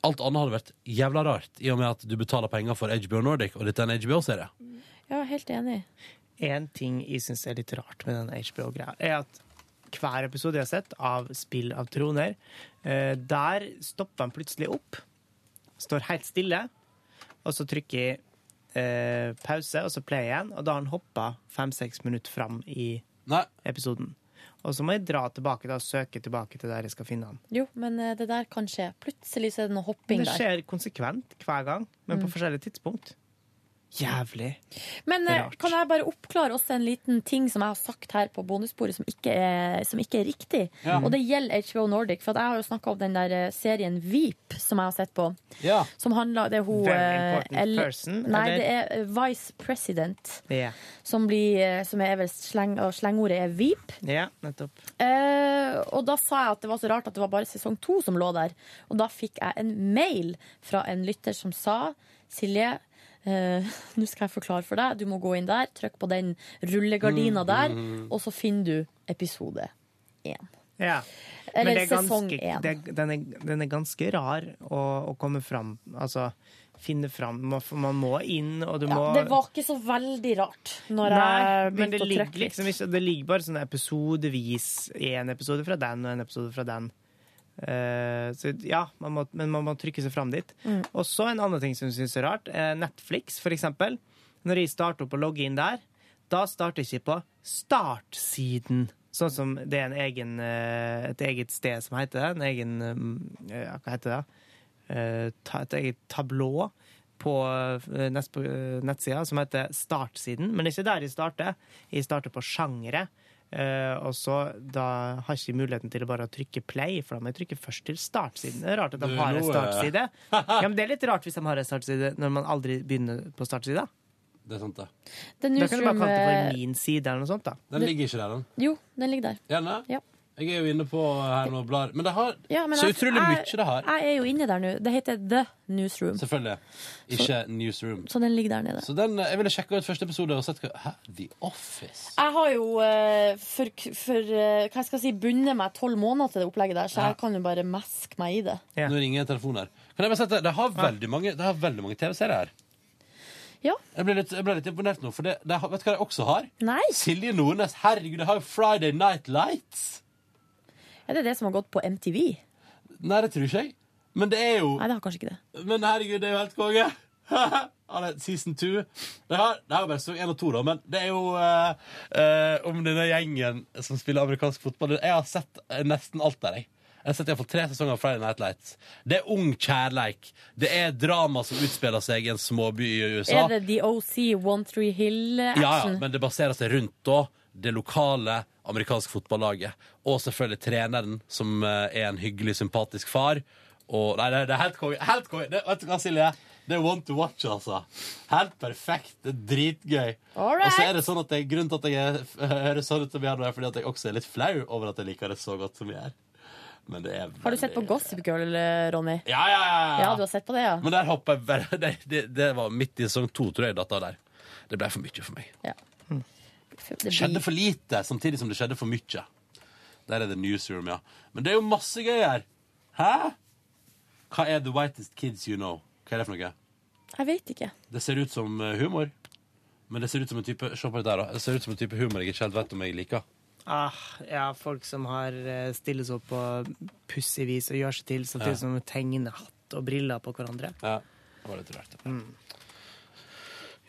Alt annet hadde vært jævla rart, i og med at du betaler penger for HBO Nordic, og dette er en HBO-serie. Ja, helt enig. En ting jeg syns er litt rart med den HBO-greia, er at hver episode jeg har sett av Spill av troner. Eh, Der stopper han plutselig opp, står helt stille, og så trykker jeg eh, pause, og så play igjen, og da har han hoppa fem-seks minutter fram i episoden. Og så må jeg dra tilbake da, og søke tilbake til der jeg skal finne han. Jo, men eh, det der kan skje. Plutselig så er det noe hopping Det der. skjer konsekvent hver gang, men på Mm. forskjellige tidspunkt. Jævlig. Men eh, Rart. kan jeg bare oppklare også en liten ting som jeg har sagt her på bonusbordet som ikke er, som ikke er riktig? Ja. Og det gjelder HBO Nordic, for at jeg har jo snakka om den der eh, serien Veep som jeg har sett på. Ja. Som handler Det er hun Very eh, important Elle- person, Nei, eller? det er eh, Vice President. Ja. Som, blir, eh, som er vel sleng, og slengordet er Veep. ja, nettopp. Eh, og da sa jeg at det var så rart at det var bare sesong to som lå der. Og da fikk jeg en mail fra en lytter som sa Silje, eh, nå skal jeg forklare for deg. Du må gå inn der, trykk på den rullegardina Mm, der, mm, mm. og så finner du episode én. Ja. Eller Men det er sesong ganske- én. det er- Den, er- den er ganske rar å, å komme fram Altså finne fram. Man, man må inn, og du Ja, må det var ikke så veldig rart når Nei, jeg men det begynte å ligger trykke litt. liksom ikke Det ligger bare sånn episodevis én episode fra den og en episode fra den. Eh, så ja, man må, men man må trykke seg fram dit. Mm. Og så en annen ting som jeg syns er rart. eh, Netflix, for eksempel. Når jeg starter opp og logger inn der, da starter jeg ikke på startsiden. Sånn som det er en egen, eh, et eget sted som heter det. En egen eh, ja, Hva heter det? Eh, ta- Et eget tablå på eh, nest- på, eh, nettsida som heter startsiden. Men det er ikke der jeg starter. Jeg starter på sjangere. Eh, og så da har jeg ikke muligheten til å bare trykke play, for da må jeg trykke først til startsiden. Det er rart at de Du, har en nå, eh. startside. Ja, men det er litt rart hvis de har en startside når man aldri begynner på startsida. Det er sant, det. Den Da kan du bare kalle det newsroom, eh, for min side eller noe sånt, da. Den ligger ikke der, den. Jo, den ligger der. Er den det? Ja. Jeg er jo inne på her nå og blar. Men det har Ja, men så jeg- utrolig jeg- mye det har. Jeg er jo inne der nå. Det heter The Newsroom. Selvfølgelig. Ikke Newsroom. Så den ligger der nede. Så den, jeg ville sjekka ut første episode og sett hva Hæ? The Office? Jeg har jo eh, for, for eh, hva skal jeg si, bundet meg tolv måneder til det opplegget der, så Ja. jeg kan jo bare meske meg i det. Nå ringer en telefon her. Kan jeg bare sette, det har veldig mange, det har veldig mange TV-serier her. Ja. Jeg ble litt, jeg ble litt imponert nå, for det, det, har- vet du hva jeg også har? Nei. Silje Nordnes. Herregud, jeg har jo Friday Night Lights. Er det det som har gått på MTV? Nei, det tror ikke jeg. Men det er jo Nei, det har kanskje ikke det. Men herregud, det er jo helt konge! Han er Season 2. Det her, det her er bare sesong 1 og 2, da, men det er jo eh, eh, om denne gjengen som spiller amerikansk fotball. Jeg har sett eh, nesten alt der, jeg. Jeg har sett i hvert fall tre sesonger av Friday Night Lights. Det er ung kjærleik. Det er drama som utspiller seg i en småby i USA. Er det The OC One Tree Ja, ja, Hill-action? men det baserer seg rundt da det lokale amerikanske fotballaget. Og selvfølgelig treneren, som eh, er en hyggelig, sympatisk far. Og, nei, det, det er helt konge. Helt konge. Det, vet du hva, Silje? Det er one to watch, altså. Helt perfekt. Det er dritgøy. Alright. Og så er det sånn at jeg, grunnen til at jeg eh, høres sånn ut som jeg gjør nå, er fordi at jeg også er litt flau over at jeg liker det så godt som jeg gjør. Men det er Har du sett på Gossip Girl, eh, Ronny? Ja, ja, ja. ja. Ja, du har sett på det, ja. Men der hoppa jeg bare det, det, det var midt i sesong to, tror jeg, datt av der. Det ble for mye for meg. Ja. Det Mm. skjedde for lite, samtidig som det skjedde for mye. Der er det newsroom, ja. Men det er jo masse gøy her. Hæ? Hva er The Whitest Kids You Know? Hva er det for noe? Jeg vet ikke. Det ser ut som eh, humor. Men det ser ut som en type Se på det der, da. Det ser ut som en type humor jeg ikke helt vet om jeg liker. Ah, ja, folk som har eh, stiller seg opp på pussig vis og gjør seg til, Ja. samtidig som de tegner hatt og briller på hverandre. Ja, det var litt rart.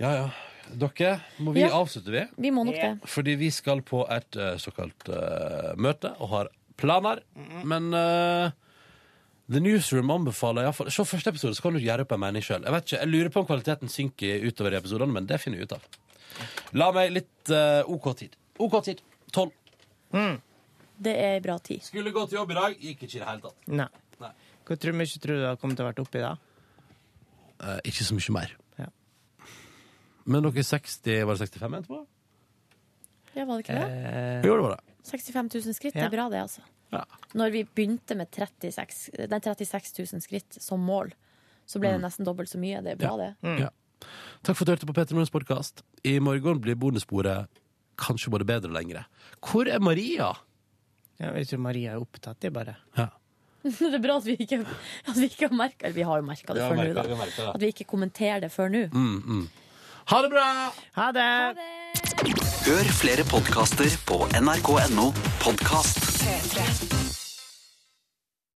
Ja, ja. Dere, må vi Ja. avslutte, vi? Vi må nok det. Fordi vi skal på et eh, såkalt eh, møte og har planer. Men eh, The Newsroom anbefaler iallfall Se første episode, så kan du gjøre opp en mening sjøl. Jeg vet ikke, jeg lurer på om kvaliteten synker utover i episodene, men det finner vi ut av. La meg litt eh, OK tid. OK tid. Tolv. Det er bra tid. Skulle gå til jobb i dag, gikk ikke i det hele tatt. Nei. Nei. Hvor tror- mye tror du det har kommet til å vært oppi da? Eh, ikke så mye mer. Ja. Men dere er 60, var det 65 etterpå? Ja, var det ikke det? jo, det var det. 65 000 skritt, det Eh, Ja. er bra det, altså. Ja. Når vi begynte med 36, nei, 36 000 skritt som mål, så ble det Mm. nesten dobbelt så mye. Det er bra, det. Ja. Takk for at du hørte på Peter Morgens podkast. I morgen blir bonussporet kanskje både bedre og lengre. Hvor er Maria? Ja, jeg tror Maria er opptatt, det bare. det er bra at vi ikke, at vi ikke har merka Eller vi har jo merka det Vi har før nå, merket- da. vi har merket det. At vi ikke kommenterer det før nå. Mm, mm. Ha det bra! Ha det! Ha det! Hør flere podkaster på nrk.no podkast. P3.